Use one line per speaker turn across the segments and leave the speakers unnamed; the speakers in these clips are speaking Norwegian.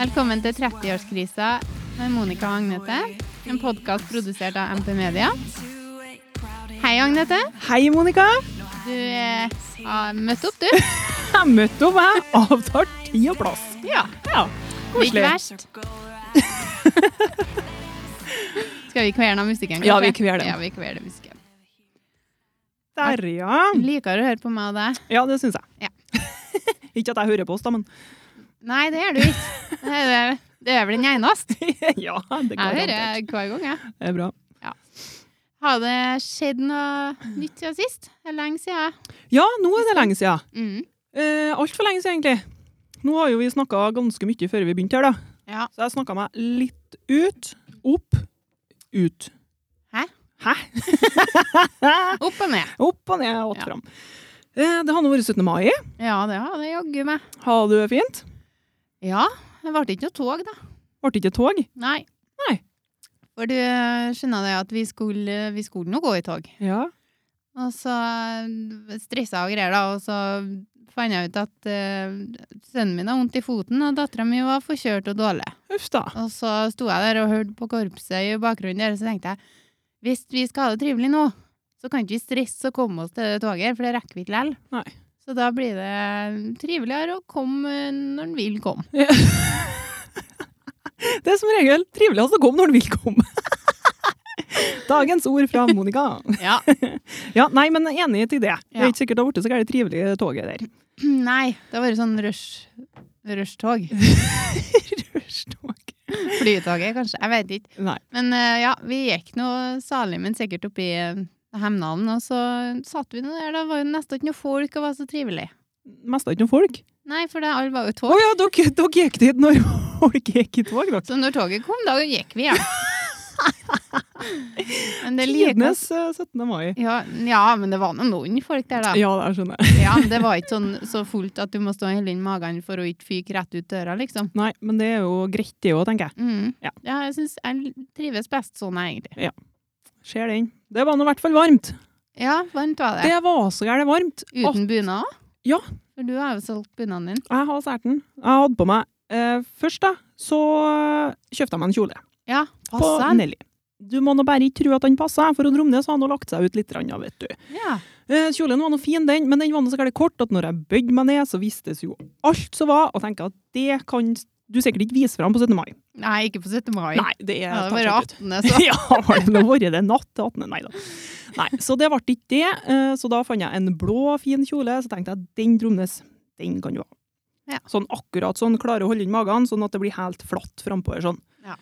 Velkommen til 30-årskrisa med Monica og Agnete. En podkast produsert av MP Media. Hei, Agnete.
Hei, Monica.
Du eh, har møtt opp, du.
Jeg møtte opp, jeg. Avtar tid og plass.
Ja,
Ja,
Ikke
koselig.
verst. Skal vi kvele musikken?
Ja,
kanskje?
vi kveler den.
Ja, vi kveler musikken.
Der, ja.
Liker å høre på meg og deg.
Ja, det syns jeg.
Ja.
ikke at jeg hører på oss, da, men
Nei, det gjør du ikke. Det er, det er vel den eneste.
ja, det går
Jeg hører
garantert.
hver gang, jeg.
Det er bra.
Har det skjedd noe nytt siden sist? Det er lenge siden.
Ja, nå er det lenge siden.
Mm.
Eh, Altfor lenge siden, egentlig. Nå har jo vi snakka ganske mye før vi begynte her, da.
Ja.
Så jeg snakka meg litt ut, opp, ut.
Hæ?
Hæ?
Opp og ned.
opp og ned
Ja.
og att fram. Eh, det har nå vært 17. mai.
Ja, det har det jaggu meg.
Har du det fint?
Ja, det ble ikke noe tog, da.
Ble det ikke tog?
Nei.
Nei.
For du eh, skjønner det at vi skulle, vi skulle nå gå i tog.
Ja.
Og så eh, stressa og greier, da. Og så fant jeg ut at eh, sønnen min har vondt i foten, og dattera mi var forkjørt og dårlig.
Uff da.
Og så sto jeg der og hørte på korpset i bakgrunnen der, og så tenkte jeg hvis vi skal ha det trivelig nå, så kan ikke vi stresse og komme oss til det toget, for det rekker vi ikke likevel.
Nei.
Så da blir det triveligere å komme eh, når en vil komme.
Det er som regel triveligst å komme når du vil komme. Dagens ord fra Monica.
Ja.
Ja, nei, men jeg er enig til det. Det
Ja.
er ikke sikkert det har blitt så gærent trivelig det toget der.
Nei, det har vært sånn rush- rushtog.
Rushtog.
Flytoget, kanskje. Jeg vet ikke.
Nei.
Men eh, ja, vi gikk nå salig, men sikkert oppi uh, Hemnalen. Og så satt vi nå der. Det var jo nesten ikke noe folk, og var så trivelig.
Mest av ikke noen folk.
Nei, for det alle var jo
Å
tog.
ja, dere, dere gikk dit når folk gikk i tog, dere.
Så når toget kom, da gikk vi, ja. men det liker
Tidenes eh, 17. mai.
ja, ja, men det var nå noen folk der, da.
Ja, det skjønner jeg.
Ja, Det var ikke sånn så fullt at du må stå og helle inn magen for å ikke fyke rett ut døra, liksom.
Nei, men det er jo greit det òg, tenker jeg.
Mm.
Ja.
Ja, jeg syns jeg trives best sånn, jeg, egentlig.
Ser den. Det var nå i hvert fall varmt.
Ja, varmt var det.
Det var så gærent varmt.
Uten bunad òg?
Ja.
For du har jo solgt bunaden din.
Jeg har sært den. Jeg hadde på meg eh, Først, da, så eh, kjøpte jeg meg en kjole.
Ja,
på
passa den.
Nelly. Du må nå bare ikke tro at han passer, for å Romnes har nå lagt seg ut litt, grann, ja, vet du.
Ja.
Eh, Kjolen var nå fin, den, men den var nå så gærent kort at når jeg bøyde meg ned, så vistes jo alt som var, og tenker at det kan du sikkert ikke vise fram på 17. mai.
Nei, ikke på 17. mai.
Nei, det er
ja, det
tar
var
seg ut.
18. Så.
ja, har det Altså, nå vært det natt til 18. Nei da. Nei, så det ble ikke det. Eh, Så da fant jeg en blå, fin kjole, så tenkte jeg den Dromnes, den kan du ha.
Ja.
Sånn akkurat sånn, klarer å holde inn magen, sånn at det blir helt flatt frampå her, sånn.
Ja.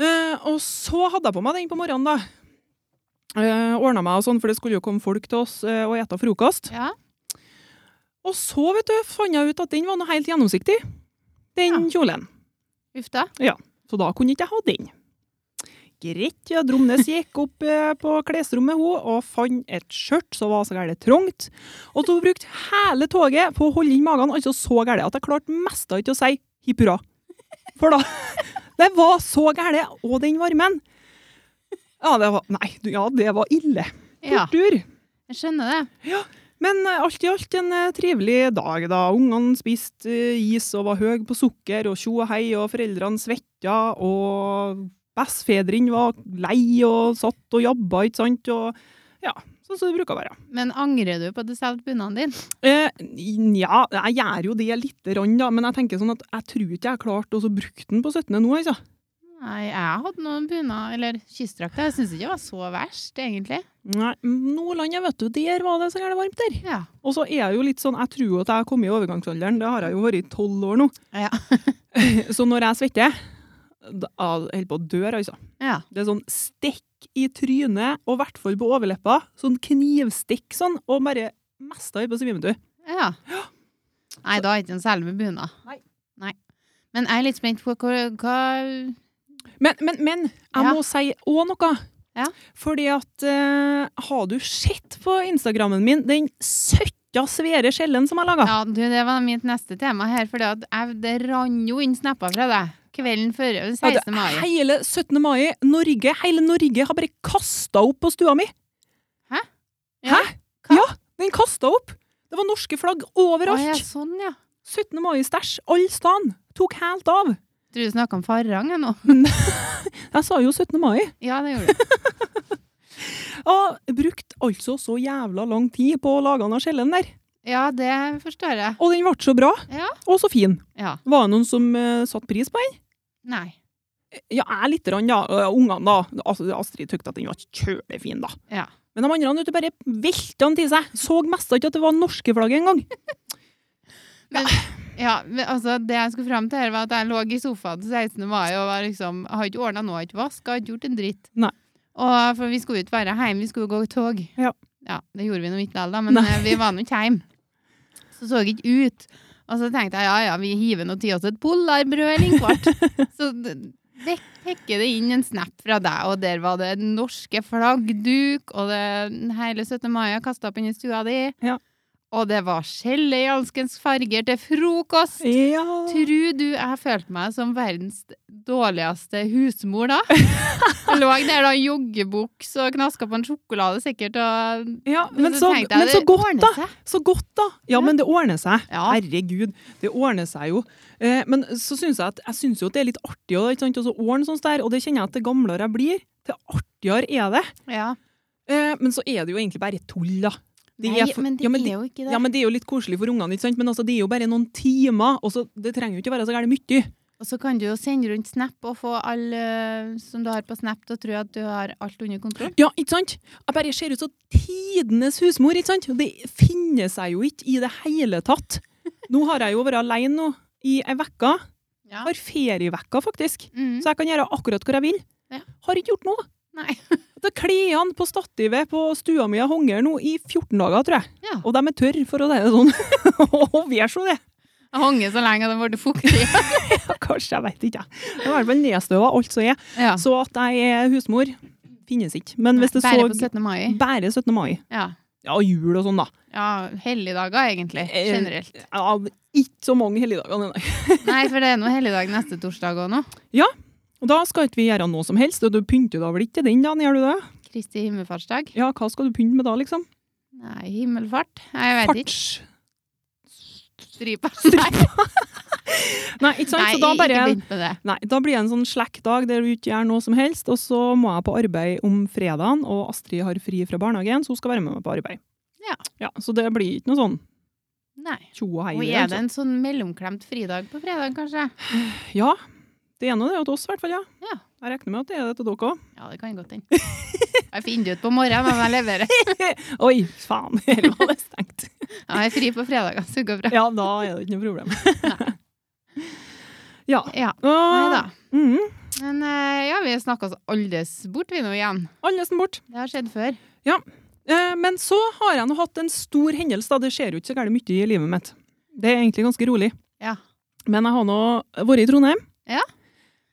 Eh, og så hadde jeg på meg den på morgenen, da. Uh, Ordna meg og sånn, for det skulle jo komme folk til oss eh, og ete frokost.
Ja.
Og så, vet du, fant jeg ut at den var noe helt gjennomsiktig, den kjolen.
Uff da.
Så da kunne ikke jeg ha den. Greit, ja, Dromnes gikk opp eh, på klesrommet hun, og fant et skjørt som var så gærent trangt. Og hun brukte hele toget på å holde inn magen, altså så gærent at jeg klarte mest av ikke å si hipp hurra. For da Det var så gærent, og den varmen. Ja, det var Nei, du, ja, det var ille.
Ja,
Tortur.
jeg skjønner det.
Men eh, alt i alt en eh, trivelig dag, da. Ungene spiste eh, is og var høy på sukker, og tjo og hei, og foreldrene svetta, og bestefedrene var lei og satt og jobba, ikke sant, og ja, sånn som det bruker å være.
Men angrer du på at du solgte bunaden din?
Eh, Nja, jeg gjør jo det lite grann, da, men jeg tenker sånn at jeg tror ikke jeg klarte å så bruke den på 17. nå, altså.
Nei, jeg hadde noen bunad, eller kystdrakter. Jeg syns ikke det var så verst, egentlig.
Nei, Nordlandet, vet du, der var det så gærent varmt der.
Ja.
Og så er jeg jo litt sånn, jeg tror jo at jeg har kommet i overgangsalderen, det har jeg jo vært i tolv år nå.
Ja.
så når jeg svetter, da jeg holder på å dø, altså.
Ja.
Det er sånn stikk i trynet, og i hvert fall på overleppa. Sånn knivstikk sånn, og bare mest av det på svimmet du.
ja. Nei, da er det ikke en særlig med bunad.
Nei.
Nei. Men jeg er litt spent på hva, hva
Men, men, men, jeg
Ja.
må si òg noe.
Ja.
Fordi at eh, Har du sett på Instagrammen min den søtta svære skjellen som jeg laga?
Ja, du, det var mitt neste tema her, for det rann jo inn snapper fra deg kvelden før 16. mai.
Hele 17. mai, Norge, hele Norge har bare kasta opp på stua mi!
Hæ?
Hæ?
Hva?
Ja, den kasta opp! Det var norske flagg overalt!
Å, ja, sånn, ja.
17. mai-stæsj alle steder. Tok helt av.
Tror du snakka om Farang jeg, nå.
Jeg sa jo 17. mai.
Ja, det gjorde du.
Og brukte altså så jævla lang tid på å lage den skjellen der.
Ja, det forstår jeg.
Og den ble så bra.
Ja.
Og så fin.
Ja.
Var det noen som uh, satte pris på den?
Nei.
Ja, jeg litt, rann, da. Eh, Ungene, da. Altså, Astrid tykte at den var kjølefin, da.
Ja.
Men de andre vet du, bare velta den til seg. Så mest ikke at det var norske flagget engang.
Ja, men altså Det jeg skulle fram til, her var at jeg lå i sofaen til 16. mai og var liksom, jeg hadde ikke ordna noe, jeg hadde ikke vaska, hadde ikke gjort en dritt.
Nei.
Og, for vi skulle jo ikke være hjemme, vi skulle jo gå i tog.
Ja.
ja det gjorde vi nå ikke likevel, da, men
Nei.
eh, vi var nå ikke hjemme. Så så jeg ikke ut. Og så tenkte jeg ja ja, vi hiver nå til oss et polarbrød eller en kvart. så d- det pekker det inn en snap fra deg, og der var det norske flaggduk, og det hele 17. mai kasta opp inni stua di.
Ja.
Og det var skjelle i alskens farger til frokost.
Ja.
Tror du jeg følte meg som verdens dårligste husmor da? Jeg lå der da i joggebuks og knaska på en sjokolade sikkert. Og,
ja men, så,
tenkte jeg,
men så
det
godt,
ordner
da.
seg.
Så godt, da. Ja, men det ordner seg.
Ja.
Herregud, det ordner seg jo. Eh, men så syns jeg, at, jeg synes jo at det er litt artig å ikke sant, også ordne sånt der, og det kjenner jeg at det gamlere jeg blir, det artigere er det.
Ja.
Eh, men så er det jo egentlig bare tull, da. Det
Nei,
er for-
men det
ja, men
er jo ikke det.
Ja, men Det er jo litt koselig for ungene, ikke sant? men altså, det er jo bare noen timer. og så Det trenger jo ikke være så gærent mye.
Og så kan du jo sende rundt Snap og få alle som du har på Snap, til å tro at du har alt under kontroll.
Ja, ikke sant? Jeg bare ser ut som tidenes husmor. ikke sant? Det finner seg jo ikke i det hele tatt. Nå har jeg jo vært alene nå i ei uke.
Ja.
Har ferievekka, faktisk.
Mm.
Så jeg kan gjøre akkurat hvor jeg vil.
Ja.
Har ikke gjort noe.
Nei.
Det er Klærne på stativet på stua mi har hunget nå i 14 dager, tror jeg.
Ja.
Og de er tørre, for å si det sånn. og vi er så det.
Jeg hang så lenge at det ble fuktig.
Ja, Kanskje, jeg vet ikke. jeg. Det er i hvert fall nedstøva alt som er.
Ja.
Så at jeg er husmor, finnes ikke. Men hvis det så
Bare på 17. mai.
Bare 17. mai.
Ja.
Ja, jul og sånn, da.
ja helligdager, egentlig.
Eh,
Generelt.
Ja, ikke så mange helligdager. nei.
Nei, for det er nå helligdag neste torsdag òg nå.
Og da skal ikke vi gjøre noe som helst. og Du pynter da vel ikke den dagen, gjør du det?
Kristi himmelfartsdag.
Ja, hva skal du pynte med da, liksom?
Nei, himmelfart? Nei, jeg vet ikke.
Farts.
Stripa. Nei,
Nei, ikke sant?
Nei
Så da bare
ikke begynn med det.
Nei, da blir det en sånn slack-dag der du ikke gjør noe som helst, og så må jeg på arbeid om fredagen, og Astrid har fri fra barnehagen, så hun skal være med meg på arbeid.
Ja.
Så det blir ikke noe sånn
Nei.
tjo og hei.
Og
i
er
altså.
det en sånn mellomklemt fridag på fredag, kanskje?
Ja, det er nå det til oss i hvert fall, ja.
Ja.
Jeg regner med at det er det til dere òg.
Ja, det kan godt hende. Jeg finner det ut på morgenen hvem jeg leverer.
Oi, faen, her var det stengt.
Ja, jeg er fri på fredager, så det går bra.
Ja, da er det ikke noe problem. ja.
Ja. Nei da.
Og- Mhm,
Men eh, ja, vi snakka oss aldes bort, vi nå igjen.
Alle nesten bort.
Det har skjedd før.
Eh, Men så har jeg nå hatt en stor hendelse, da. Det skjer jo ikke så gærent mye i livet mitt. Det er egentlig ganske rolig.
Ja.
Men jeg har nå vært i Trondheim.
Ja.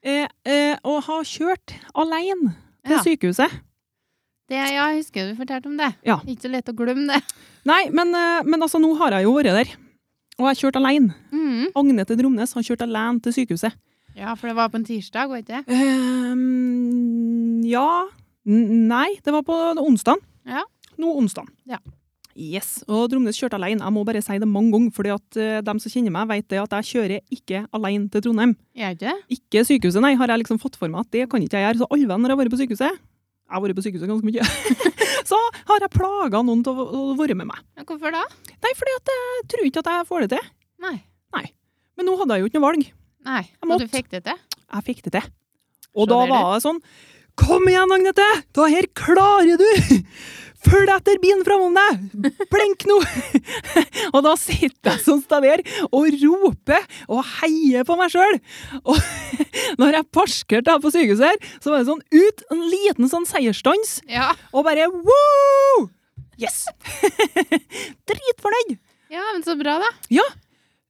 Eh, eh, og har kjørt alene til
Ja.
sykehuset.
Det, ja, jeg husker du fortalte om det.
Ja.
Ikke så lett å glemme det.
Nei, men, eh, men altså, nå har jeg jo vært der. Og jeg har kjørt alene.
Mhm.
Agnete Dromnes har kjørt alene til sykehuset.
Ja, for det var på en tirsdag, var det ikke det?
Ehm, ja N Nei, det var på onsdag.
Ja.
Nå onsdag.
Ja.
Yes. Og Dromnes kjørte alene. Jeg må bare si det mange ganger, fordi at eh, dem som kjenner meg, vet det at jeg kjører ikke alene til Trondheim.
Er det ikke det?
Ikke sykehuset, nei, har jeg liksom fått for meg at det kan ikke jeg gjøre. Så alle venner har vært på sykehuset. Jeg har vært på sykehuset ganske mye. så har jeg plaga noen til å å være med meg.
Ja, Hvorfor da?
Nei, fordi at jeg tror ikke at jeg får det til.
Nei.
Men nå hadde jeg jo ikke noe valg.
Nei. Og
måtte.
du fikk det til?
Jeg fikk det til. Og
Så
da
det er
var det sånn Kom igjen, Agnete! Da her klarer du! Følg etter bilen framom deg! Blink nå! og da sitter jeg sånn sted der og roper og heier på meg sjøl. Og når jeg parkerte her på sykehuset, her, så var det sånn ut, en liten sånn seiersstans,
Ja.
og bare wow! Yes! Dritfornøyd!
Ja, men så bra, da.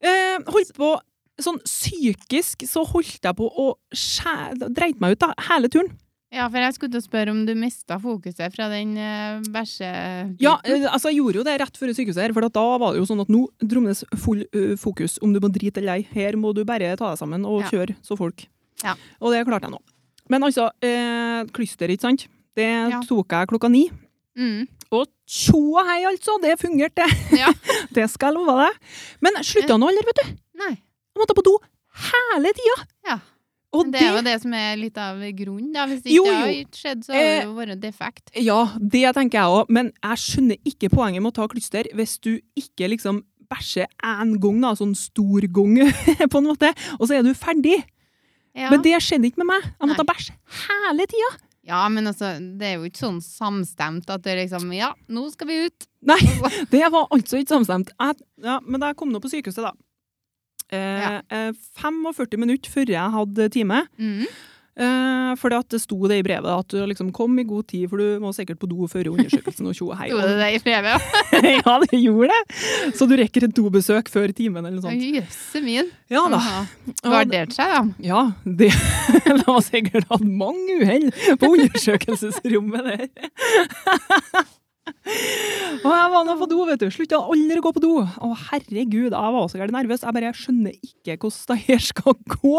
Eh, holdt på Sånn psykisk så holdt jeg på å skjæ- dreit meg ut da, hele turen.
Ja, for jeg skulle til å spørre om du mista fokuset fra den uh, bæsje...
Ja, eh, altså jeg gjorde jo det rett før sykehuset her, for at da var det jo sånn at nå drommes full eh, fokus om du må drite eller ei. Her må du bare ta deg sammen og
Ja.
kjøre så folk.
Ja.
Og det klarte jeg nå. Men altså, eh, klyster, ikke sant? Det
Ja.
tok jeg klokka ni,
Mm.
Og tjå og hei, altså. Det fungerte, det.
Ja.
det skal jeg love deg. Men slutta nå aldri, vet du.
Nei.
Jeg måtte på do hele tida.
Ja.
Og
Men det er jo det som er litt av grunnen, da. Hvis ikke
Jo,
det
jo.
har skjedd, så har det jo vært defekt.
Ja, det tenker jeg òg, men jeg skjønner ikke poenget med å ta klyster hvis du ikke liksom bæsjer én gang, da, sånn stor gang, på en måte, og så er du ferdig.
Ja.
Men det skjedde ikke med meg. Jeg måtte
Nei.
bæsje hele tida.
ja, men altså, det er jo ikke sånn samstemt at det er liksom Ja, nå skal vi ut!
Nei, det var altså ikke samstemt. Jeg, ja, men da jeg kom nå på sykehuset, da.
Ja.
Eh, eh, 45 minutter før jeg hadde time.
Mm.
Eh, for det sto det i brevet at du liksom kom i god tid, for du må sikkert på do før undersøkelsen. og tjo og hei.
Gjorde det det i brevet?
ja, det gjorde det! Så du rekker et dobesøk før timen eller noe sånt.
Jøsse min!
Sånn. Ja da.
Aha.
Og-
Gardert seg, da.
Ja, det, de har sikkert hatt mange uhell på undersøkelsesrommet der. Og jeg var nå på do, vet du. Slutta aldri å gå på do. Å, herregud, jeg var også gærent nervøs. Jeg bare skjønner ikke hvordan det her skal gå.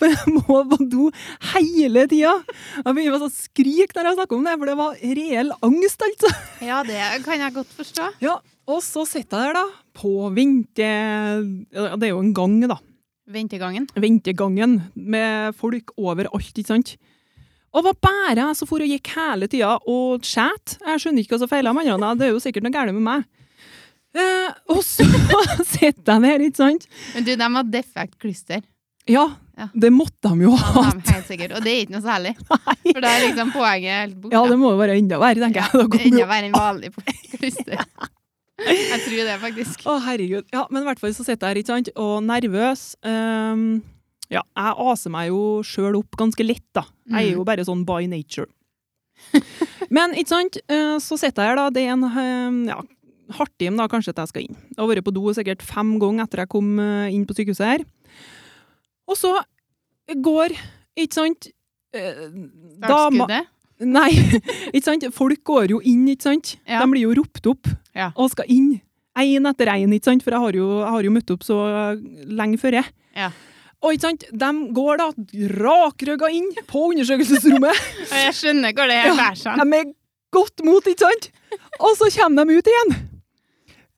For jeg må på do hele tida. Jeg begynner å skrike når jeg snakker om det, for det var reell angst, altså.
Ja, det kan jeg godt forstå.
Ja, og så sitter jeg der, da. På vente... ja, Det er jo en gang, da
Ventegangen.
ventegangen med folk overalt, ikke sant? Og hva bærer jeg så for og gikk hele tida og skjæt? Jeg skjønner ikke hva som feiler med andre, det er jo sikkert noe galt med meg. Eh, og så sitter jeg der, ikke sant?
Men du, de har defekt klyster.
Ja,
Ja.
det måtte de jo
Ja,
ha.
de er helt sikkert. Og det er ikke noe særlig. For da er liksom poenget helt borte.
Ja, det må jo være enda verre, tenker jeg.
Det
Da
er
kommer
Enda
jo-
verre enn vanlig klyster. Jeg tror det, faktisk.
Å, herregud. Ja, men i hvert fall så sitter jeg her, ikke sant, og nervøs. Ehm, ja, jeg aser meg jo sjøl opp ganske lett, da. Jeg er
Mm.
jo bare sånn by nature. Men ikke sant, eh, så sitter jeg her, da. Det er en eh, ja, halvtime, da, kanskje, at jeg skal inn. Jeg har vært på do sikkert fem ganger etter jeg kom eh, inn på sykehuset her. Og så går, ikke sant eh, dama-
Startskuddet.
Nei, ikke sant? Folk går jo inn, ikke sant?
Ja.
De blir jo ropt opp
Ja.
og skal inn. Én etter én, ikke sant? For jeg har, jo, jeg har jo møtt opp så lenge før jeg.
Ja.
Og ikke sant? de går da rakrygga inn på undersøkelsesrommet.
Og jeg skjønner hvor det her bærer seg.
de er godt mot, ikke sant? Og så kommer de ut igjen.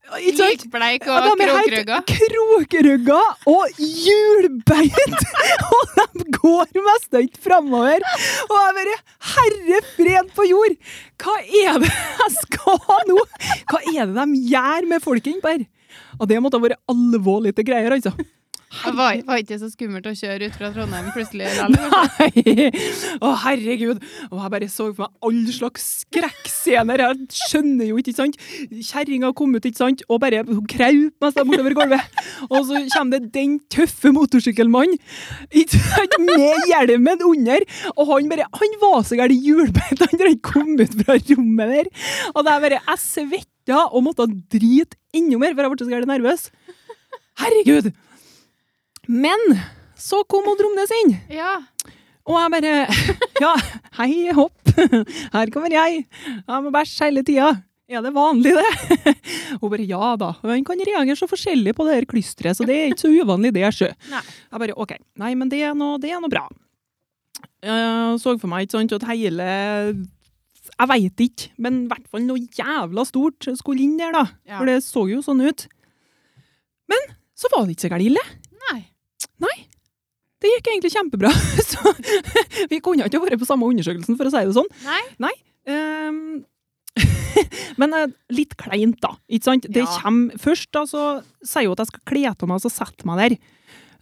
Ikke sant?
Likbleik
Ja,
og
de er helt
krokrygga.
Krokrygga og hjulbeint! og de går mest ikke framover. Og jeg bare Herre fred på jord! Hva er det jeg skal nå? Hva er det de gjør med folk innpå her? Og det måtte ha vært alvorlige greier, altså.
Det var, var ikke så skummelt å kjøre ut fra Trondheim plutselig. Eller?
Nei! Å, herregud. Og jeg bare så for meg all slags skrekkscener. Jeg skjønner jo ikke, ikke sant. Kjerringa kom ut, ikke sant, og bare kraup mens jeg bortover gulvet. Og så kommer det den tøffe motorsykkelmannen ikke sant, med hjelmen under, og han bare Han var så gæren i hjulbeint, han hadde ikke kommet ut fra rommet der. Og det er bare Jeg svetta og måtte drite enda mer, for jeg ble så gæren nervøs. Herregud! Men så kom Odd Romnes inn.
Ja.
Og jeg bare Ja, hei, hopp. Her kommer jeg. Jeg må bæsje hele tida. Er det vanlig, det? Hun bare ja da. Han kan reagere så forskjellig på det her klysteret, så det er ikke så uvanlig, det, sjø.
Nei.
Jeg bare OK. Nei, men det er noe, det er noe bra. Jeg så for meg ikke sant, at hele Jeg veit ikke, men i hvert fall noe jævla stort skulle inn der, da.
Ja.
For det så jo sånn ut. Men så var det ikke så gærent ille.
Nei.
Det gikk egentlig kjempebra. Så, vi kunne ikke vært på samme undersøkelsen, for å si det sånn.
Nei.
Ehm, men eh, litt kleint, da. Ikke sant? Det
Ja.
kommer først, da, så sier hun at jeg skal kle på meg, og så setter jeg meg der.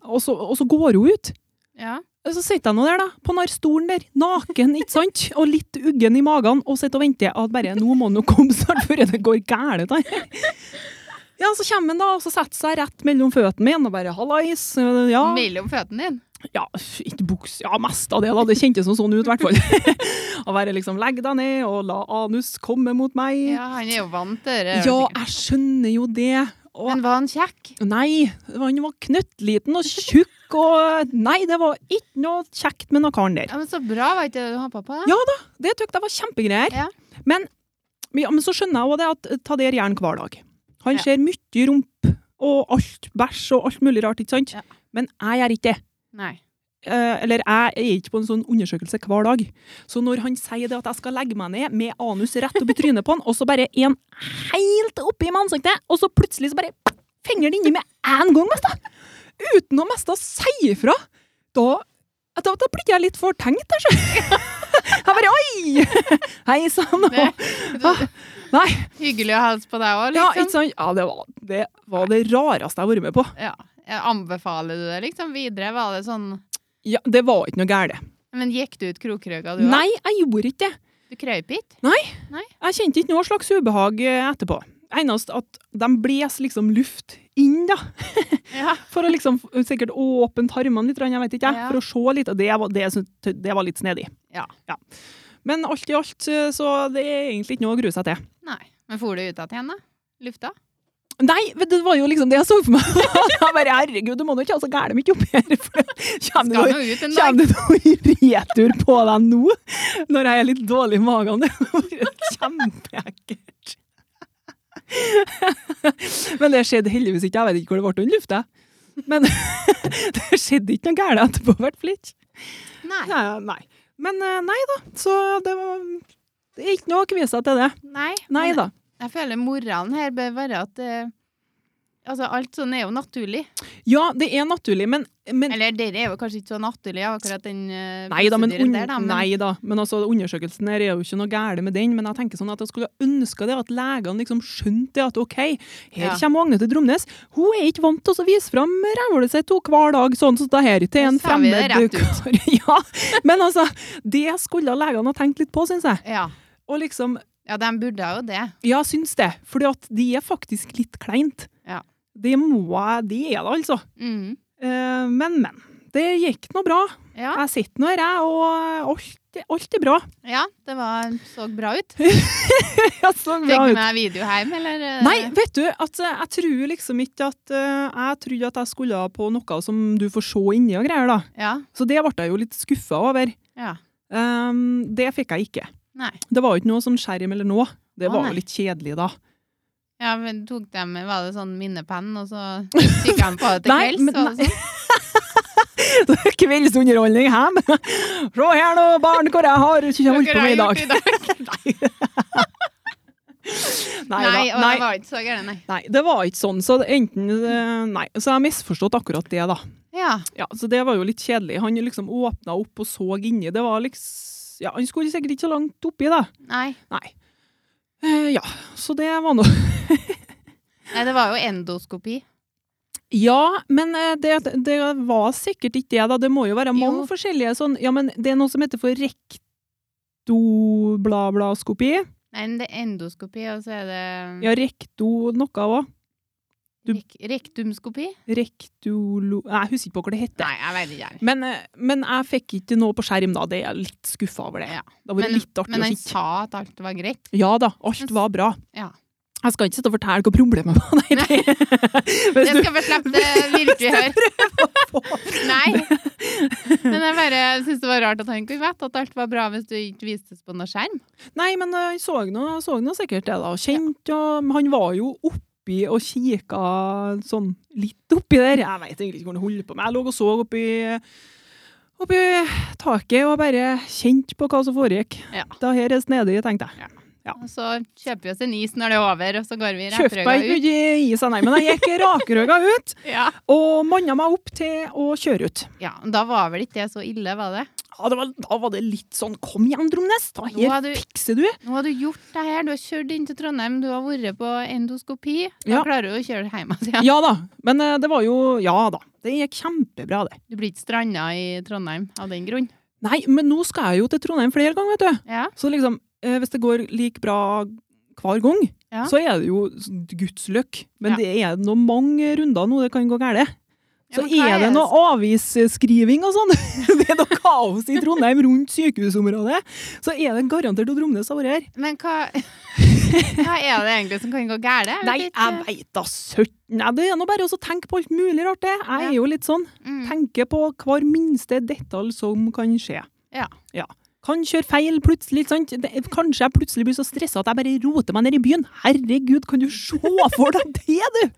Og så, og så går hun ut.
Ja.
Og Så sitter jeg nå der, da, på den her stolen der, naken, ikke sant? Og litt uggen i magen, og sitter og venter at bare nå må han nå komme snart, før det går gærent. da. Ja, så kommer han da, og så setter seg rett mellom føttene mine og bare 'hallais'. øh, Ja,
Mellom føttene dine.
ja, f- ikke buks, ja, mest av det da, det kjentes som sånn ut i hvert fall. Å være liksom, legg deg ned og la anus komme mot meg. Ja,
Ja, han er jo vant til det.
jeg skjønner jo det. Og,
Men var han kjekk?
nei, han var knøttliten og tjukk og Nei, det var ikke noe kjekt med noe karen der.
Ja, men Så bra, var ikke det du hoppa på? da?
Ja. Det tøkt, det var kjempegreier.
Ja.
Men, ja, men så skjønner jeg også det at eh, Tader gjør den hver dag. Han
Ja.
ser mye rump og alt, bæsj og alt mulig rart, ikke sant?
Ja.
Men jeg gjør ikke det.
Nei.
eh, Eller jeg er ikke på en sånn undersøkelse hver dag. Så når han sier det at jeg skal legge meg ned med anus rett opp i trynet på han, og så bare en helt oppi med ansiktet, og så plutselig så bare fenger den inni med én gang, mest, da. Uten å mest da si ifra. Da, da, da blir jeg litt fortenkt, der, så. Jeg bare oi! Hei sann.
Det,
Nei.
hyggelig å hilse på deg òg,
Ah. Ja, ikke
liksom.
sant? Ja, det var det, var det rareste jeg har vært med på.
Ja, Anbefaler du det liksom videre? Var det sånn
Ja, Det var ikke noe galt.
Men gikk du ut krokrygga, du òg?
Nei, jeg gjorde ikke det.
Du krøyp ikke?
Jeg kjente ikke noe slags ubehag eh, etterpå. Eneste at de bles liksom luft inn, da.
Ja.
For å liksom f- sikkert åpne tarmene litt, jeg vet ikke, jeg,
Ja.
for å se litt. Og det var, det, syns- det var litt snedig.
Ja.
Men alt i alt, eh, så det er egentlig ikke noe å grue seg til.
Nei. Men for du ut av igjen, da? Lufta?
Nei, vet du, det var jo liksom det jeg så for meg. Jeg bare, herregud, du må nå ikke ha så gæle mye oppi her. For
Skal
kommer det noe-
nå ut en dag.
kommer det noe retur på deg nå? Når jeg er litt dårlig i magen. Det var Kjempeekkelt. Men det skjedde heldigvis ikke. Jeg vet ikke hvor det ble under lufta. Men det skjedde ikke noe gæle etterpå, i hvert fall ikke.
Nei.
Nei, nei. Men eh, nei da, så det var det er ikke noe å kvie seg til det.
Nei.
Nei
Men
da.
Jeg føler moralen her bør være at eh, Altså, alt sånn er jo naturlig.
Ja, det er naturlig, men, men
Eller dere er jo kanskje ikke så naturlig, ja, akkurat den eh,
Nei da, men,
prosedyren
un
der, da, men
nei da, men altså, undersøkelsen her er jo ikke noe gærent med den. Men jeg tenker sånn at jeg skulle ønske det at legene liksom skjønte det at OK, her
Ja.
kommer Agne til Dromnes. Hun er ikke vant til å vise fram rævhølet sitt hun, hver dag, sånn som det her til
Nå
en
sa vi
fremmed
det rett
kar. ja, men altså, det skulle legene ha tenkt litt på, syns jeg.
ja.
Og liksom,
ja, de burde jo det.
ja, syns det. Fordi at de er faktisk litt kleint.
Ja.
Det må jeg, de er det altså.
Mm.
Eh, men, men. Det gikk nå bra.
Ja.
Jeg sitter nå her, jeg, og alt, alt er bra.
ja, det var, så bra ut.
Jeg så
Fikk
bra
du
ut.
med video hjem, eller? eh,
Nei, vet du, at eh, jeg tror liksom ikke at eh, Jeg trodde at jeg skulle på noe som du får se inni og greier, da.
Ja.
Så det ble jeg jo litt skuffa over.
ja.
Ehm, det fikk jeg ikke.
Nei.
Det var jo ikke noe sånn skjerm eller noe. Det
Å,
var
nei.
jo litt kjedelig, da.
Ja, men tok dem, Var det sånn minnepenn, og så fikk de på det til
Nei,
kvelds?
men-
var det sånn?
Kveldsunderholdning hjem! Se her nå, barn, hvor jeg har ikke holdt på
Dere har
med i
gjort
dag!
det i dag.
Nei,
Nei,
da.
og
nei,
det var ikke så gærent, nei.
nei, det var ikke sånn. Så det enten eh, Nei. Så jeg har misforstått akkurat det, da.
Ja.
Ja, så det var jo litt kjedelig. Han liksom åpna opp og så inni. Det var liksom Ja, han skulle sikkert ikke så langt oppi, da.
Nei.
Nei. Eh, ja, så det var nå
Nei, det var jo endoskopi.
Ja, men eh, det, det var sikkert ikke det, da. Det må jo være mange
Jo.
forskjellige sånn Ja, men det er noe som heter for rektoblaskopi.
Nei, men det er endoskopi, og så er det um,
Ja, rekto noe òg. du-
rek rektumskopi.
Rektolo... Nei, Jeg husker ikke på hva det heter.
Nei, jeg vet ikke. jeg.
Men, eh, men jeg fikk ikke noe på skjerm, da. Det er jeg litt skuffa over det.
Ja.
Det var
Men-
litt artig
Men
å
han
kikke.
sa at alt var greit.
Ja da, alt
Men-
var bra.
Ja.
Jeg skal ikke sitte og fortelle hva problemet var. Nei, det, hvis
Det
du
skal vi slippe, det virkelig høre.
får
Nei. Men jeg bare syns det var rart at han kunne vite at alt var bra hvis du ikke vistes på noe skjerm.
Nei, men eh, jeg så nå, så nå sikkert det, da. Kjent og Han var jo oppi og kikka sånn litt oppi der. Jeg veit egentlig ikke hvor han holdt på med. Jeg lå og så oppi Oppi taket og bare kjente på hva som foregikk.
Ja.
Da her er snedig, tenkte jeg.
Og så kjøper vi oss en is når det er over, og så går vi
Kjøpte
rakrøga
meg
ut.
ikke mye is, nei, men jeg gikk rakrygga ut
Ja.
og manna meg opp til å kjøre ut.
ja, men Da var vel ikke det så ille, var det?
Ja, det var, da var det litt sånn Kom igjen, Dromnes! Da
Nå har
her
du-
fikser du!
Nå har du gjort det her, du har kjørt inn til Trondheim, du har vært på endoskopi. Da
Ja.
klarer du å kjøre hjem igjen.
Ja da. Men eh, det var jo Ja da. Det gikk kjempebra, det.
Du blir ikke stranda i Trondheim av den grunn.
Nei, men nå skal jeg jo til Trondheim flere ganger, vet du.
Ja.
Så liksom, eh, hvis det går like bra hver gang,
Ja.
så er det jo guds løkk. Men
Ja.
det er nå mange runder nå det kan gå galt.
Ja,
Så
men hva
er det noe avisskriving og sånn. det er noe kaos i Trondheim rundt sykehusområdet. Så er det garantert at Romnes har vært her.
Men hva, hva er det egentlig som kan gå galt? Jeg vet
Nei, jeg
ikke.
veit da søtten. Nei, Det er nå bare å tenke på alt mulig rart, det. Jeg
Ja.
er jo litt sånn.
Mm.
Tenker på hver minste detalj som kan skje.
Ja.
Kan kjøre feil plutselig. ikke Sant? Det, kanskje jeg plutselig blir så stressa at jeg bare roter meg ned i byen. Herregud, kan du se for deg det, du?!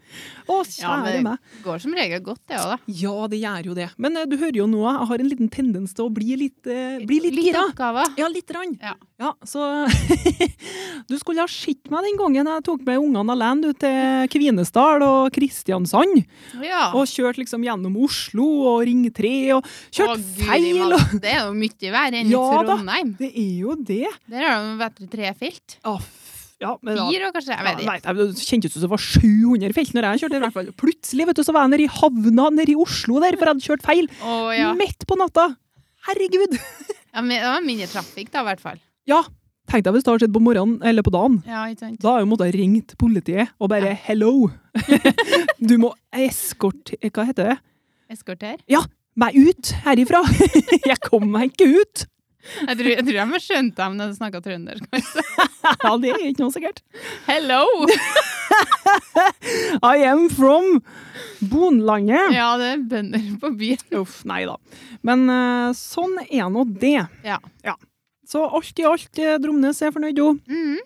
Å,
Ja, men
kjære
det-
meg.
Går som regel godt, det òg, da.
Ja, det gjør jo det. Men eh, du hører jo nå, jeg har en liten tendens til å bli litt, eh, bli litt, gira.
oppgaver.
Ja, litt. Rann.
Ja.
så Du skulle ha sett meg den gangen jeg tok med ungene alene ut til Kvinesdal og Kristiansand.
Ja.
Og kjørte liksom gjennom Oslo og Ring 3 og
Å,
kjørt
Gud,
feil.
Ivan,
Og,
Det er jo mye verre enn i
Ja, da.
Trondheim.
det er jo det.
Der har de vet du, tre felt.
Ah, f- ja, men da-
Fire, og kanskje. Jeg vet
Ja,
ikke.
nei, nei, det kjentes ut som det var 700 felt når jeg kjørte. i hvert fall. Plutselig vet du, så var jeg nede i havna nede i Oslo der, for jeg hadde kjørt feil.
Å, ja.
Midt på natta. Herregud!
ja men, det var mindre trafikk, da, i hvert fall.
Ja, tenk deg hvis det har skjedd på morgenen eller på dagen.
Ja, ikke sant?
Da har jeg jo måttet ringt politiet og bare 'hello'. Du må eskorte Hva heter det?
Eskorter.
Meg ut herifra! Jeg kom meg ikke ut!
Jeg tror, jeg tror de skjønte dem når de snakka trøndersk.
Ja, det er ikke noe sikkert.
Hello!
I am from Bonlandet.
Ja, det er bønder på byen.
Uff, nei da. Men eh, sånn er nå det.
Ja.
Så alt i alt, eh, Dromnes er fornøyd, jo.
Mhm.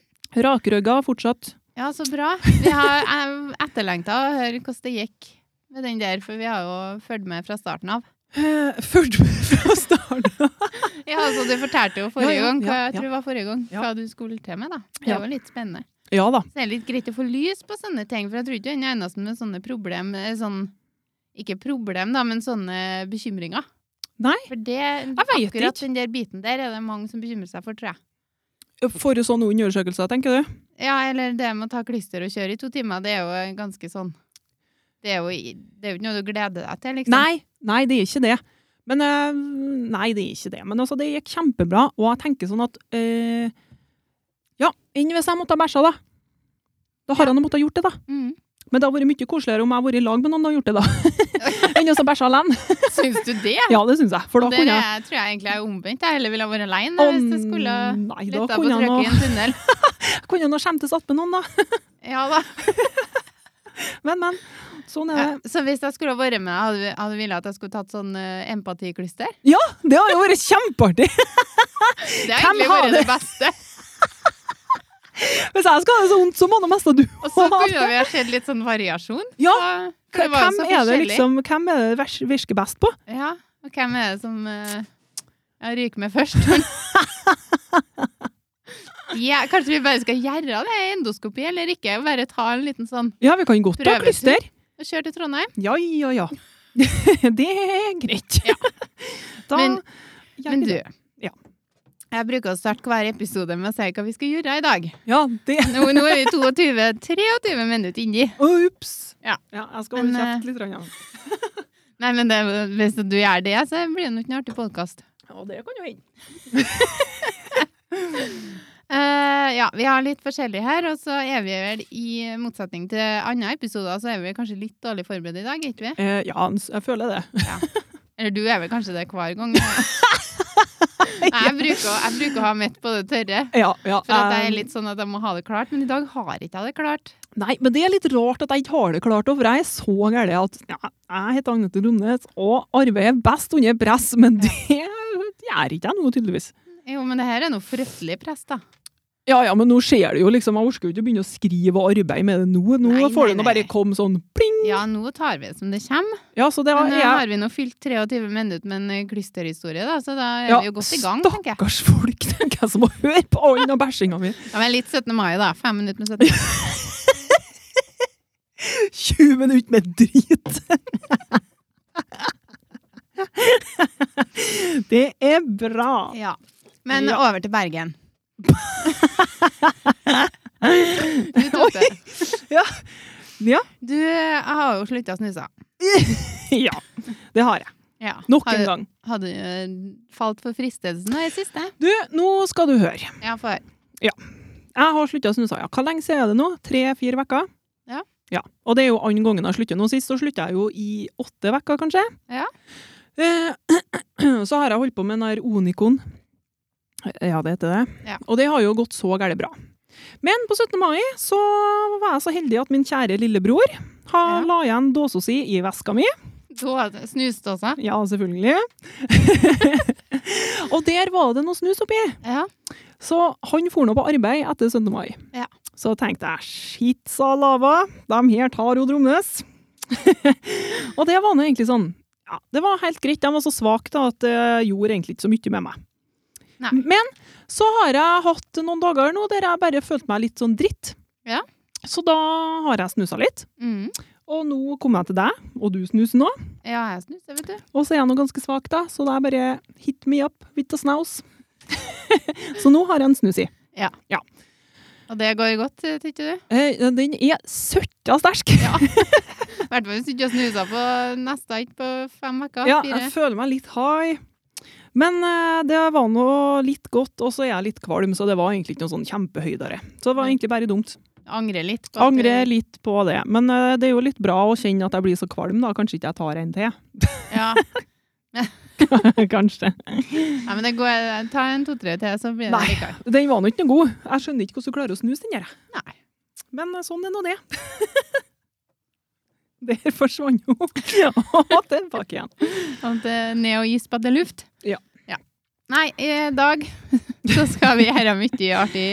Rakrygga fortsatt.
Ja, så bra. Vi har eh, etterlengta å høre hvordan det gikk med den der, for vi har jo fulgt med fra starten av.
Eh, Fulgt med fra starten.
Ja, altså, Du fortalte jo forrige
Ja, ja,
gang hva
ja,
jeg tror det var forrige gang,
Ja.
hva du skulle til med. da. Det
Ja.
var litt spennende.
Ja da.
Så det er litt greit å få lys på sånne ting, for jeg tror ikke du er den eneste med sånne problem, eh, sånn, ikke problem da, men sånne bekymringer.
Nei,
For det,
vet
akkurat
ikke.
den der biten der er det mange som bekymrer seg for, tror jeg.
For sånne undersøkelser, tenker du?
Ja, eller det med å ta klister og kjøre i to timer, det er jo ganske sånn. Det er jo, i- det er jo ikke noe du gleder deg til, liksom.
Nei, nei, det er ikke det. Men eh, Nei, det er ikke det. Men altså, det gikk kjempebra, og jeg tenker sånn at eh, Ja, enn hvis jeg måtte ha bæsja, da. Da har han jo måttet ha gjort det, da.
Mm.
Men det har vært mye koseligere om jeg har vært i lag med noen og gjort det, da. enn hvis jeg bæsja alene.
Syns du det?
Ja, det syns jeg. For da
det
kunne jeg
er, tror jeg egentlig er omvendt. Jeg heller ville ha vært aleine
Å,
hvis jeg skulle
Nei, da
lytta på
kunne
trøkket i
jeg nå-
en tunnel.
kunne jeg nå skjemtes attmed noen, da.
Ja da.
Men, men. Sånn er det.
Så hvis jeg skulle ha vært med, hadde du- hadde du villet at jeg skulle tatt sånn eh, empatiklyster?
Det har jo vært kjempeartig!
Det har
Hvem
egentlig
har
vært det beste.
Hvis jeg skal ha det så vondt, så må nå mest du
Og så
ha
kunne vi ha sett litt sånn variasjon.
Ja,
Og- for det var jo
Hvem
så
er det
forskjellig.
liksom, hvem er det vers- virker best på?
Ja, og hvem er det som eh, jeg ryker med først? ja, kanskje vi bare skal gjøre det endoskopi eller ikke? og Bare ta en liten sånn
Ja, vi kan godt ta
Prøvetur.
klister.
og kjøre til Trondheim?
Ja, ja, ja. det er greit. da
Men-
gjør
Men
vi
du,
det. Ja.
jeg bruker å starte hver episode med å si hva vi skal gjøre i dag.
Ja, det
Nå, nå er vi 22-23 minutter inni.
Ops!
Ja.
jeg skal holde
Men, eh,
kjeft litt. Rann, ja.
Nei, men det, hvis du gjør det, så blir det nok ikke en artig podkast.
ja, det kan jo hende.
Eh, ja, vi har litt forskjellig her, og så er vi vel i motsetning til andre episoder, så er vi kanskje litt dårlig forberedt i dag, er ikke vi?
Eh, ja, jeg føler det.
Eller du er vel kanskje det hver gang. Nei, jeg bruker, å- jeg bruker å ha mitt på det tørre.
Ja, ja.
For at jeg
eh,
er litt sånn at jeg må ha det klart, men i dag har jeg ikke jeg det klart.
Nei, men det er litt rart at jeg ikke har det klart over. Jeg er så gæren at ja, jeg heter Agnete Romnes og arbeider best under press, men det gjør ikke jeg nå, tydeligvis.
Jo, men det her er noe fryktelig press, da.
Ja, ja, men nå skjer det jo liksom. Jeg orker jo ikke å begynne å skrive og arbeide med det nå. Nå
Nei, nei,
får det
nei.
nå bare komme sånn pling!
Ja, nå tar vi det som det kommer.
Ja, så det
Men
er
nå
jeg.
har vi nå fylt 23 minutter med en eh, klysterhistorie, da, så da er
Ja,
vi jo godt i gang, tenker jeg.
Stakkars folk, tenker jeg, som må høre på all den bæsjinga mi.
Ja, men litt 17. mai, da. Fem minutter med 17.
20 minutter med drit! Det er bra.
Ja. Men
Ja.
over til Bergen. du tok det.
Ja. Ja.
Du eh, har jo slutta å snuse.
Ja, det har jeg.
Ja.
Nok
Har-
en gang.
Har du eh, falt for fristelsen i det siste?
Du, nå skal du høre.
Ja, for
Jeg har slutta å snuse. Ja. Hvor lenge siden er det nå? Tre-fire uker?
Ja.
Og det er jo andre gangen jeg slutter. Nå sist så slutta jeg jo i åtte uker, kanskje.
Ja.
Eh, Så har jeg holdt på med den her Onikon. Ja, det heter det.
Ja.
Og det har jo gått så gærent bra. Men på 17. mai så var jeg så heldig at min kjære lillebror har
Ja.
la igjen dåsa si i veska mi.
Dåse- Snuståsa.
Ja, selvfølgelig. og der var det noe snus oppi.
Ja.
Så han for nå på arbeid etter 17. mai.
Ja.
Så tenkte jeg, shit, sa lava, de her tar jo Dromnes. og det var nå egentlig sånn, ja, det var helt greit, de var så svake da, at det gjorde egentlig ikke så mye med meg.
Nei.
Men så har jeg hatt noen dager nå der jeg bare følte meg litt sånn dritt.
Ja.
Så da har jeg snuset litt,
Mm.
og nå kommer jeg til deg, og du snuser nå.
Ja, jeg snuser, vet du.
Og så er jeg nå ganske svak da, så det er bare hit me up with a snaus. så nå har jeg en snus i.
Og det går godt, eh, tykker du?
Eh, Den er søtta sterk. Ja,
I hvert fall hvis du ikke har snusa på neste ikke på fem uker. fire.
jeg føler meg litt high. Men eh, det var nå litt godt, og så er jeg litt kvalm, så det var egentlig ikke noe sånn kjempehøydere. Så det var egentlig bare dumt.
Angrer litt. på at
Angrer
du-
litt på det. Men eh, det er jo litt bra å kjenne at jeg blir så kvalm, da. Kanskje ikke jeg tar en til.
Ja.
Kanskje.
Nei, men det går, ta en to-tre til, så blir det
Nei.
likevel.
Den var nå ikke noe god. Jeg skjønner ikke hvordan du klarer å snuse den der.
Nei.
Men eh, sånn er nå det. Der forsvant hun. Og tilbake igjen.
Sånn at eh, ned og gispe til luft.
Ja.
Nei, i dag så skal vi gjøre mye artig.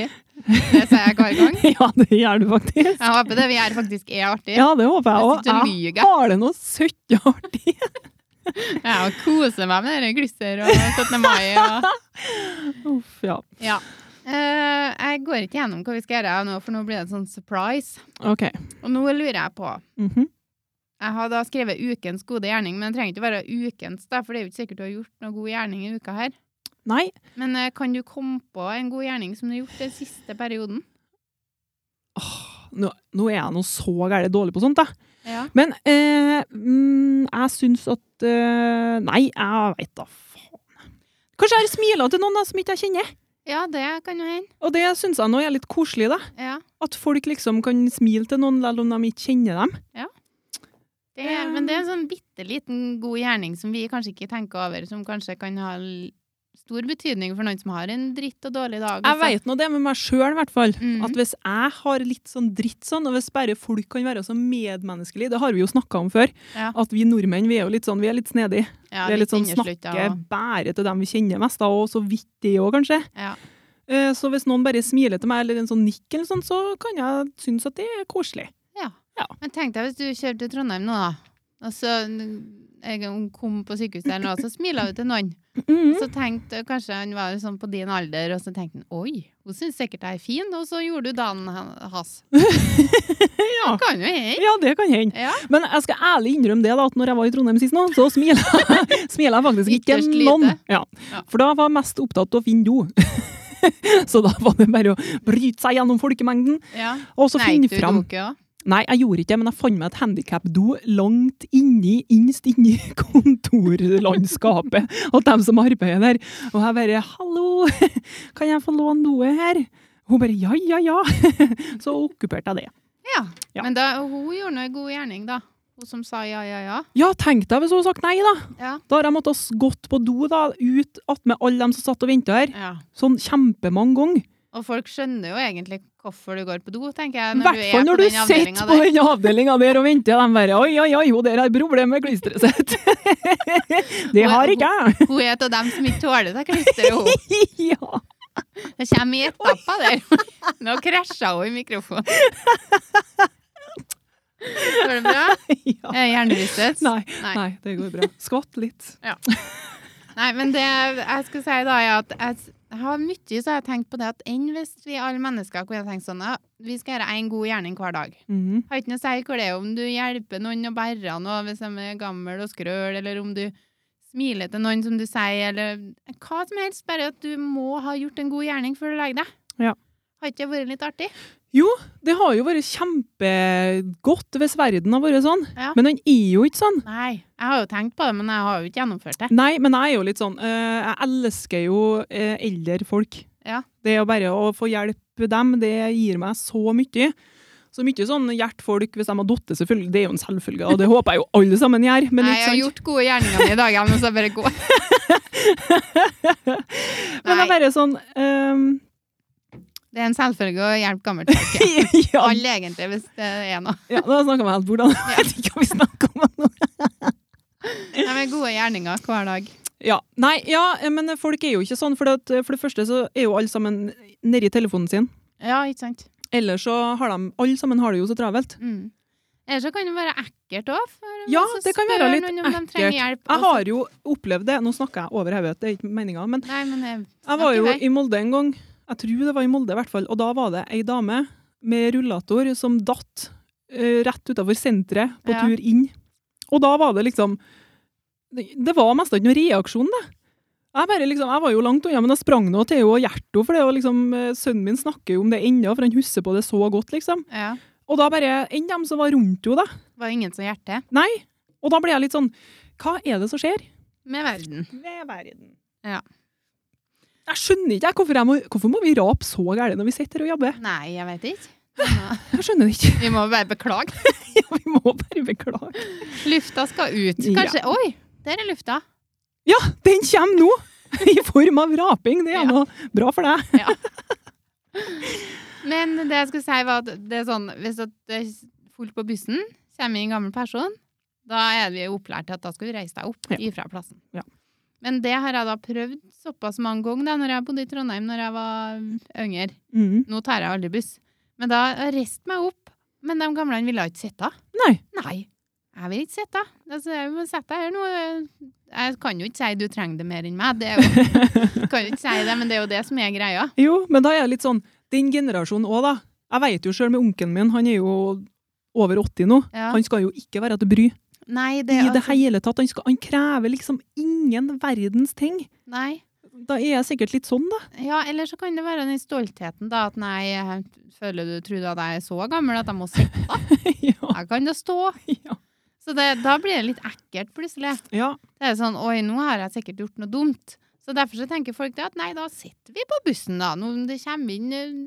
Det sier jeg hver gang.
Ja, det gjør du faktisk.
Jeg håper det vi gjør faktisk er artig.
Ja, det håper jeg
Jeg
òg.
sitter og
Jeg
lyger.
har det noe søtt og artig.
Jeg koser meg med dere glisser og 17. mai. Og,
Uff, ja.
ja. Eh, jeg går ikke gjennom hva vi skal gjøre nå, for nå blir det en sånn surprise.
OK.
Og nå lurer jeg på
Mhm.
Jeg har da skrevet ukens gode gjerning, men det trenger ikke være ukens, da, for det er jo ikke sikkert du har gjort noen god gjerning i uka her.
Nei,
Men eh, kan du komme på en god gjerning som du har gjort den siste perioden?
nå, nå er jeg nå så gærent dårlig på sånt, da.
Ja.
Men eh, mm, jeg syns at eh, Nei, jeg veit da faen. Kanskje jeg har smila til noen da, som ikke jeg kjenner.
Ja, det kan jo hende.
Og det syns jeg nå er litt koselig, da.
Ja.
At folk liksom kan smile til noen selv om de ikke kjenner dem.
Det, men det er en sånn bitte liten god gjerning som vi kanskje ikke tenker over, som kanskje kan ha l- stor betydning for noen som har en dritt og dårlig dag.
Jeg
altså.
veit nå det med meg sjøl, i hvert fall.
Mhm.
At hvis jeg har litt sånn dritt sånn, og hvis bare folk kan være så medmenneskelige, det har vi jo snakka om før,
Ja.
at vi nordmenn vi er jo litt sånn, vi er litt snedige.
ja,
det er litt sånn
innerslutt,
snakke
ja.
bare til dem vi kjenner mest, da, og så vidt det òg, kanskje.
Ja.
Eh, Så hvis noen bare smiler til meg, eller en sånn nikk, eller sånn, så kan jeg synes at det er koselig.
Ja.
Ja.
Men tenk deg hvis du kjører til Trondheim nå, da. Og så n- jeg kom på sykehuset eller noe, så smiler du til noen.
Mm.
Så tenkte kanskje han var sånn på din alder, og så tenkte han oi, hun syns sikkert jeg er fin, og så gjorde du dagen han- hans.
Ja.
Det kan jo hende.
ja, det kan hende.
Ja.
Men jeg skal ærlig innrømme det da, at når jeg var i Trondheim sist nå, så smilte jeg, smilet jeg faktisk ikke
Ytterst lite.
noen. Ja.
Ja.
For da var jeg mest opptatt av å finne do. så da var det bare å bryte seg gjennom folkemengden,
ja.
og så
Nei,
finne
du
fram.
tok jo.
Nei, jeg gjorde ikke det, men jeg fant meg et handikapdo langt inni, innst inni kontorlandskapet og dem som arbeider der. Og jeg bare 'hallo, kan jeg få låne doet her?' Hun bare 'ja, ja, ja'. Så okkuperte jeg det.
Ja.
Ja.
Men da, hun gjorde noe god gjerning, da. Hun som sa ja, ja, ja.
Ja, tenk deg hvis hun hadde sagt nei, da.
Ja.
Da har jeg måttet s- gått på do da, ut attmed alle dem som satt og venta her.
ja.
Sånn kjempemange ganger.
Og folk skjønner jo egentlig hvorfor du går på do, tenker jeg.
I hvert fall når du sitter på den avdelinga der og venter. De bare 'oi, oi, oi, hun der har problemer med klisteret sitt'. det har ikke jeg.
der. Hun er et av dem som ikke tåler seg klister, hun.
ja.
Det kommer i etapper der. Nå krasja hun i mikrofonen. Går det bra?
ja.
Eh, Hjernerystet?
Nei,
Nei.
nei. det går bra. Skvatt litt.
Nei, men det jeg skal si da, er at jeg, s- jeg har mye så har jeg tenkt på det at enn hvis vi alle mennesker kunne tenkt sånn ja, vi skal gjøre én god gjerning hver dag.
Mhm.
Har ikke noe å si hvor det er, om du hjelper noen å bære noe hvis de er gammel og skrøl, eller om du smiler til noen som du sier, eller hva som helst. Bare at du må ha gjort en god gjerning før du legger deg.
Ja.
Har ikke det vært litt artig?
Det har jo vært kjempegodt hvis verden har vært sånn,
Ja.
men den er jo ikke sånn.
Nei. Jeg har jo tenkt på det, men jeg har jo ikke gjennomført det.
Nei, men jeg er jo litt sånn eh, Jeg elsker jo eh, eldre folk.
Ja.
Det å bare å få hjelpe dem, det gir meg så mye. Så mye sånn hjertfolk hvis de har datt, selvfølgelig. Det er jo en selvfølge, og det håper jeg jo alle sammen gjør. Men
Nei, jeg
ikke
har
sant?
gjort gode gjerninger mine i dag, men så bare gå.
Men det er
Nei,
bare sånn ehm,
det er en selvfølge å hjelpe gammelt folk. ja.
ja,
Alle egentlig, hvis det er noe.
ja, nå snakka jeg meg helt bort. da. Jeg vet ikke hva vi snakka om nå.
Nei, men gode gjerninger hver dag.
Ja. Nei, ja, men folk er jo ikke sånn. For, at, for det første så er jo alle sammen nedi telefonen sin.
Ja, ikke sant?
Ellers så har de Alle sammen har det jo så travelt.
Mm. Eller så kan det være ekkelt òg.
Ja, det kan være litt ekkelt.
Hjelp, og
Jeg
så-
har jo opplevd det. Nå snakker jeg over hodet, det er ikke meninga. Men
Nei, men jeg,
jeg var
snakk i
jo
vei.
i Molde en gang. Jeg tror det var i Molde, i hvert fall. Og da var det ei dame med rullator som datt eh, rett utafor senteret på
Ja.
tur inn. Og da var det liksom Det, det var nesten ikke noen reaksjon, det. Jeg, bare liksom, jeg var jo langt unna, men jeg sprang nå til henne og hjertet henne. For det var liksom, eh, sønnen min snakker jo om det ennå, for han husker på det så godt. liksom.
Ja.
Og da bare Enn dem som var rundt henne, da.
Var ingen som hjerte
Nei. Og da ble jeg litt sånn Hva er det som skjer?
med verden.
ved verden.
Ja.
Jeg skjønner ikke jeg, hvorfor, jeg må, hvorfor må vi rape så gærent når vi sitter og jobber.
Nei, jeg vet ikke.
Jeg skjønner det ikke.
Vi må bare beklage.
Vi må bare beklage.
Lufta skal ut. Kanskje Oi, der er lufta.
Ja, den kommer nå! I form av raping. Det er
Ja.
noe bra for deg.
Men det jeg skulle si, var at det er sånn Hvis at det er fullt på bussen, kommer en gammel person, da er vi jo opplært til at da skal du reise deg opp
Ja.
ifra plassen.
Ja.
Men det har jeg da prøvd såpass mange ganger da når jeg bodde i Trondheim når jeg var yngre.
Mm.
Nå tar jeg aldri buss. Men da reiste meg opp. Men de gamle ville ikke sitte.
Nei.
Nei. Jeg vil ikke sitte. Altså, jeg må sette deg her nå. Jeg kan jo ikke si du trenger det mer enn meg. Det er jo, kan jo ikke si det, men det er jo det som er greia.
Jo, men da er jeg litt sånn Den generasjonen òg, da. Jeg vet jo sjøl med onkelen min, han er jo over 80 nå.
Ja.
Han skal jo ikke være til bry
Nei,
i
det er
det
altså
hele tatt. Han, skal, han krever liksom ingen verdens ting.
Nei.
Da er jeg sikkert litt sånn, da.
Ja, eller så kan det være den stoltheten, da. At nei, jeg føler du trodde at jeg er så gammel at jeg må sitte.
ja,
Jeg kan da stå.
ja.
Så det, da blir det litt ekkelt, plutselig.
ja.
Det er sånn oi, nå har jeg sikkert gjort noe dumt. Så derfor så tenker folk det at nei, da sitter vi på bussen, da. Når det kommer inn eh,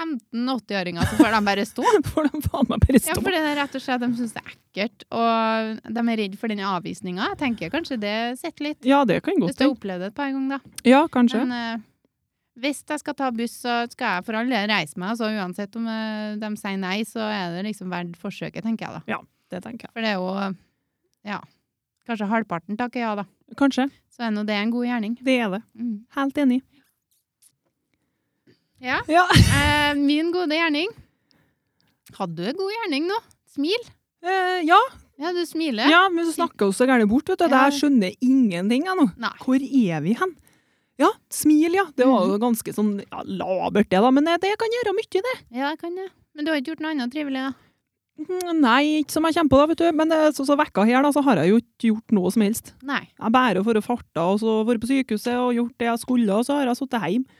15-80-åringer, så får de bare stå.
Får de faen meg bare
Ja,
stå.
for det er rett og slett, de syns det er ekkelt, og de er redd for den avvisninga. Jeg tenker kanskje det sitter litt,
Ja, det kan godt
hvis du har
hende.
opplevd det et par ganger, da.
Ja, kanskje.
Men eh, hvis jeg skal ta buss, så skal jeg for all del reise meg. Altså, uansett om eh, de sier nei, så er det liksom verdt forsøket, tenker jeg da.
Det tenker jeg.
For det er jo eh, ja, kanskje halvparten takker ja, da.
Kanskje.
Så er nå det en god gjerning.
Det er det.
Mm.
Helt enig.
Ja.
Ja.
Eh, min gode gjerning. Hadde du en god gjerning nå? Smil.
Eh, ja.
Ja, du smiler.
ja, men så snakker vi så gærent bort, vet du. at
Ja.
Jeg skjønner ingenting jeg nå.
Nei.
Hvor er vi hen? Ja, smil, ja. Det var jo ganske sånn ja, labert, det, da. Men eh, det kan gjøre mye, det.
Ja, jeg kan det. Men du har ikke gjort noe annet trivelig, da?
Mm, Nei, ikke som jeg kommer på, da, vet du. Men eh, så, så vekka her, da, så har jeg jo ikke gjort noe som helst.
Nei.
Jeg bare for å farta, og så vært på sykehuset og gjort det jeg skulle, og så har jeg sittet hjemme.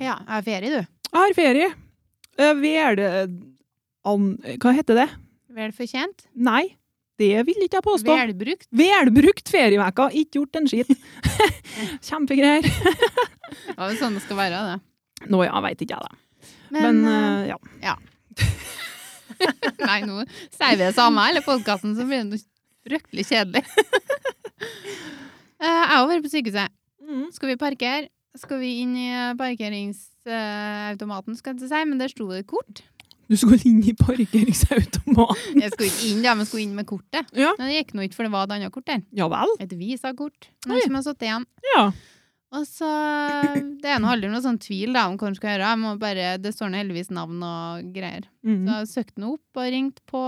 Ja, jeg har ferie, du.
Jeg har ferie. Eh, Vel an... Hva heter det?
Vel fortjent.
Nei, det vil ikke jeg påstå.
Velbrukt.
Velbrukt ferieveka, ikke gjort en skit. Kjempegreier.
Det var jo sånn det skal være, det.
Nå ja, veit ikke jeg det.
Men,
Men eh, ja.
eh, Nei, nå sier vi det samme, eller podkasten, så blir det noe fryktelig kjedelig. Eh, jeg har vært på sykehuset.
Mm.
Skal vi parkere? Skal vi inn i eh, parkeringsautomaten, skal jeg til å si, men der sto det kort.
Du skulle inn i parkeringsautomat.
Jeg skulle ikke inn, da, men skulle inn med kortet.
Ja.
Men det gikk nå ikke, for det var et annet kort der.
Ja vel?
Et visakort.
Oi.
Noen som har satt igjen.
Ja.
Og så eh, Det er nå aldri noe sånn tvil da, om hva en skal gjøre. Jeg må bare, det står nå heldigvis navn og greier. Så
Mm.
jeg søkte nå opp og ringte på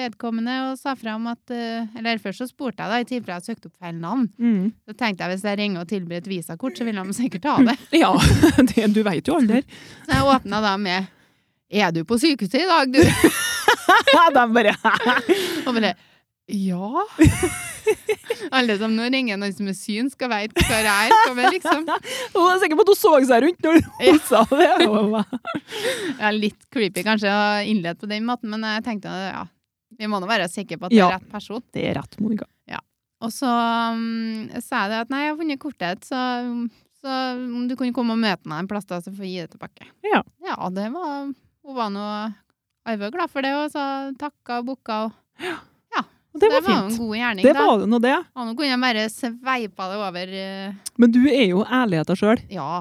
vedkommende og sa fra om at eh, Eller først så spurte jeg, da, i tilfelle jeg søkte opp feil navn.
Mm.
Så tenkte jeg hvis jeg ringer og tilbyr et visakort, så vil de sikkert ta det.
Ja, det, du veit jo aldri.
Så jeg åpna da med Er du på sykehuset i dag, du?
De bare
Og bare Ja. Alle som nå ringer noen som er synsk og veit hva det er, skal vi liksom
Hun er sikker på at hun så seg rundt når
Ja.
hun sa det. Og hva-
Ja, litt creepy kanskje å innlede på den måten, men jeg tenkte ja, vi må nå være sikre på at det
Ja.
er rett person.
Det er rett, Monica.
Og så um, sa jeg det at nei, jeg har funnet kortet ditt, så, så om du kunne komme og møte meg en plass da, så får jeg gi det tilbake.
Ja.
Ja, det var Hun var nå arve glad for det, og så takka og booka. Og,
Og det
så
var
det var jo en
fint.
god gjerning,
Det
da.
var det nå, det.
Og nå kunne jeg bare sveipa det over eh,
Men du er jo ærligheta sjøl.
Ja.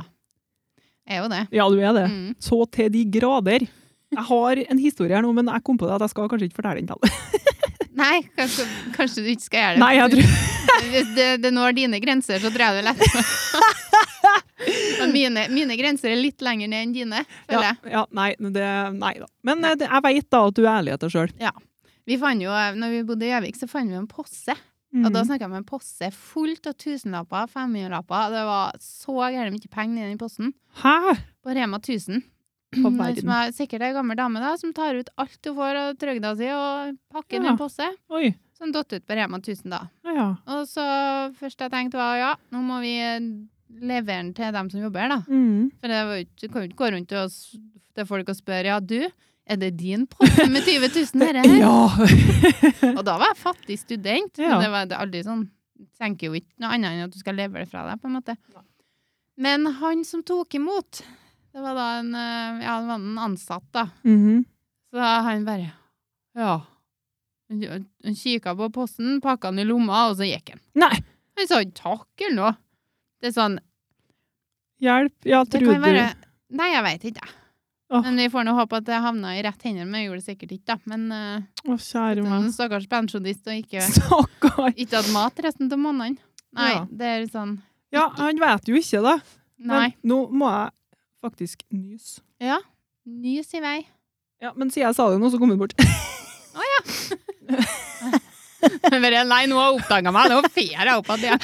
Jeg er jo det.
Ja, du er det.
Mm.
Så til de grader. Jeg har en historie her nå, men jeg kom på det at jeg skal kanskje ikke fortelle den til alle.
Nei, kanskje, kanskje du ikke skal gjøre det.
Nei, jeg tror
Hvis det, det når dine grenser, så tror jeg det er lettere. Men mine, mine grenser er litt lenger ned enn dine, føler
ja,
jeg.
ja, nei, det, nei da. Men eh, det- jeg veit da at du er ærlig etter sjøl.
Vi fant jo, eh, når vi bodde i Gjøvik, så fant vi en posse. Og
Mm.
da snakka jeg med en posse fullt av tusenlapper, 500-lapper. Det var så gærent mye penger i den posten.
Hæ?
På Rema 1000.
På
Mm,
verden.
Som er sikkert ei gammel dame da, som tar ut alt hun får av trøgda si, og pakker den i
Ja.
en posse.
Oi.
Som datt ut på Rema 1000, da.
Ja, ja.
Og så først jeg tenkte var ja, nå må vi eh, levere den til dem som jobber her, da.
Mm.
For det var jo ikke, du kan jo ikke gå rundt og, s- til folk og spørre ja, du, er det din potte med 20 000 her?
ja.
Og da var jeg fattig student,
Ja.
men det var det er aldri sånn Tenker jo ikke noe annet enn at du skal levere det fra deg, på en måte. Men han som tok imot, det var da en, eh, ja, det var en ansatt, da. Mm-hmm.
Mhm.
Så han bare Ja. Han han kikka på posten, pakka den i lomma, og så gikk han.
Nei.
Han sa ikke takk eller noe. Det er sånn
Hjelp. Ja,
Det
tror
kan
du
være Nei, jeg veit ikke, jeg.
Åh.
Men vi får nå håpe at det havna i rett hender, men jeg gjorde det sikkert ikke, da. Men eh,
Å, kjære
en
meg.
stakkars pensjonist og ikke,
Stakkar.
ikke hatt mat resten av måneden. Nei,
Ja.
det er sånn
Ja, han vet jo ikke det.
Nei.
Men nå må jeg faktisk nys.
Ja. Nys i vei.
Ja, men siden jeg sa det nå, så kom hun bort.
Bare, Nei, nå har jeg oppdaga meg, nå fer jeg opp av det.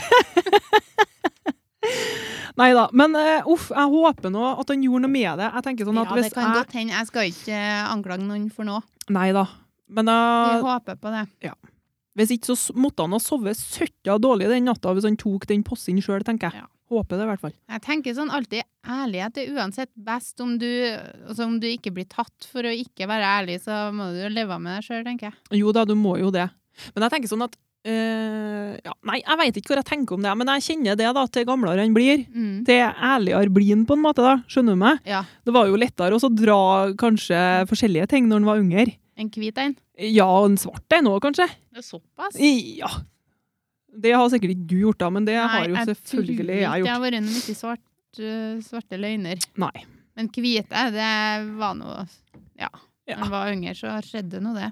Nei da. Men eh, uff, jeg håper nå at han gjorde noe med det. Jeg tenker sånn
Ja,
at
det
hvis
kan
jeg
godt hende. Jeg skal ikke eh, anklage noen for noe.
Nei da. Men
Vi
eh,
håper på det.
hvis ikke, så s- måtte han ha sovet søkka dårlig den natta hvis han tok den posten sjøl, tenker jeg.
Ja.
Håper det, i hvert fall.
Jeg tenker sånn alltid, ærlighet er uansett best om du, altså om du ikke blir tatt for å ikke være ærlig, så må du jo leve med deg sjøl, tenker jeg.
Jo da, du må jo det. Men jeg tenker sånn at eh, ja, Nei, jeg veit ikke hva jeg tenker om det, men jeg kjenner det, da, til gamlere han blir.
Mm.
Til ærligere blir han, på en måte, da. Skjønner du meg?
Ja,
Det var jo lettere også å dra kanskje forskjellige ting når han var yngre.
en hvit en.
Ja, og en svart en òg, kanskje.
Det er såpass.
Ja. Det har sikkert ikke du gjort, da, men det har jo selvfølgelig
jeg
jeg
Jeg
gjort.
har vært noe mye svart, øh, svarte løgner.
Nei.
Men hvite, det var noe Ja.
Ja.
Når jeg var yngre, så skjedde nå det.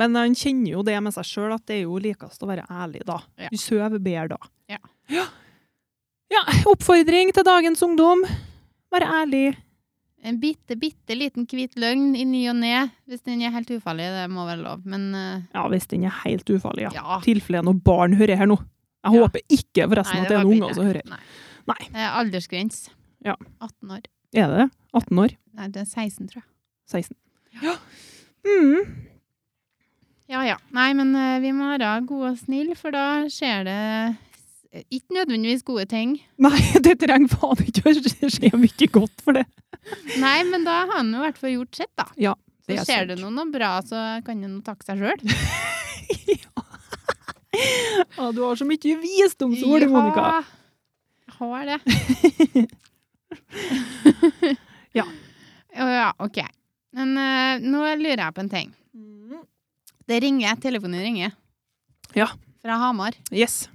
Men han kjenner jo det med seg sjøl, at det er jo likest å være ærlig da.
Ja.
Du sover bedre da.
Ja.
ja. Ja, oppfordring til dagens ungdom. Vær ærlig.
En bitte, bitte liten hvit løgn i ny og ne, hvis den er helt ufarlig, det må være lov, men øh,
Ja, hvis den er helt ufarlig, ja.
ja.
Tilfelle noen barn hører her nå. Jeg
Ja.
håper ikke forresten at det er
var
noen
bitte.
unger som hører.
Nei.
Nei.
Det er aldersgrense.
Ja.
18 år.
Er det det? 18 år?
Nei, det er 16, tror jeg.
16? Ja. Mm.
Ja, ja. Nei, men eh, vi må være gode og snille, for da skjer det s- ikke nødvendigvis gode ting.
Nei, det trenger faen ikke å skje mye godt for det.
Nei, men da har han jo i hvert fall gjort sitt, da.
Ja,
Så
det er
skjer det
sant.
noe, noe bra, så kan han jo takke seg sjøl.
Ja, Ah, du har så mye visdomsord, Monica.
Har det.
Ja.
Å Ja, OK. Men eh, nå lurer jeg på en ting.
Mm.
Det ringer, telefonen ringer.
Ja.
Fra Hamar.
Yes.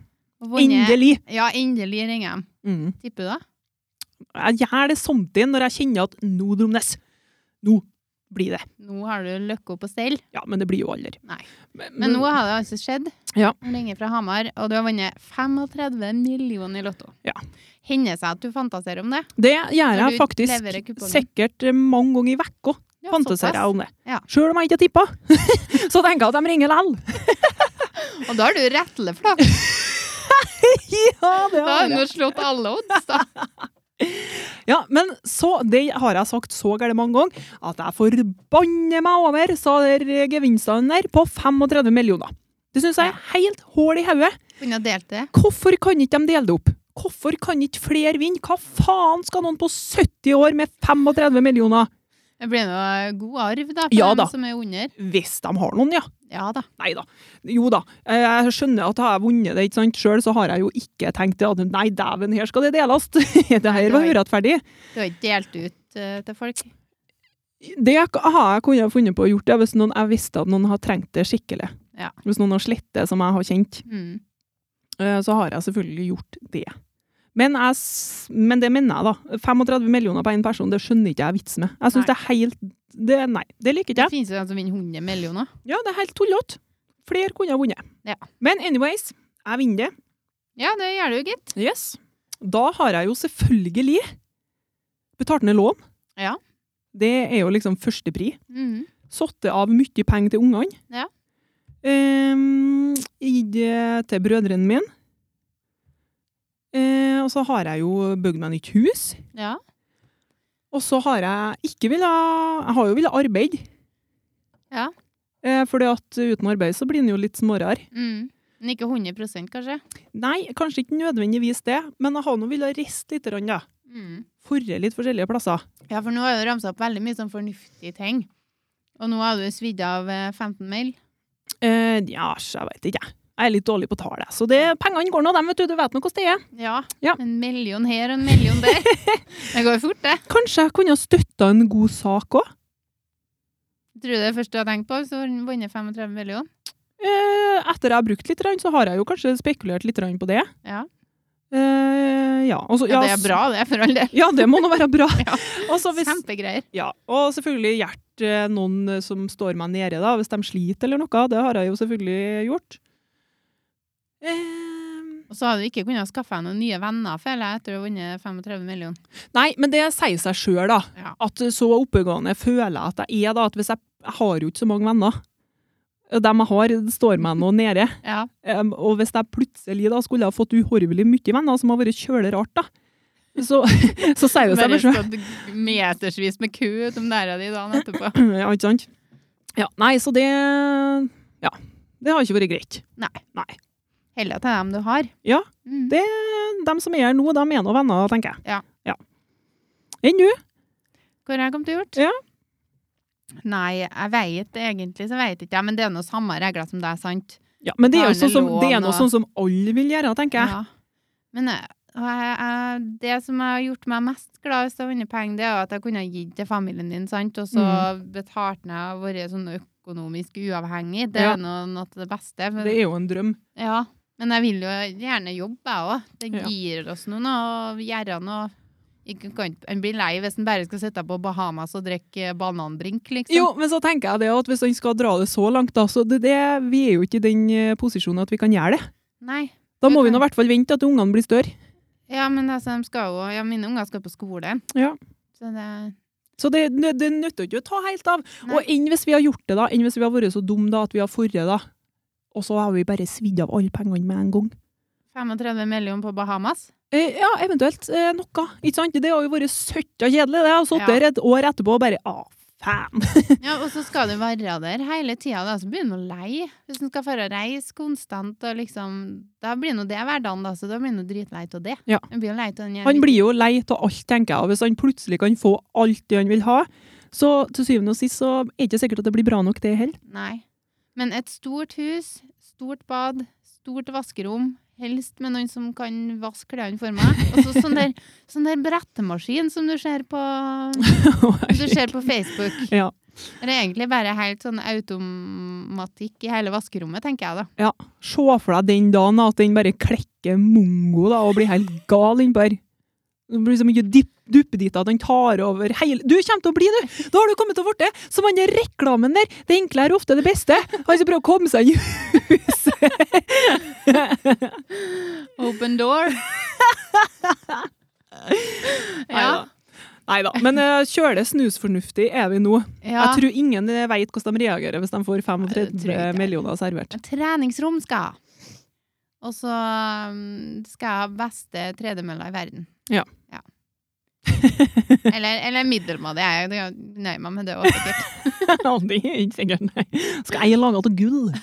Og vunnet-
Endelig.
Ja, endelig ringer de.
Mm.
Tipper du da?
Jeg gjør det samtidig når jeg kjenner at nå, Dromnes, nå blir det.
Nå har du løkka på stell.
Ja, men det blir jo aldri.
Nei. Men nå har det altså skjedd.
Mm. Ja.
Hun ringer fra Hamar, og du har vunnet 35 millioner i Lotto.
Ja.
Hender seg at du fantaserer om det?
Det
Når
gjør jeg
du leverer
faktisk
kupongen.
sikkert eh, mange ganger i vekka.
Ja,
Fantaserer jeg om det.
Ja.
Sjøl om jeg ikke tippa, så tenker jeg at de ringer lell.
såpass. Og da har du rettelig flaks.
Ja, det
Da har
har
du
jeg.
slått alle odds, da.
Ja, men så, det har jeg sagt så gærent mange ganger, at jeg forbanner meg over så der eh, gevinstene der på 35 millioner. Det syns jeg er helt hål i hodet.
Kunne ha delt det.
Hvorfor kan ikke de dele det opp? Hvorfor kan ikke flere vinne? Hva faen skal noen på 70 år med 35 millioner?
Det blir nå god arv, da, på
Ja,
dem
da.
som er under.
Hvis de har noen, ja.
Ja da.
Nei da. Jo da. Eh, Jeg skjønner at har jeg vunnet det ikke sant, sjøl, så har jeg jo ikke tenkt det at nei, dæven, her skal det deles. det her var urettferdig.
Du har ikke delt ut eh, til folk.
Det har jeg kunnet funnet på å gjort det hvis noen, jeg visste at noen har trengt det skikkelig.
Ja.
Hvis noen har slitt det som jeg har kjent,
Mm.
eh, så har jeg selvfølgelig gjort det. Men, jeg, s- men det mener jeg, da. 35 millioner på én person, det skjønner ikke jeg vits med. Jeg
Nei.
syns det er helt det, Nei, det liker
Det
ikke jeg.
finnes jo de som vinner 100 millioner.
Ja, det er helt tullete. Flere kunne ha vunnet.
Ja.
Men anyways, jeg vinner det.
Ja, det gjør det jo, gitt.
Yes. Da har jeg jo selvfølgelig betalt ned lån.
Ja.
Det er jo liksom førstepri.
Mhm.
Satt av mye penger til ungene.
Ja.
Ehm, Gitt det til brødrene mine. Eh, og så har jeg jo bygd meg nytt hus.
Ja.
Og så har jeg ikke villet Jeg har jo villet arbeide.
Ja.
Eh, fordi at uten arbeid så blir en jo litt smårere.
Mhm. Men ikke 100 kanskje?
Nei, kanskje ikke nødvendigvis det, men jeg har nå villet riste litt, grann, da.
Mhm.
Forre litt forskjellige plasser.
Ja, for nå har du ramsa opp veldig mye sånn fornuftige ting. Og nå har du svidd av eh, 15 mil.
Eh, ja, så jeg vet ikke, jeg. Jeg er litt dårlig på tall, jeg. Så det, pengene går nå, dem, vet du. Du vet nå hvordan det er.
Ja.
Ja.
En million her og en million der. Det går fort, det.
Kanskje jeg kunne ha støtta en god sak òg?
Tror du det er første du har tenkt på, så har du vunnet 35 millioner.
Eh, etter jeg har brukt litt, grann, så har jeg jo kanskje spekulert litt grann på det.
Ja.
Eh, ja, og så-
ja, det
ja,
er bra, det, for all del.
Ja, det må nå være bra.
Ja.
Og så hvis,
Kjempegreier.
ja, og selvfølgelig hjelpe eh, noen eh, som står meg nede, da, hvis de sliter eller noe. Det har jeg jo selvfølgelig gjort. Eh,
Og så har du ikke kunnet skaffe deg noen nye venner, føler jeg, etter å ha vunnet 35 millioner.
nei, men det sier seg sjøl, da.
Ja.
At så oppegående føler jeg at jeg er, da. At hvis jeg, jeg har jo ikke så mange venner. Og Dem jeg har, står meg nå nede.
Ja.
Em, og hvis jeg plutselig da skulle ha fått uhorvelig mye venner, som har vært kjølig rart, da, så, så sier det seg
Bare
bare sjøl.
stått metersvis med ku utom næra di dagen etterpå.
Ja, ikke sant? Ja, nei, så det Ja. Det har ikke vært greit.
Heller til dem du har.
Ja.
Mm.
Det- De som er her nå, de er nå venner, tenker jeg.
Ja.
ja. Enn du?
Hvor jeg kom til gjort?
Ja.
Nei, jeg vet egentlig, så vet ikke jeg, men det er noe samme regler som deg, sant?
Ja, men det er jo
Barnelån
sånn som, det er noe
og-
sånn som alle vil gjøre, tenker jeg.
Ja. Men eh, og jeg, jeg, det som har gjort meg mest glad hvis jeg har vunnet penger, det er jo at jeg kunne ha gitt til familien din, sant? Og så
Mm.
betalt ned og vært sånn økonomisk uavhengig. Det
Ja.
er noe, noe av det beste. Men,
Det er jo en drøm.
ja. men jeg vil jo gjerne jobbe, jeg òg. Det
Ja.
gir oss noe, og gjør noe. Ikke- kan ikke- En blir lei hvis en bare skal sitte på Bahamas og drikke banandrink, liksom.
Jo, men så tenker jeg det at hvis han skal dra det så langt, da, så det, det, vi er jo ikke i den eh, posisjonen at vi kan gjøre det.
Nei.
Da
Vi
må vi nå
kan-
i hvert fall vente at ungene blir større.
Ja, men altså, de skal jo, ja, mine unger skal på skole.
Ja.
Så det,
Så det, det, det nytter jo ikke å ta helt av.
Nei.
Og enn hvis vi har gjort det, da, enn hvis vi har vært så dumme da, at vi har forret, da, og så har vi bare svidd av alle pengene med en gang.
35 millioner på Bahamas.
Eh, ja, eventuelt eh, noe. Ikke sant? Det har jo vært søtta kjedelig. Det har sittet
Ja.
der et år etterpå og bare ah, faen.
Ja, og så skal du være der hele tida, da, så begynner du å leie. Hvis du skal føre og reise konstant, og liksom Da blir nå det hverdagen, da, så da blir du dritlei av det.
Ja.
Du blir jo lei av den
Han blir jo lei av alt, tenker jeg. Og hvis han plutselig kan få alt det han vil ha, så til syvende og sist så er det ikke sikkert at det blir bra nok, det heller.
Nei. Men et stort hus, stort bad, stort vaskerom, helst med noen som kan vaske klærne for meg. Og så sånn der, sånn der brettemaskin som du ser på, du ser på Facebook.
ja.
Det er egentlig bare helt sånn automatikk i hele vaskerommet, tenker jeg da.
ja. Se for deg den dagen at den bare klekker mongo da, og blir helt gal innpå her. Det blir liksom så mye dipp, duppeditt at han tar over hele Du kommer til å bli, du! Da har du kommet til å bli som han der reklamen der! Det enkle er ofte det beste! Han som prøver å komme seg inn i huset!
Open door. ja.
Neida. Neida. Men uh, kjøle snusfornuftig er vi nå.
ja.
Jeg tror ingen eh, vet hvordan de reagerer hvis de får
Det tror jeg
35
ikke.
millioner servert.
Treningsrom skal jeg ha. Og så um, skal jeg ha beste tredemølla i verden.
Ja.
Eller, eller middelmådig. Jeg jeg nøyer meg med det også, sikkert.
Ja, det er ikke sikkert, nei. Skal jeg lage av gull?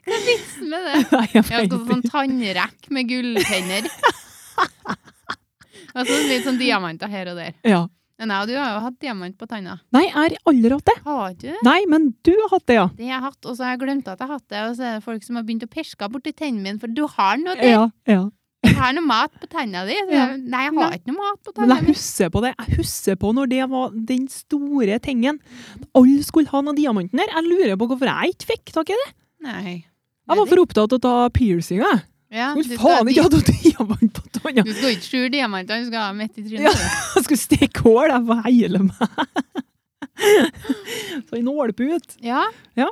Hva er vitsen med det?
Nei, jeg
Jeg
vet
skal ha sånn
ikke.
tannrekk med gulltenner. Og så litt sånn diamanter her og der.
Ja.
Men jeg og du har jo hatt diamant på tanna.
Nei, jeg har aldri hatt det.
Har du?
Nei, men du har hatt det, ja.
Det har jeg hatt, og så har jeg glemt at jeg har hatt det. Og så er det folk som har begynt å pirske borti tennene mine, for du har noe der.
Ja, ja.
Du har noe mat på tennene dine.
Ja.
Nei, jeg har ikke noe mat på
Men
tennene
jeg husker på det. Jeg husker på når det var den store tingen. Alle skulle ha noen diamanten der. Jeg lurer på hvorfor jeg ikke fikk tak i det.
Nei.
Jeg var for opptatt av å ta piercinga. jeg.
ja, du
Skulle
skal
faen
dit-
ikke hatt noen diamant på tanna.
Du skal ikke skjule diamantene, du skal ha dem midt i
Ja.
trynet.
Jeg skulle stikke hål, jeg var hele meg. Så en nålput.
Ja.
Ja.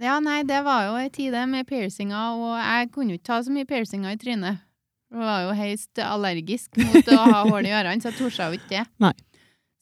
Ja, nei, det var jo ei tid med piercinger, og jeg kunne jo ikke ta så mye piercinger i trynet. Jeg var jo høyst allergisk mot å ha hull i ørene, så jeg torde jo ikke det.
Nei.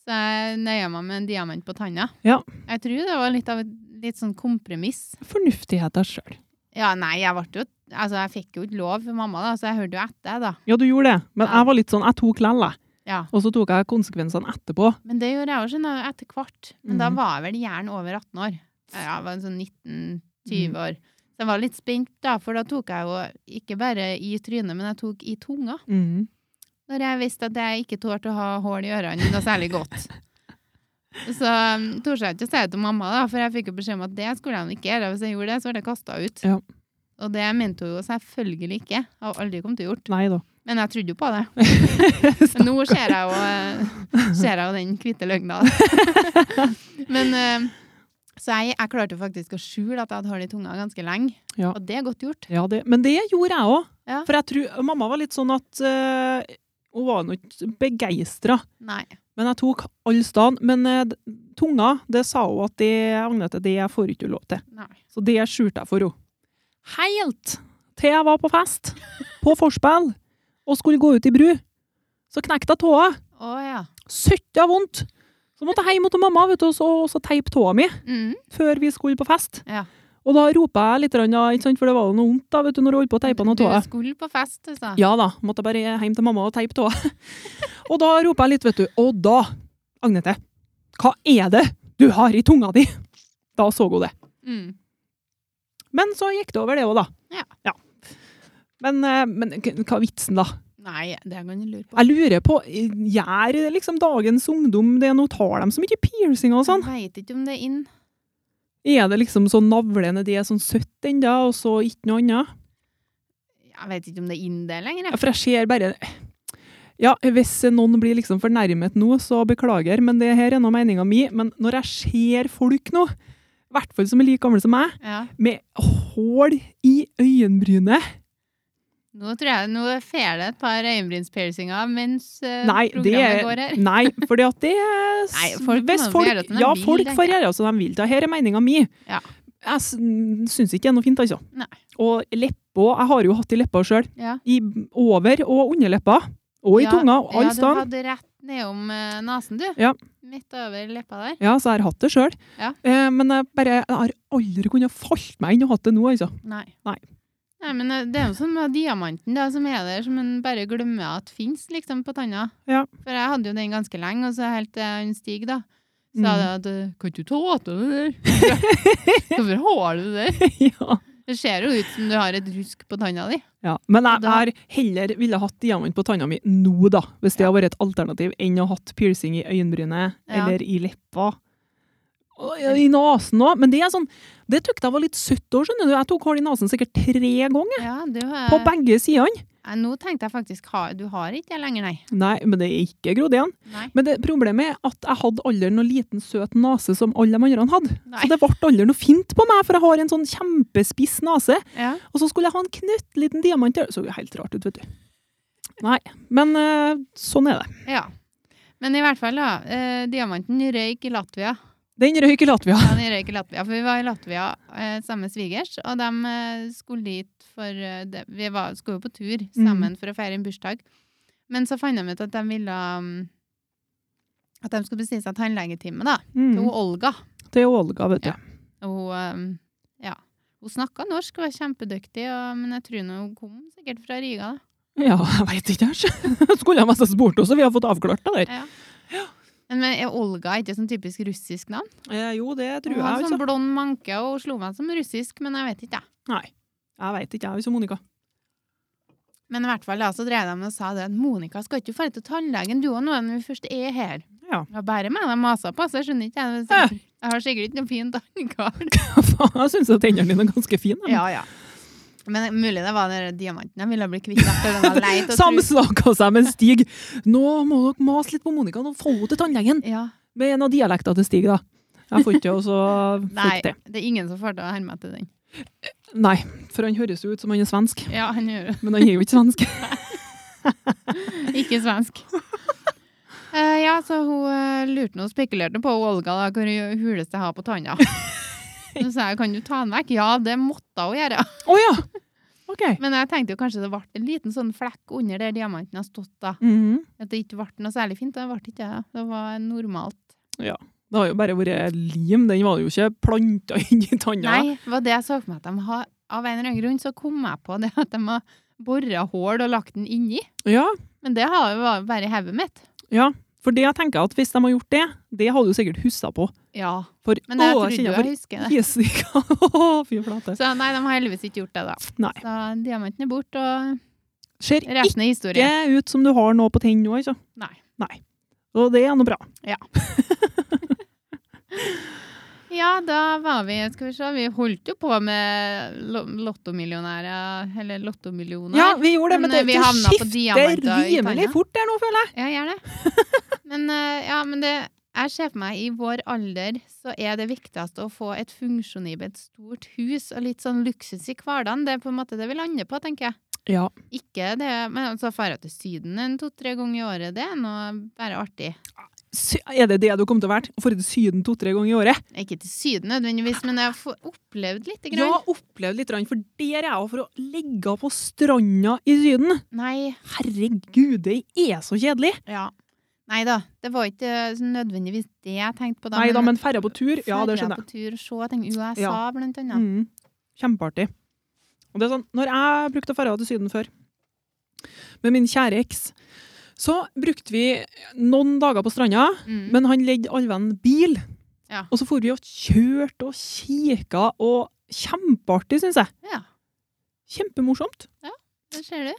Så jeg nøya meg med en diamant på tanna.
Ja.
Jeg tror det var litt av et litt sånn kompromiss.
Fornuftigheten sjøl.
Ja, nei, jeg ble jo Altså, jeg fikk jo ikke lov for mamma, da, så jeg hørte jo etter, da.
Ja, du gjorde det, men
Ja.
jeg var litt sånn, jeg tok lell, jeg.
Ja.
Og så tok jeg konsekvensene etterpå.
Men det gjorde jeg også skjønner du, etter hvert. Men da
Mhm.
var jeg vel gjerne over 18 år. Ja, jeg var en sånn
Mhm.
19-20 år. Så jeg var litt spent da, for da tok jeg jo ikke bare i trynet, men jeg tok i tunga. Når jeg visste at jeg ikke tålte å ha hål i ørene noe særlig godt. Så um, torde jeg ikke å si det til mamma, da, for jeg fikk jo beskjed om at det skulle jeg ikke gjøre. Hvis jeg gjorde det, så ble jeg kasta ut.
Ja.
Og det mente hun jo selvfølgelig ikke. Jeg har aldri kommet til å gjort.
Nei da.
Men jeg trodde jo på det. Men nå ser jeg jo, eh, ser jeg jo den hvite løgna. Men eh, Så jeg, jeg klarte jo faktisk å skjule at jeg hadde hull i tunga ganske lenge.
Ja.
Og det er godt gjort.
Ja, det, men det gjorde jeg òg.
Ja.
For jeg tror mamma var litt sånn at eh, Hun var nå ikke begeistra.
Nei.
Men jeg tok all stand. Men eh, d- tunga, det sa hun at det, Agnete, det får ikke du lov til.
Nei.
Så det skjulte jeg for henne. Helt til jeg var på fest, på forspill, og skulle gå ut i bru. Så knekte jeg tåa.
Å ja.
Søtta vondt. Så måtte jeg hjem til mamma vet du, og så- og så teipe tåa mi
Mm.
før vi skulle på fest.
Ja.
Og da ropa jeg litt, grann, da, ikke sant, for det var jo noe vondt da, vet du, når jeg holdt på å teipe noe
Du
tåa.
skulle på fest, du sa.
Ja da, måtte jeg bare hjem til mamma og teipe tåa. Og da ropa jeg litt, vet du. Og da, Agnete, hva er det du har i tunga di? Da så hun det.
Mm.
Men så gikk det over, det òg, da.
Ja.
Men, eh, men k- hva er vitsen, da?
Nei, det kan du lure på.
Jeg lurer på, gjør liksom dagens ungdom det nå? Tar de så mye piercing og sånn?
Jeg veit ikke om det er inn.
Er det liksom så navlene de er sånn søtt ennå, og så ikke noe annet?
Jeg vet ikke om det er inn det lenger.
Ja,
jeg.
For jeg ser bare Ja, hvis noen blir liksom fornærmet nå, så beklager, men det her er nå meninga mi. Men når jeg ser folk nå, i hvert fall som er like gamle som meg,
Ja.
med hull i øyenbrynet
Nå tror jeg nå fer det et par øyenbrynspiercinger mens eh,
Nei, det
programmet går her.
Nei, for det er s-
Nei, folk må
hvis
jo
folk,
gjøre som de
Ja,
vil,
folk
tenker
får
jeg.
gjøre som de vil. Det her er meninga mi.
Ja.
Jeg syns ikke det er noe fint, altså.
Nei.
Og leppa Jeg har jo hatt i leppa sjøl.
Ja.
i over- og underleppa, og i
Ja,
tunga, og all
Ja, du
stand.
hadde rett nedom uh, nesen, du.
Ja.
Midt over leppa der.
Ja, så jeg har hatt det sjøl.
Ja.
Eh, men jeg, bare, jeg har aldri kunnet falt meg inn og hatt det nå, altså.
Nei.
Nei.
Nei, men eh, Det er jo som med diamanten da, som er der, som en bare glemmer at fins liksom, på tanna.
Ja.
For jeg hadde jo den ganske lenge, og så helt til han Stig da,
Mm.
sa det at eh, Kan du ta av deg det der? Hvorfor har du det der?
ja.
Det ser jo ut som du har et rusk på tanna di.
ja. Men jeg
Og da-
har heller ville hatt diamant på tanna mi nå, da, hvis det hadde vært et alternativ, enn å ha hatt piercing i øyenbrynet
Ja.
eller i leppa. Og ja, I nesen òg. Men det er sånn, det tykte jeg var litt søtt òg, skjønner du. Jeg tok hull i nesen sikkert tre ganger,
Ja, du, eh,
på begge sidene.
eh, Nå tenkte jeg faktisk ha, Du har ikke det lenger, nei.
Nei, men det er ikke grodd igjen.
Nei.
Men det, problemet er at jeg hadde aldri noe liten, søt nese som alle de andre hadde.
Nei.
Så det ble aldri noe fint på meg, for jeg har en sånn kjempespiss nese.
Ja.
Og så skulle jeg ha en knøttliten diamant der. Det så jo helt rart ut, vet du. Nei, men eh, sånn er det.
ja. Men i hvert fall, da. Eh, diamanten røyk i Latvia.
Den røyk i Latvia.
Ja, de røyk i Latvia, for vi var i Latvia eh, sammen med svigers, og de eh, skulle dit for eh, det- Vi var, skulle jo på tur
Mm.
sammen for å feire en bursdag. Men så fant de ut at de ville um, At de skulle bestille seg tannlegetime, da. Til
Mm.
hun Olga.
Til Olga, vet du.
Ja. Og hun um, Ja. Hun snakka norsk, hun var kjempedyktig, og, men jeg tror nå hun kom sikkert fra Riga.
Ja, jeg veit ikke, jeg. Skulle jeg mest ha spurt også, vi har fått avklart det
da. Ja. Men, men er Olga ikke sånn typisk russisk navn?
der. Eh, jo, det tror
hun
jeg,
har sånn
altså.
blond manke, og hun slo meg som russisk, men jeg vet ikke, jeg.
Nei. Jeg veit ikke, jeg, altså, Monica.
Men i hvert fall da, så drev de og sa det at Monica skal ikke dra til tannlegen du og nå når vi først er her.
Ja.
Det var bare meg de masa på, så jeg skjønner ikke. Jeg, det er sikkert- jeg har sikkert ikke noen fin tannkart.
jeg syns tennene dine er ganske fine. men-
ja. Men mulig det var den der diamanten jeg ville bli kvitt etter den var leit. og tru-
Samsnakka seg med Stig. Nå må dere mase litt på Monica og få henne til tannlegen.
Ja,
Med en av dialektene til Stig, da. Jeg får ikke også
nei,
folk til.
det er ingen som får til å herme etter den.
Nei, for han høres jo ut som han er svensk.
Ja, han gjør det.
Men han er jo ikke svensk.
Ikke svensk. Eh, ja, så hun eh, lurte noe, spekulerte på Olga da, hvor huleste jeg har på tanna. Så sa jeg kan du ta den vekk? Ja, det måtte hun gjøre.
Å ja! OK.
Men jeg tenkte jo kanskje det ble en liten sånn flekk under der diamanten har stått. da.
Mhm.
At det ikke ble noe særlig fint. og Det ble ikke det. Det var normalt.
Det har jo bare vært lim. Den var jo ikke planta inn i tanna.
Nei, det var det jeg så for meg at de har Av en eller annen grunn så kom jeg på det at de har bora hull og lagt den inni.
Ja,
Men det har jo var bare i hodet mitt.
for det jeg tenker at hvis de har gjort det, det hadde du sikkert huska på.
Ja.
For
Men jeg
å,
trodde jo
kjenner
jeg husker det.
for Jessica. Fy flate.
Så nei, de har heldigvis ikke gjort det, da.
Nei.
Så diamanten er borte, og
Ser
resten er historie.
ikke ut som du har noe på tenn nå, altså.
Nei.
Nei. Og det er nå bra.
Ja, da var vi Skal vi se, vi holdt jo på med lo- lottomillionærer, eller lottomillioner.
Ja, vi gjorde det, men,
Men, eh, vi
det,
havna på
du skifter
diamanter i
rimelig
tanna.
fort der nå, føler jeg.
Ja, gjør det. Men, eh, ja, men det, jeg ser for meg i vår alder så er det viktigste å få et funksjonibelt stort hus og litt sånn luksus i hverdagen. Det er på en måte det vi lander på, tenker jeg.
Ja.
Ikke det, men altså fære til Syden en to-tre ganger i året, det er noe bare artig.
Sy- Er det det du kommer til å være? Å dra til Syden to-tre ganger i året?
Ikke til Syden nødvendigvis, men jeg har få- opplevd lite
Jeg
grann.
har opplevd litt, for der er jeg jo for å ligge på stranda i Syden.
Nei,
Herregud, det er så kjedelig!
ja. Nei da, det var ikke så nødvendigvis det jeg tenkte på da.
Nei da, men ferja på tur, ja,
ferja
det skjønner jeg.
på tur og se, jeg tenker USA
Ja.
blant annet.
Mm. Kjempeartig. Og det er sånn, når jeg brukte å dra til Syden før, med min kjære eks, så brukte vi noen dager på stranda,
Mm.
men han ledde all venn bil.
Ja.
Og så for vi og kjørte og kikka, og kjempeartig, syns jeg.
Ja.
Kjempemorsomt.
Det ser du.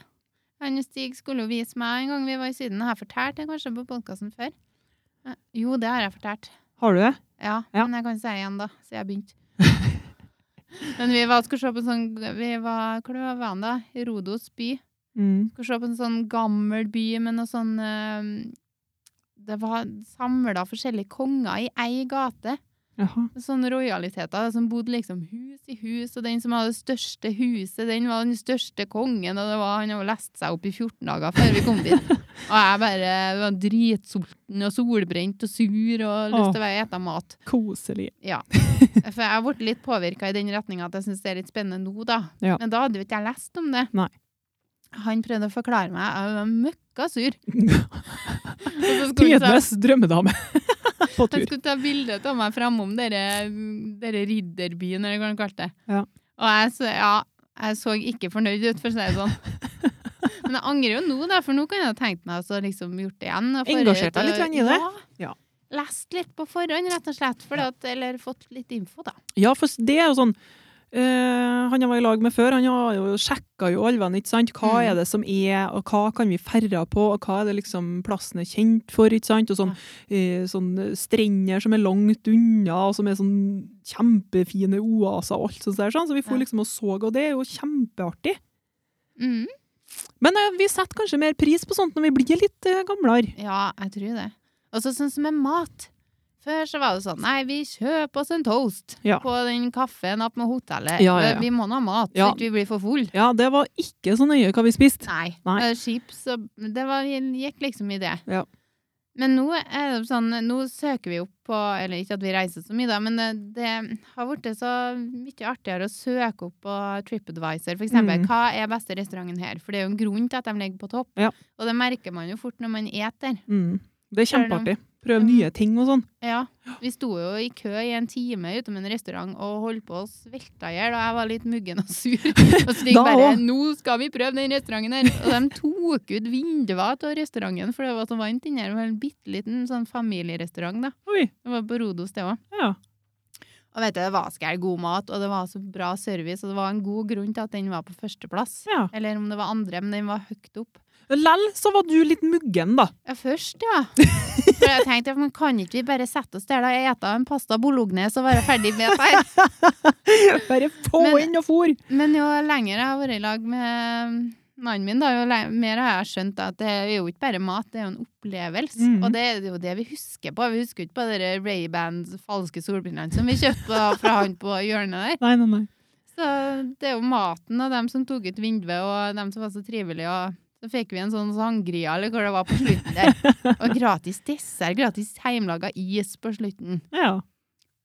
Han og Stig skulle jo vise meg en gang vi var i Syden. Har jeg fortalt det kanskje på podkasten før? Eh, Jo, det har jeg fortalt.
Har du det?
Ja,
Ja.
men jeg kan si det igjen, da, så jeg begynte. men vi var, skulle se på en sånn Vi var Hvor var vi da? I Rodos by.
Mm.
Skulle se på en sånn gammel by med noe sånn eh, Det var samla forskjellige konger i ei gate.
Jaha.
Sånn rojaliteter som bodde liksom hus i hus, og den som hadde det største huset, den var den største kongen, og det var, han hadde lest seg opp i 14 dager før vi kom dit. Og jeg bare var dritsulten og solbrent og sur og lyst til å være ete mat.
Koselig.
Ja. For jeg ble litt påvirka i den retninga at jeg syns det er litt spennende nå, da.
Ja.
Men da hadde jo ikke jeg lest om det.
Nei.
Han prøvde å forklare meg, jeg var møkka sur. Og så skulle han ta-
Tidenes drømmedame på
Han
tur.
skulle ta bilde av meg framom dere, dere ridderbyen, eller hva han kalte det.
Ja.
Og jeg så, ja, jeg så ikke fornøyd ut, for å si det sånn. Men jeg angrer jo nå, da, for nå kan jeg ha tenkt meg å liksom gjort det igjen. og forut,
Engasjert deg
og-
litt grann i det?
Ja.
Ja.
Lest litt på forhånd, rett og slett. For at, eller fått litt info, da.
Ja, for det er jo sånn eh, Han jeg var i lag med før, han har jo sjekka jo alvene, ikke sant. Hva
Mm.
er det som er, og hva kan vi ferde på, og hva er det liksom plassen er kjent for, ikke sant. Og sånn, eh, sånn strender som er langt unna, og som er sånn kjempefine oaser og alt sånt der. Sånn. Så vi
Ja.
får liksom og så, og det er jo kjempeartig.
Mm.
Men eh, vi setter kanskje mer pris på sånt når vi blir litt eh, gamlere.
Ja, jeg tror det. Og så sånn som med mat. Før så var det sånn Nei, vi kjøper oss en toast
Ja.
på den kaffen opp med hotellet.
Ja, ja, ja.
Vi må nå ha mat, så
Ja.
ikke vi blir for full.
Ja, det var ikke så nøye hva vi spiste.
Nei.
Nei.
Eh, Chips og Det var, gikk liksom i det.
Ja.
Men nå er det sånn Nå søker vi opp på Eller ikke at vi reiser så mye, da, men det, det har blitt så mye artigere å søke opp på TripAdvisor, for eksempel.
Mm.
Hva er beste restauranten her? For det er jo en grunn til at de ligger på topp.
Ja.
Og det merker man jo fort når man eter.
Mm. Det er
Selv om-
kjempeartig. Prøve nye ting og sånn.
Ja. Vi sto jo i kø i en time utom en restaurant og holdt på å svelte i hjel, og jeg var litt muggen og sur. Og Stig
Da
bare
også.
'Nå skal vi prøve den restauranten her!' Og de tok ut vinduene av restauranten, for det var så varmt inni her. Det var en bitte liten sånn familierestaurant, da.
Oi.
Det var på Rodos, det òg.
Ja.
Og vet du, det var skæl god mat, og det var så bra service, og det var en god grunn til at den var på førsteplass.
ja.
Eller om det var andre, men den var høyt opp.
Lell så var du litt muggen, da.
Ja, først, ja. For jeg tenkte, men kan ikke vi bare sette oss der da og ete en pasta bolognese og være ferdig med det her?
Bare få
Men-
inn og for!
Men jo lenger jeg har vært i lag med mannen min, da, jo le- mer har jeg skjønt at det er jo ikke bare mat, det er jo en opplevelse.
Mhm.
Og det er jo det vi husker på. Vi husker jo ikke på de Ray-Bans falske solbrillene som vi kjøpte fra han på hjørnet der.
Nei, nei, nei.
Så det er jo maten og dem som tok ut vinduet, og dem som var så trivelige. og så fikk vi en sånn sangria, eller hva det var på slutten der. Og gratis dessert, gratis hjemmelaga is på slutten.
Ja.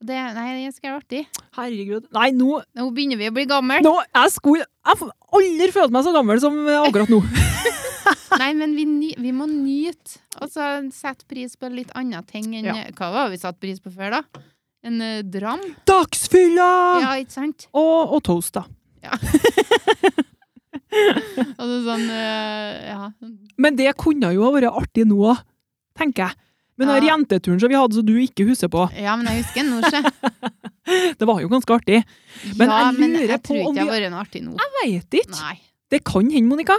Det, nei, det skal være artig.
Herregud. Nei, nå,
Nå begynner vi å bli gamle.
nå Jeg skulle Jeg har aldri følt meg så gammel som akkurat nå.
Nei, men vi, ny, vi må nyte. Og så sette pris på litt andre ting enn
Ja.
Hva var vi satt pris på før, da? En eh, dram?
Dagsfylla!
Ja, ikke sant?
Og, og toast, da.
Og det er sånn eh, Ja.
Men det kunne jo ha vært artig nå, da, tenker jeg. Men den
Ja.
jenteturen som vi hadde, som du ikke husker på,
ja, men jeg husker den nå, se.
det var jo ganske artig. Men
ja,
jeg
men
lurer
jeg
på
tror
om
ikke jeg
vi-
har vært en artig nå.
Jeg veit ikke.
Nei.
Det kan hende, Monica.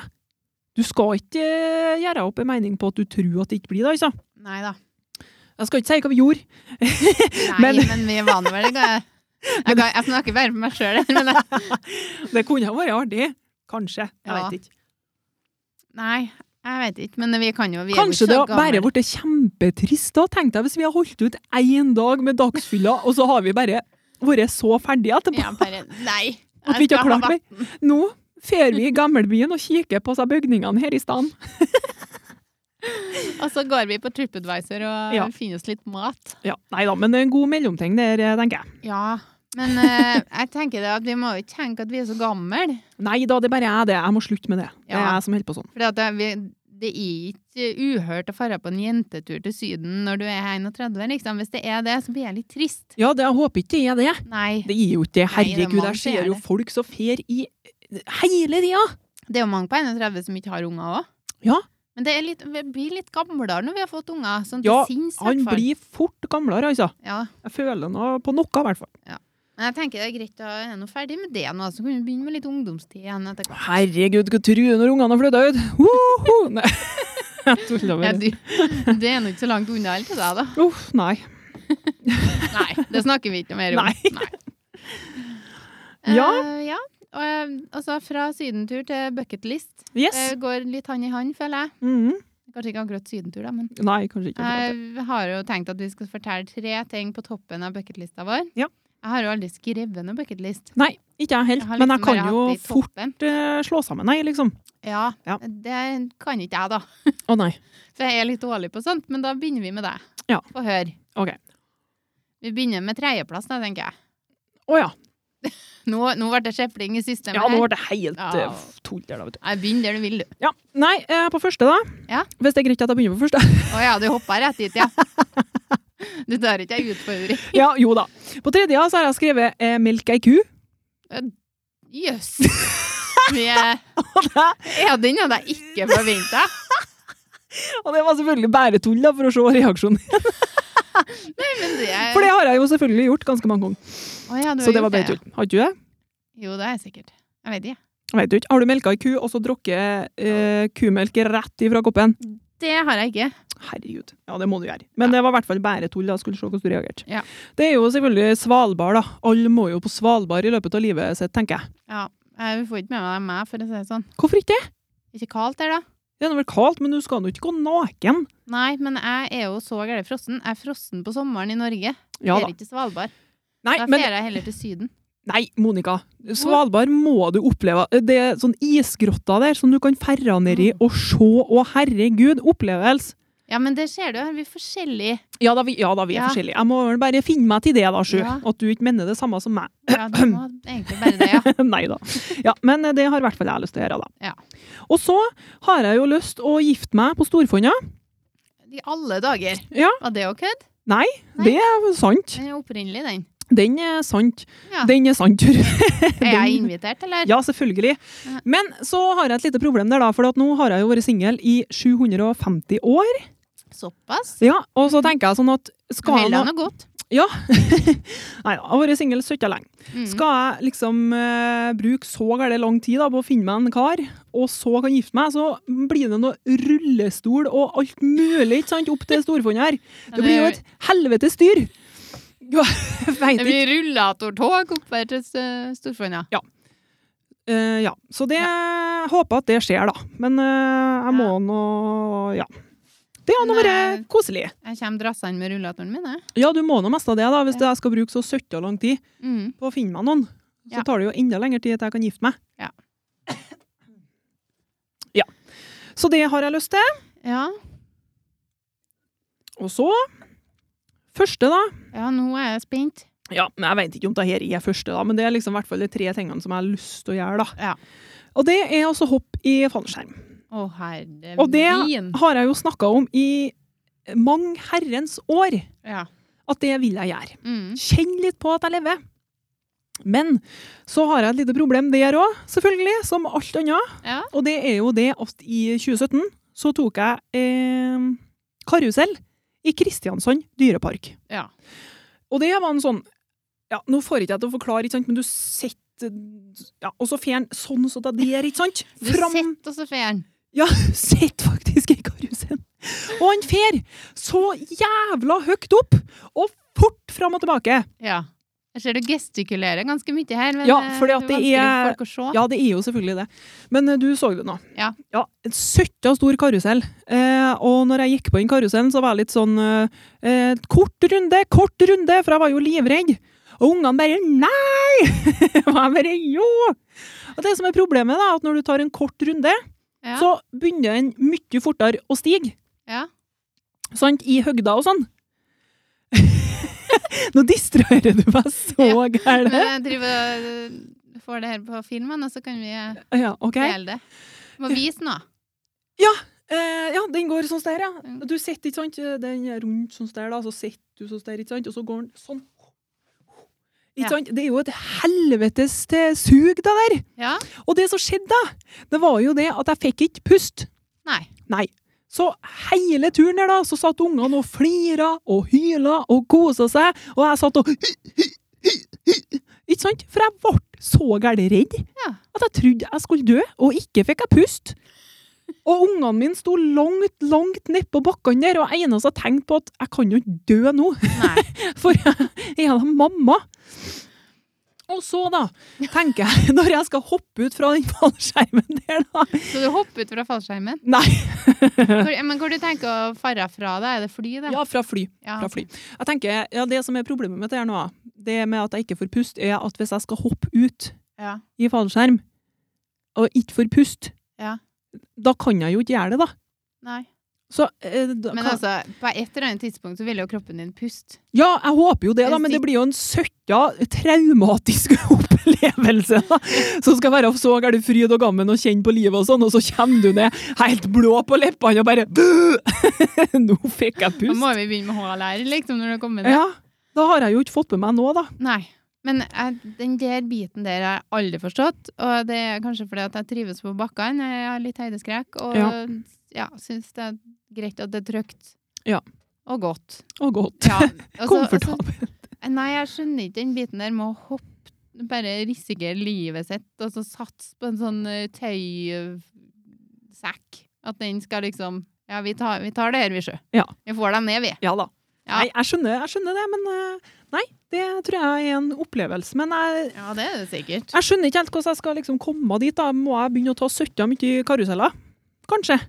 Du skal ikke eh, gjøre opp en mening på at du tror at det ikke blir det, altså.
Nei da.
Jeg skal ikke si hva vi gjorde.
Nei, men,
Men-
vi er vant med det. Jeg, jeg, jeg snakker bare for meg sjøl. Men jeg,
Det kunne ha vært artig. Kanskje.
Ja.
Jeg vet ikke.
nei, jeg vet ikke. Men vi kan jo vi er jo
Kanskje
ikke
det
så
har bare
gamle.
ble kjempetrist da, tenkte jeg, hvis vi har holdt ut én dag med dagsfylla, og så har vi bare vært så ferdige etterpå.
ja, bare, Nei.
At vi ikke
Jeg
har
skal ha
klart mer. Nå fer vi i gamlebyen og kikker på seg bygningene her i stedet.
vatten. Og så går vi på TripAdvisor og
Ja.
finner oss litt mat.
Ja, nei da, men det er en god mellomting der, eh, tenker jeg.
Ja, men eh, jeg tenker det at vi må jo ikke tenke at vi er så gamle.
Nei da, det er bare jeg det. Jeg må slutte med det. Det er
Ja.
jeg som holder på sånn.
For det, vi- det er ikke uhørt å dra på en jentetur til Syden når du er 31. Liksom. Hvis det er det, så blir jeg litt trist.
Ja, det, jeg håper ikke det er det.
Nei.
Det er jo ikke det.
Nei, det er
Herregud,
mange
jeg ser
som
jo
er det.
folk så fer i hele tida.
Det er jo mange på 31 som ikke har unger òg.
Ja.
Men det er litt, vi blir litt gamlere når vi har fått unger. Sånn til
Ja,
sinns, i hvert
Han
fall.
blir fort gamlere, altså.
Ja.
Jeg føler noe på noe, i hvert fall.
Men jeg tenker det er greit å er nå ferdig med det nå, så kan vi begynne med litt ungdomstid igjen etter hvert.
Herregud, hva tror du når ungene har flytta ut? Woho! Nei, jeg tuller
Ja,
bare.
du, det er nå ikke så langt unna helt til deg, da.
Uff, nei.
Nei, det snakker vi ikke noe mer om.
Nei.
Eh,
Ja.
ja. Og, eh, altså fra sydentur til bucketlist.
Yes.
Eh, går litt hand i hand, føler jeg.
Mhm.
Kanskje ikke akkurat sydentur, da, men
Nei, kanskje ikke. akkurat det.
jeg har jo tenkt at vi skal fortelle tre ting på toppen av bucketlista vår.
Ja.
Jeg har jo aldri skrevet noe bucketlist.
Nei, ikke jeg helt.
har
Men jeg
liksom bare
kan
hatt
jo
det i
fort
toppen.
eh, slå sammen, nei, liksom.
Ja,
Ja.
det kan ikke jeg, da.
Å nei.
For jeg er litt dårlig på sånt, men da begynner vi med deg.
Ja.
Få høre.
Ok.
Vi begynner med tredjeplass, da, tenker jeg.
Å ja.
Nå, nå ble det skjepling i systemet.
Ja, nå
her.
ble det helt
Ja.
eh, f- tull der, da, vet du.
Nei, Begynn der du vil, du.
Ja. Nei, eh, på første, da.
Ja.
Hvis det er greit at jeg begynner på første.
Å ja, du hoppa rett dit, ja. Du tar ikke ei utfordring.
ja, jo da. På tredje så har jeg skrevet eh, 'melk ei ku'.
Jøss. Vi er- Ja, den hadde jeg ikke forventa.
Og det var selvfølgelig bare tull, da, for å se reaksjonen.
Men det
For det har jeg jo selvfølgelig gjort ganske mange ganger.
Å ja, Eh. du har
Så det var
gjort
bare
ja.
tull. Har ikke du det?
Jo, det er jeg sikkert. Jeg vet ikke.
Vet du ikke. Har du melka ei ku, og så drukket eh, kumelk rett ifra koppen?
Det har jeg ikke.
Herregud. Ja, det må du gjøre. Men det var i hvert fall bare tull. da. skulle se hvordan du reagerte.
Ja.
Det er jo selvfølgelig Svalbard, da. Alle må jo på Svalbard i løpet av livet sitt, tenker jeg.
Ja, jeg får ikke med meg meg, for å si det sånn.
Hvorfor ikke det?
Ikke kaldt der, da?
Det er nå vel kaldt, men du skal nå ikke gå naken.
Nei, men jeg er jo så gæren frossen. Jeg er frossen på sommeren i Norge.
Ja
Dere
da.
ikke Svalbard.
Nei,
Da
men
drar jeg heller til Syden.
Nei, Monica. Svalbard må du oppleve. Det er sånn isgrotta der som du kan ferra nedi
Mm.
og se. Å, herregud, opplevelse!
Ja, men det ser du, her er vi forskjellige.
Ja da, vi, ja da, vi er
Ja.
forskjellige. Jeg må vel bare finne meg til det, da, Sju.
Ja.
At du ikke mener det samme som meg.
Ja, du må egentlig bare det, ja.
Nei da. Ja, men det har i hvert fall jeg lyst til å gjøre, da.
Ja.
Og så har jeg jo lyst å gifte meg på Storfonna.
I alle dager.
Ja.
Var det jo kødd? Nei.
Det er sant.
Den er opprinnelig, den.
Den er sant.
Ja.
Den er sant, tror jeg.
Er jeg
Den-
invitert, eller?
Ja, selvfølgelig.
Ja.
Men så har jeg et lite problem der, da. For at nå har jeg jo vært singel i 750 år.
Såpass?
Ja, og så tenker jeg sånn at skal jeg
Vel,
nå
han er godt.
Nei, jeg har vært singel søtta lenge.
Mm.
Skal jeg liksom eh, bruke så gærent lang tid da, på å finne meg en kar, og så kan gifte meg, så blir det noe rullestol og alt mulig ikke sant, opp til Storfondet her.
Ja,
Det blir jo et helvetes styr. Ja, jeg vet
Det
ikke.
blir rullatortog oppover til eh, Storfonna.
Eh, ja. Så det håper at det skjer, da. Men eh, jeg må
Ja.
nå Ja. Det har nå
Men, eh,
vært koselig.
Jeg kommer drassende med rullatoren min, jeg.
Ja, du må nå mest av det, da, hvis jeg skal bruke så søtta lang tid
Mm.
på å finne meg noen. Så
Ja.
tar det jo enda lengre tid til jeg kan gifte meg.
Ja.
Ja. Så det har jeg lyst til.
Ja.
Og så Første, da
Ja, nå er jeg spent.
Ja, men Jeg vet ikke om det her er første, da, men det er liksom i hvert fall de tre tingene som jeg har lyst til å gjøre. da.
Ja.
Og det er altså hopp i fallskjerm.
Å, herre
Og det
min.
har jeg jo snakka om i mange herrens år,
Ja.
at det vil jeg gjøre.
Mm.
Kjenn litt på at jeg lever. Men så har jeg et lite problem der òg, selvfølgelig, som alt annet.
Ja.
Og det er jo det at i 2017 så tok jeg eh, karusell i Kristiansand dyrepark.
ja.
Og det var en sånn Ja, nå får ikke jeg til å forklare, ikke sant, men du sitter ja, Og så fjern sånn så det der, ikke sant?
Du sitter og så fer den.
Ja, sitter faktisk i karusen. Og han fer så jævla høyt opp, og fort fram og tilbake.
Ja. Jeg ser du gestikulerer ganske mye her, men
Ja,
eh,
fordi at det
vanskelig
er-
for folk å se.
Ja, det er jo selvfølgelig det. Men eh, du så det nå.
Ja.
ja en Søtta stor karusell. Eh, og når jeg gikk på den karusellen, så var jeg litt sånn eh, eh, Kort runde, kort runde! For jeg var jo livredd. Og ungene bare Nei! og jeg bare Jo! Og det som er problemet, da, er at når du tar en kort runde,
Ja.
så begynner den mye fortere å stige.
Ja.
Sant? I høgda og sånn. Nå distraherer du meg så
Men
gærent.
jeg driver og eh, får det her på filmen, og så kan vi eh,
Ja, ok.
dele det. Må vise nå.
Eh, ja, den går sånn der, ja.
Ja.
Du sitter, ikke sant, den er rundt sånn der, da, så sitter du sånn der, ikke sant, og så går den sånn. Ikke
Ja.
sant? Det er jo et helvetes til sug, det der.
Ja.
Og det som skjedde, da, det var jo det at jeg fikk ikke pust.
Nei.
Nei. Så hele turen der, da, så satt ungene og flira og hyla og kosa seg, og jeg satt og Ikke sant? For jeg ble så gæren redd
Ja.
at jeg trodde jeg skulle dø, og ikke fikk jeg pust. Og ungene mine sto langt, langt nedpå bakkene der, og eneste jeg tenkte på, at jeg kan jo ikke dø nå,
Nei.
for jeg er da mamma. Og så, da, tenker jeg, når jeg skal hoppe ut fra den fallskjermen der, da
Så du hopper ut fra fallskjermen?
Nei.
Hvor, men hvor du tenker å fare fra da? Er det fly, da?
Ja, fra fly.
Ja.
fra fly. Jeg tenker, ja, Det som er problemet mitt her nå, det med at jeg ikke får pust, er at hvis jeg skal hoppe ut
Ja.
i fallskjerm og ikke får pust,
Ja.
da kan jeg jo ikke gjøre det, da.
Nei.
Så, eh, da
Men
kan,
altså, på et eller annet tidspunkt så vil jo kroppen din puste.
ja, jeg håper jo det, da, men det blir jo en søkka, traumatisk opplevelse da, som skal være så gæren fryd og gammen og kjenne på livet og sånn, og så kommer du ned helt blå på leppene og bare Nå fikk jeg
Da må
pust!
vi begynne med HLR, liksom, når du kommer ned.
Ja, Da har jeg jo ikke fått med meg nå, da.
Nei. Men jeg, den der biten der har jeg aldri forstått, og det er kanskje fordi at jeg trives på bakkene. Jeg har litt høydeskrekk, og ja.
Ja.
syns det er greit at det er trygt.
Ja.
Og godt.
Og godt.
Ja, altså-
Komfortabel.
altså, nei, jeg skjønner ikke den biten der med å hoppe. Bare risikere livet sitt og så satse på en sånn eh, tøysekk. At den skal liksom Ja, vi tar, vi tar det her, vi, sjø.
Ja.
Vi får dem ned, vi.
Ja da.
Ja.
Nei, jeg skjønner, jeg skjønner det, men eh, nei, det tror jeg er en opplevelse. Men jeg,
Ja, det er det sikkert.
jeg skjønner ikke helt hvordan jeg skal liksom komme dit. da. Må jeg begynne å ta søtta mye karuseller? Kanskje.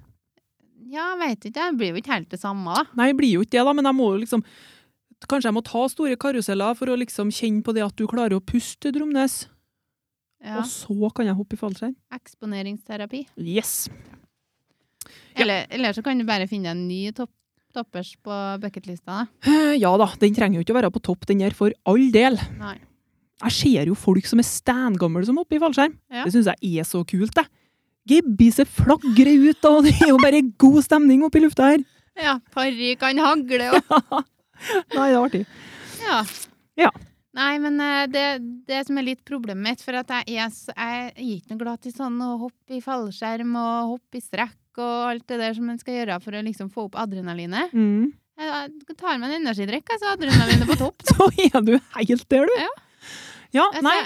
Ja, jeg veit ikke. Det blir jo ikke helt det samme, da.
Nei, jeg blir jo ikke det, da, men jeg må jo liksom Kanskje jeg må ta store karuseller for å liksom kjenne på det at du klarer å puste, Dromnes.
Ja.
Og så kan jeg hoppe i fallskjerm.
Eksponeringsterapi.
Yes. Ja.
Eller, eller så kan du bare finne en ny topp, toppers på bucketlista. da.
Eh, Ja da, den trenger jo ikke å være på topp, den her, for all del.
Nei.
Jeg ser jo folk som er steingamle som hopper i fallskjerm.
Ja.
Det syns jeg er så kult, det. Gebbiset flagrer ut, og det er jo bare god stemning oppi lufta her.
Ja, parykken hagle og
Nei, det er artig.
ja.
Ja.
Nei, men eh, det, det som er litt problemet mitt, for at jeg er, så- jeg er ikke noe glad til sånn å hoppe i fallskjerm og hoppe i strekk og alt det der som en skal gjøre for å liksom få opp adrenalinet.
Mm.
Jeg jeg tar meg en energidrikk, altså. Adrenalinet er på topp.
Så er du helt der, du.
Ja.
Ja,
Altså,
nei.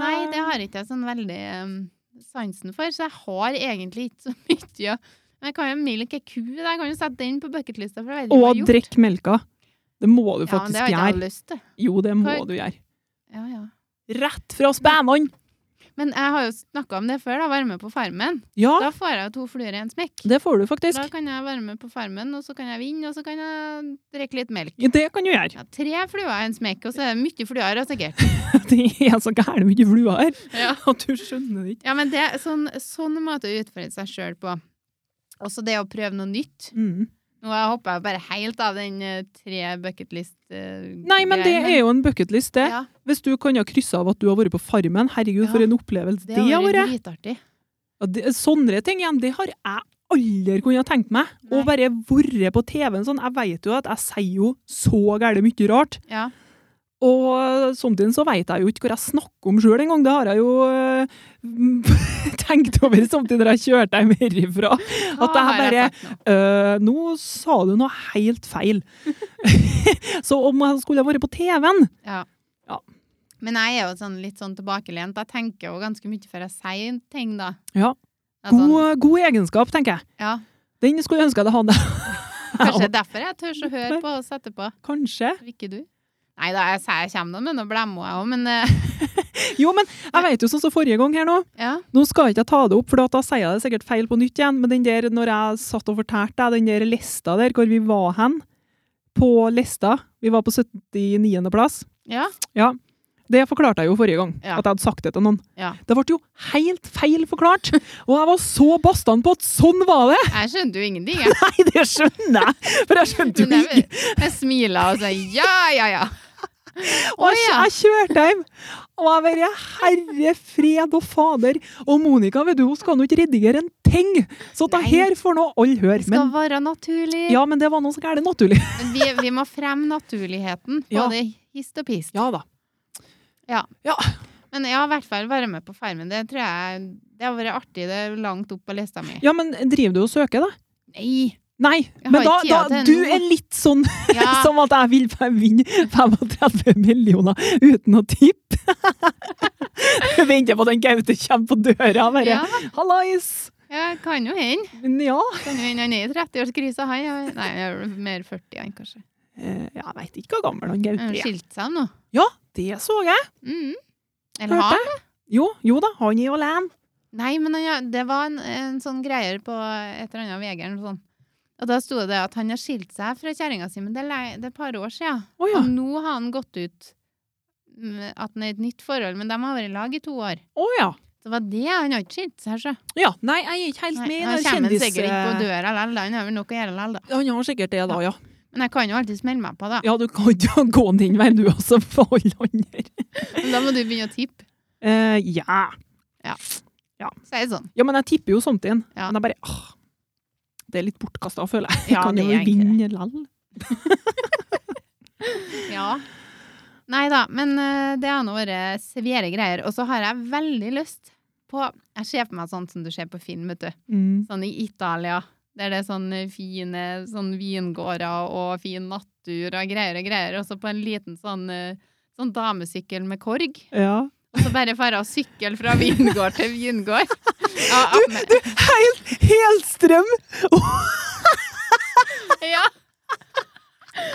nei, det har ikke jeg sånn veldig eh, sansen for, så jeg har egentlig ikke så mye. å- Men jeg kan jo milke ku, da. jeg kan jo sette den på bucketlista. for jeg vet ikke hva
Og
jeg har gjort.
drikk melka. Det må du
Ja, men
faktisk
det har ikke jeg
gjøre.
lyst til.
Jo, det må
Hva-
du gjøre.
Ja, ja.
Rett fra spenene!
Men jeg har jo snakka om det før, da. Være med på Farmen.
Ja,
Da får jeg jo to fluer i en smekk.
det får du
Da
faktisk.
kan jeg være med på Farmen, og så kan jeg vinne, og så kan jeg drikke litt melk.
Det kan du gjøre.
Ja, tre fluer i en smekk, og så er det mye fluer, ja, sikkert.
Det er så gærent mye fluer her
Ja.
at du skjønner det ikke.
Ja, men det er sånn, sånn måte å utfordre seg sjøl på. Også det å prøve noe nytt.
Mm.
Nå hopper jeg bare helt av den eh, tre bucketlist eh,
Nei, men det er jo en bucketlist, det.
Ja,
Hvis du kan ha kryssa av at du har vært på Farmen, herregud, for
Ja.
en opplevelse
det
det har vært.
dritartig.
Ja, det- Sånne ting igjen, det har jeg aldri kunnet tenkt meg.
Nei.
Å bare være på TV-en sånn. Jeg vet jo at jeg sier jo så gærent mye rart.
Ja.
Og samtidig så vet jeg jo ikke hvor jeg snakker om sjøl engang. Det har jeg jo eh, tenkt over samtidig når jeg kjørte hjem herifra.
Hva
det er
har jeg
bare-
sagt nå?
Eh, nå sa du noe helt feil. så om jeg skulle ha vært på TV-en
Ja.
Ja.
Men jeg er jo sånn, litt sånn tilbakelent. Jeg tenker jo ganske mye før jeg sier ting, da.
Ja.
Jeg er Sånn,
god, god egenskap, tenker jeg.
ja.
Den skulle jeg ønske jeg hadde hatt.
Kanskje derfor jeg tør å høre på oss etterpå.
Kanskje.
Ikke du? Nei da, jeg sier jeg kommer noen, men nå blemmer jeg òg, men eh,
Jo, men jeg vet jo sånn som forrige gang her nå.
ja.
Nå skal ikke jeg ta det opp, for da sier jeg det sikkert feil på nytt igjen. Men den der, når jeg satt og fortalte deg, den der lista der, hvor vi var hen, på lista, vi var på 79. plass,
ja.
det forklarte jeg jo forrige gang,
Ja.
at jeg hadde sagt det til noen.
Ja.
Det ble jo helt feil forklart, og jeg var så bastant på at sånn var det!
Jeg skjønte jo ingenting, jeg.
Nei, det skjønner jeg, for jeg skjønte
Men
jo
jeg,
ikke.
jeg smiler og sier ja, ja, ja.
Og jeg,
ja.
jeg kjørte hjem, og jeg bare, herre fred og fader, og Monika, vet du, hun skal nå ikke redigere en ting, så det
Nei.
her får nå alle høre.
Det
Men-
skal være naturlig.
Ja, men det var noe som gærent naturlig.
Men Vi, vi må fremme naturligheten,
Ja.
både hist og pist.
Ja da.
Men jeg har i hvert fall vært med på Farmen. Det tror jeg det har vært artig. Det er langt opp på lista mi.
Ja, men driver du og søker, da?
Nei!
Nei.
Jeg
Men da,
har ikke
da
tida til
Du
det nå.
er litt sånn
Ja,
som at jeg vil vinne 35 millioner uten å tippe. Jeg Venter på at den Gaute kommer på døra og bare
ja,
Hallais!
ja, kan jo hende.
Men ja
Kan jo hende han er i 30-årskrisa, han. Ja. Nei, han er vel mer 40, han kanskje.
Eh, Jeg veit ikke hvor gammel han Gaute
Han har
er.
skilt seg nå.
Det så jeg.
Mm. Eller
Hørte
har
jeg. Jo, jo da, han er jo alene.
Nei, men han, det var en, en sånn greier på et eller annet VG eller noe sånt. Og da sto det at han har skilt seg fra kjerringa si, men det er, le- det er et par år siden.
Å ja.
Og nå har han gått ut med at han er i et nytt forhold, men de har vært i lag i to år.
Å ja.
Så var det han har ikke skilt seg, sjø.
Ja, Nei, jeg er ikke helt med i
Han
den
kommer
kjendis...
sikkert ikke på døra likevel, han har vel nok å gjøre likevel, da.
Han har sikkert det, da, ja.
Men jeg kan jo alltid smelle meg på, da.
Ja, du kan ikke gå den veien, du også, for alle andre.
Men da må du begynne å tippe.
Eh, ja.
Si det sånn.
ja, men jeg tipper jo samtidig.
Ja.
Men jeg bare ah, Det er litt bortkasta, føler jeg.
Ja,
kan
det
jo
er egentlig
vinne likevel.
Ja. Nei da, men eh, det har nå vært svære greier. Og så har jeg veldig lyst på Jeg ser på meg sånn som du ser på film, vet du.
Mm.
Sånn i Italia. Der det er sånne fine sånn vingårder og fin natur og greier og greier. Og så på en liten sånn, eh, sånn damesykkel med korg.
Ja.
Og så bare fare og sykle fra vingård til vingård. Ja, men-
Helt, helt strøm!
ja.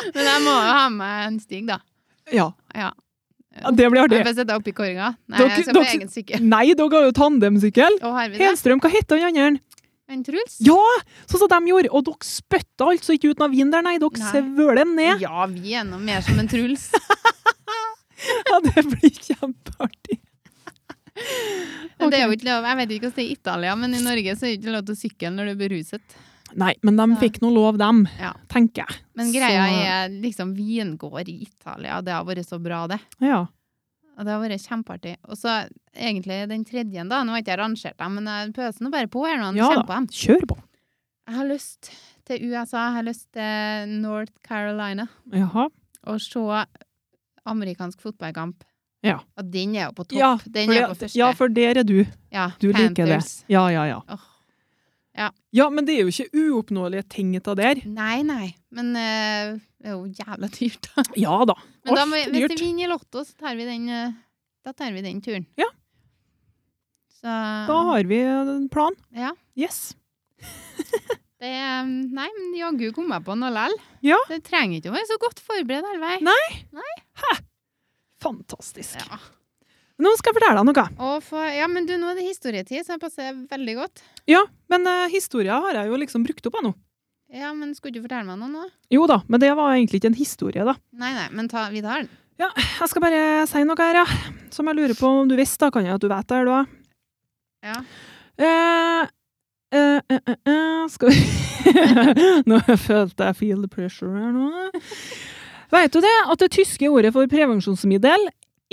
Men jeg må jo ha med en stig, da.
Ja.
Ja.
ja, det blir
Jeg
artig.
får sitte oppi korga. Nei,
Dere-
jeg skal på
dere-
egen sykkel.
Nei, dere har jo tandemsykkel.
Og har vi det?
Helstrøm, hva heter han andre?
En Truls?
Ja, sånn som de gjorde. Og dere spytta altså ikke ut noe vin der, nei. Dere
Nei.
svøler den ned.
Ja, vi er noe mer som en Truls.
Ja, det blir kjempeartig.
Men Det er jo ikke lov. Jeg vet ikke hvordan det er i Italia, men i Norge så er det ikke lov til å sykle når du er beruset.
Nei, men de
Nei.
fikk nå lov, dem,
Ja.
tenker jeg.
Men greia
Så-
er liksom vingård i Italia, det har vært så bra, det.
Ja.
Og det har vært kjempeartig. Og så egentlig den tredje, da. Nå har ikke jeg rangert dem, men jeg pøser nå bare på her nå.
Ja
Ja,
da.
på dem.
Kjør på.
Jeg har lyst til USA, jeg har lyst til North Carolina.
Jaha.
Og se amerikansk fotballkamp.
Ja.
Og den er jo på topp.
Ja,
den
for
er
det-
på første.
Ja, for der er du.
Ja,
Du liker det.
Panthers.
Ja, ja, ja.
Åh.
ja.
Ja.
men det er jo ikke uoppnåelige ting av der.
Nei, nei. Men eh, det er jo jævla dyrt, da.
Ja da.
Men da, må-
Alt
hvis
dyrt.
vi vinner i Lotto, så tar vi den, eh, da tar vi den turen.
Ja.
Så
Da har vi en plan.
Ja.
Yes.
det er- Nei, men jaggu kom jeg på noe lell.
Ja.
Det trenger ikke å være så godt forberedt all vei.
Nei. Fantastisk.
Ja.
Nå skal jeg fortelle deg noe.
Og for, ja, men du, nå er det historietid, så det passer veldig godt.
Ja, men uh, historia har jeg jo liksom brukt opp ennå.
Ja, men skulle du fortelle meg noe nå?
Jo da, men det var egentlig ikke en historie, da.
Nei, nei, men ta, vi tar den.
Ja, jeg skal bare si noe her, ja. Som jeg lurer på om du visste, da kan jeg at du vet det, er du òg.
Ja.
Eh, Eh, eh, eh, eh, skal vi Nå følte jeg feel the pressure her nå. Veit du det? At det tyske ordet for prevensjonsmiddel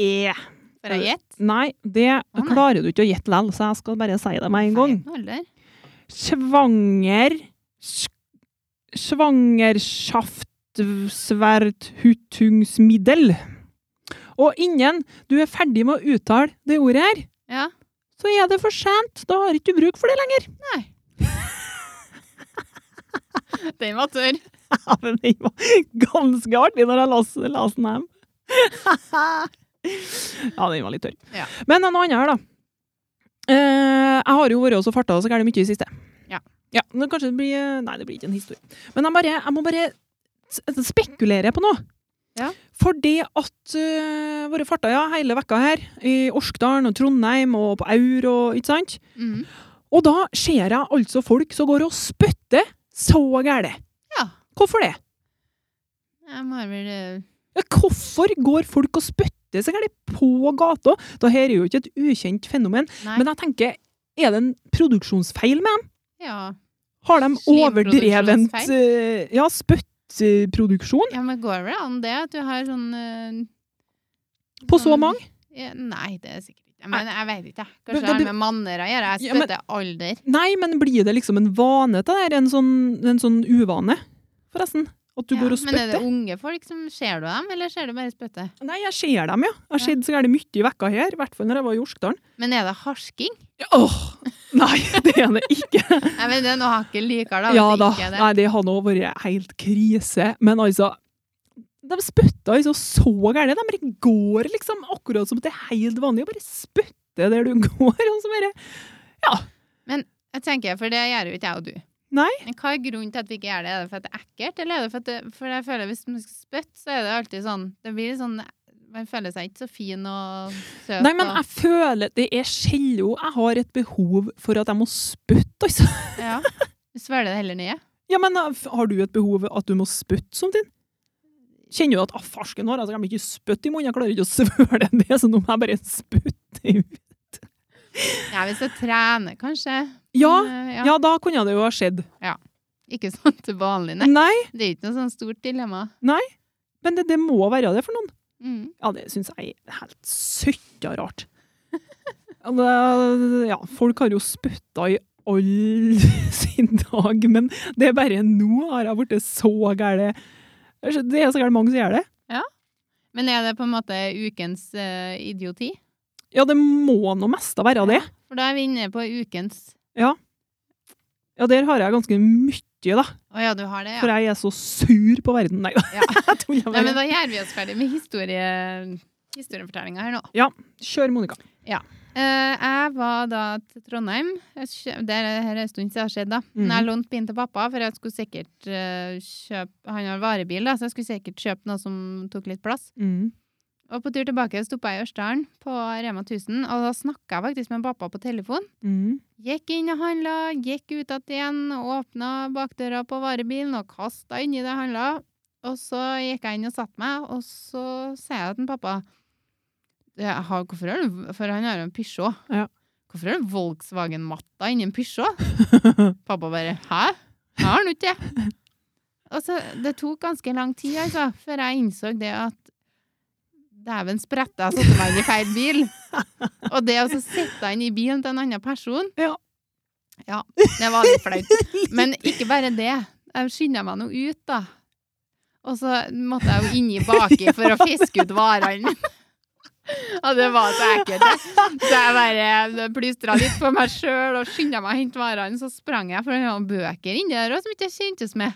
er
For jeg gjett.
Nei, det
nei.
klarer du ikke å gjette likevel, så jeg skal bare si det med en gang.
Feil alder.
Svanger sk- Svangerskaftsverthutungsmiddel. Og innen du er ferdig med å uttale det ordet her,
Ja.
så er det for sent. Da har ikke du bruk for det lenger.
Den var tørr.
Ja, men den var ganske artig når jeg las, las den hjem. ja, den var litt tørr.
Ja.
Men noe annet her, da. Eh, jeg har jo vært også farta så gærent mye i det siste.
Ja.
ja. Men kanskje det blir eh, Nei, det blir ikke en historie. Men jeg, bare, jeg må bare s- spekulere på noe.
Ja.
For det at uh, våre farta ja, hele vekka her, i Orskdalen og Trondheim og på Aur og ikke sant
Mm.
Og da ser jeg altså folk som går og spytter så gærent.
Ja.
Hvorfor det?
Jeg må vel eh,
Ja, Hvorfor går folk og spytter seg gærent på gata? Dette er jo ikke et ukjent fenomen,
Nei.
men jeg tenker, er det en produksjonsfeil med dem?
ja.
Har de overdrevent
Slimproduksjonsfeil?
eh, ja, spyttproduksjon
ja, men går vel an det? At du har sånn eh,
på så
Sånn-
mange?
ja, Nei, det er sikkert ikke Men jeg vet ikke. jeg.
Men
Kanskje det har
det-
med manner å gjøre. Jeg
Ja, men-
spytter alder.
Nei, men blir det liksom en vane til det her? En sånn, en sånn uvane, forresten? At du
Ja,
går og
Men er det
spytter?
unge folk som Ser du dem, eller ser du bare spytte?
Nei, jeg ser dem, ja. Jeg har sett så gærent mye i vekka her, i hvert fall når jeg var i Orskdalen.
Men er det harsking?
Ja, Åh! Nei, det er det ikke.
Nei, men det er noe hakket likere, da. hvis
Ja
det
da.
ikke er det.
Nei, det hadde nå vært helt krise. Men altså De spytta altså så gærent. De bare går liksom akkurat som det er helt vanlig. Og bare spytter der du går. Og så bare
Jeg tenker, For det gjør jo ikke jeg og du.
Nei.
Men Hva er grunnen til at vi ikke gjør det? Er det for at det er ekkelt? Eller er det for at det, for jeg føler hvis man skal spytte, så er det alltid sånn Det blir litt sånn Man føler seg ikke så fin og søt.
Nei, men
og,
jeg føler Det er sjelden jeg har et behov for at jeg må spytte, altså.
ja. Du svelger det heller ned.
Ja, men eh, f- har du et behov at du må spytte som din? Kjenner du at ah, farsken har, altså, jeg kan ikke spytte i munnen, jeg klarer ikke å svøle det, så nå må jeg bare spytte i
Ja, hvis jeg trener, kanskje.
Ja,
Men, eh, ja.
ja, da kunne det jo ha skjedd.
Ikke sånn til vanlig, nei.
Nei,
Det er ikke noe sånn stort dilemma.
men det, det må være det for noen.
Mm.
Ja, det syns jeg er helt søkka rart. Ja, det- ja, folk har jo spytta i all sin dag, men det er bare nå har jeg blitt så gæren. Det er så gærent mange som gjør det.
Men er det på en måte ukens eh, idioti?
Ja, det må nå mest av være det.
For da er vi inne på ukens
Ja, der har jeg ganske mye, da.
Å ja, du har det,
For
ja.
jeg er så sur på verden. Nei da,
Ja.
jeg tuller
Nei, men
med deg.
da gjør vi oss ferdig med historie, historiefortellinga her nå.
Kjør, Monica.
Eh, jeg var da til Trondheim. Jeg kjø- Det er her er en stund siden det har skjedd, da. Men
Mhm.
jeg lånte bilen til pappa, for jeg skulle sikkert eh, kjøpe Han har varebil, da, så jeg skulle sikkert kjøpe noe som tok litt plass.
Mm.
Og på tur tilbake stoppa jeg i Ørsdalen, på Rema 1000, og da snakka jeg faktisk med pappa på telefon.
Mm.
Gikk inn og handla, gikk ut igjen igjen, åpna bakdøra på varebilen og kasta inni det jeg handla. Og så gikk jeg inn og satte meg, og så sier jeg til pappa jeg har, hvorfor har du, For han har jo en Peugeot.
Ja.
Hvorfor har du Volkswagen-matta inni en Peugeot? pappa bare Hæ? Jeg har den ikke. Og så, det tok ganske lang tid altså, før jeg innså det at Dæven spretta, jeg satte meg inn i feil bil. Og det å så sitte inn i bilen til en annen person
Ja.
Ja, det var litt flaut. Men ikke bare det. Jeg skynda meg nå ut, da. Og så måtte jeg jo inni baki for å fiske ut varene. Og det var så ekkelt. Så jeg bare plystra litt for meg sjøl og skynda meg å hente varene. Så sprang jeg, for det var bøker inni der også som ikke jeg kjentes med.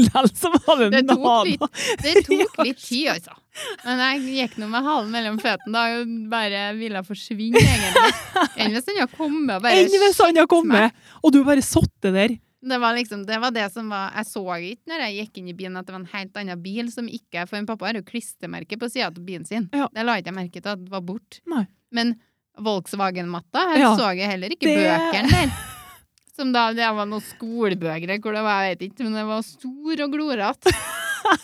Lell så var det
Det tok
nada.
litt. Det tok litt tid, altså. Men jeg gikk nå med halen mellom føttene da og bare ville forsvinne, egentlig. Enn hvis den hadde kommet og bare
Enn hvis han har kommet, og du bare satt det der.
Det var liksom, det var det som var Jeg så ikke når jeg gikk inn i bilen at det var en helt annen bil som ikke For en pappa har jo klistremerke på sida av bilen sin.
Ja.
Det la ikke jeg merke til at det var bort.
Nei.
Men Volkswagen-matta, her
Ja.
så jeg heller ikke
Det-
bøkene der. Som da det var noen skolebøker hvor det var, jeg vet ikke, men det var stor og glorete.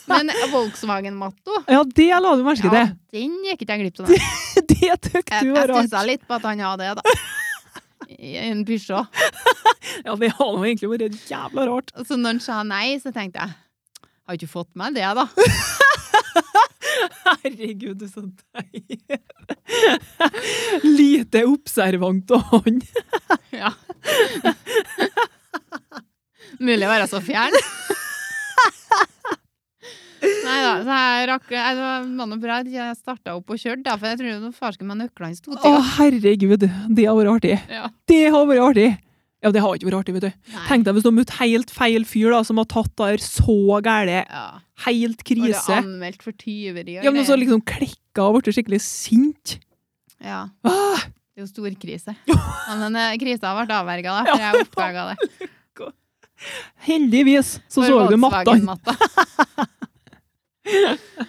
Men Volkswagen-matto,
Ja, det la du merke til.
ja, den gikk ikke jeg glipp av. da.
Det tok
Jeg,
du
jeg
var rart.
stussa litt på at han hadde det, da. i en pysjå.
Ja, det har nå egentlig vært jævla rart.
Så når han sa nei, så tenkte jeg Har ikke fått meg det, da.
Herregud, du så deilig. Lite observant av han.
Ja. Mulig å være så fjern. Nei da, så jeg rakk jeg- Det var mann og bra at jeg starta opp og kjørte, da, for jeg trodde farsken med nøklene sto
Å,
til.
herregud, det har vært artig.
Ja.
Det har vært artig. Ja, det har ikke vært artig, vet du.
Nei.
Tenk deg hvis du har møtt helt feil fyr da, som har tatt der så gæle,
Ja.
helt
Var
krise.
det anmeldt for tyveri? og
Ja, men så
greier?
liksom klikka og ble skikkelig sint.
ja.
Ah,
Det er jo storkrise. Ja, men eh, krisa ble avverga, da, for jeg oppdaga det.
heldigvis så
For
så du mattene.
Volkswagen-matta.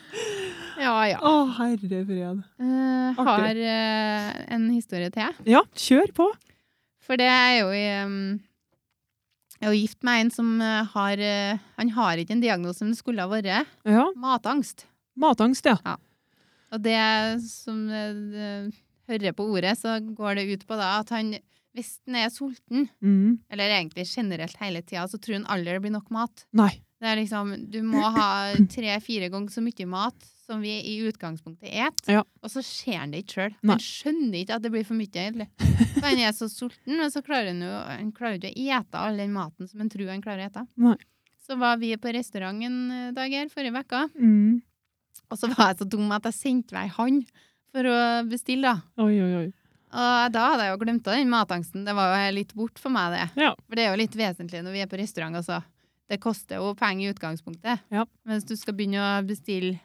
Ja, ja.
Å, herre fred.
Eh,
Artig.
har eh, en historie til, jeg.
Ja, kjør på.
For det er jo i um, Jeg er jo gift med en som eh, har eh, Han har ikke en diagnose som det skulle ha vært.
Ja,
Matangst.
matangst, ja.
Og det som eh, det- hører på ordet, så går det ut på da at han hvis han er sulten,
Mm.
eller egentlig generelt hele tida, så tror han aldri det blir nok mat.
Nei.
Det er liksom, Du må ha tre-fire ganger så mye mat som vi i utgangspunktet et,
Ja.
og så ser han det ikke sjøl.
Nei.
Han skjønner ikke at det blir for mye. egentlig. For Han er så sulten, men så klarer han jo han klarer ikke å ete all den maten som han tror han klarer å ete.
Nei.
Så var vi på restaurant en dag her forrige uke,
Mm.
og så var jeg så dum at jeg sendte meg han for å bestille. da.
Oi, oi, oi.
Og da hadde jeg jo glemt av den matangsten. Det var jo litt bort for meg, det.
Ja.
For det er jo litt vesentlig når vi er på restaurant, altså. Det koster jo penger i utgangspunktet.
Ja.
Mens du skal begynne å bestille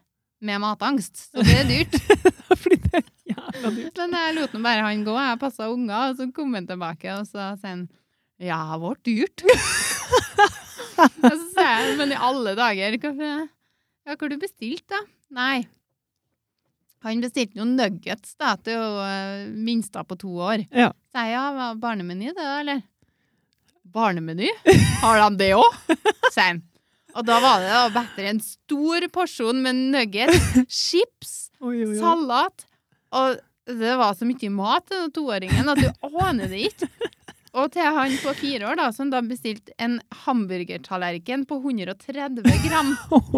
med matangst, så blir det dyrt.
Fordi det er jævla dyrt.
Men jeg lot nå bare han gå. Jeg passa unger, og så kom han tilbake, og så sier han ja, det ble dyrt. og så sier jeg, men i alle dager, hva ja, hva har du bestilt, da? Nei. Han bestilte noen nuggets da, til uh, minsta på to år.
Ja.
Så jeg, ja, hva, barnemeny det, da, eller? Barnemeny? Har de det òg? sier han. Og da var det da bedre en stor porsjon med nuggets, chips
Oi, oi, oi.
Salat. Og det var så mye mat til den toåringen at du aner det ikke. Og til han på fire år, da, som da bestilte en hamburgertallerken på 130 gram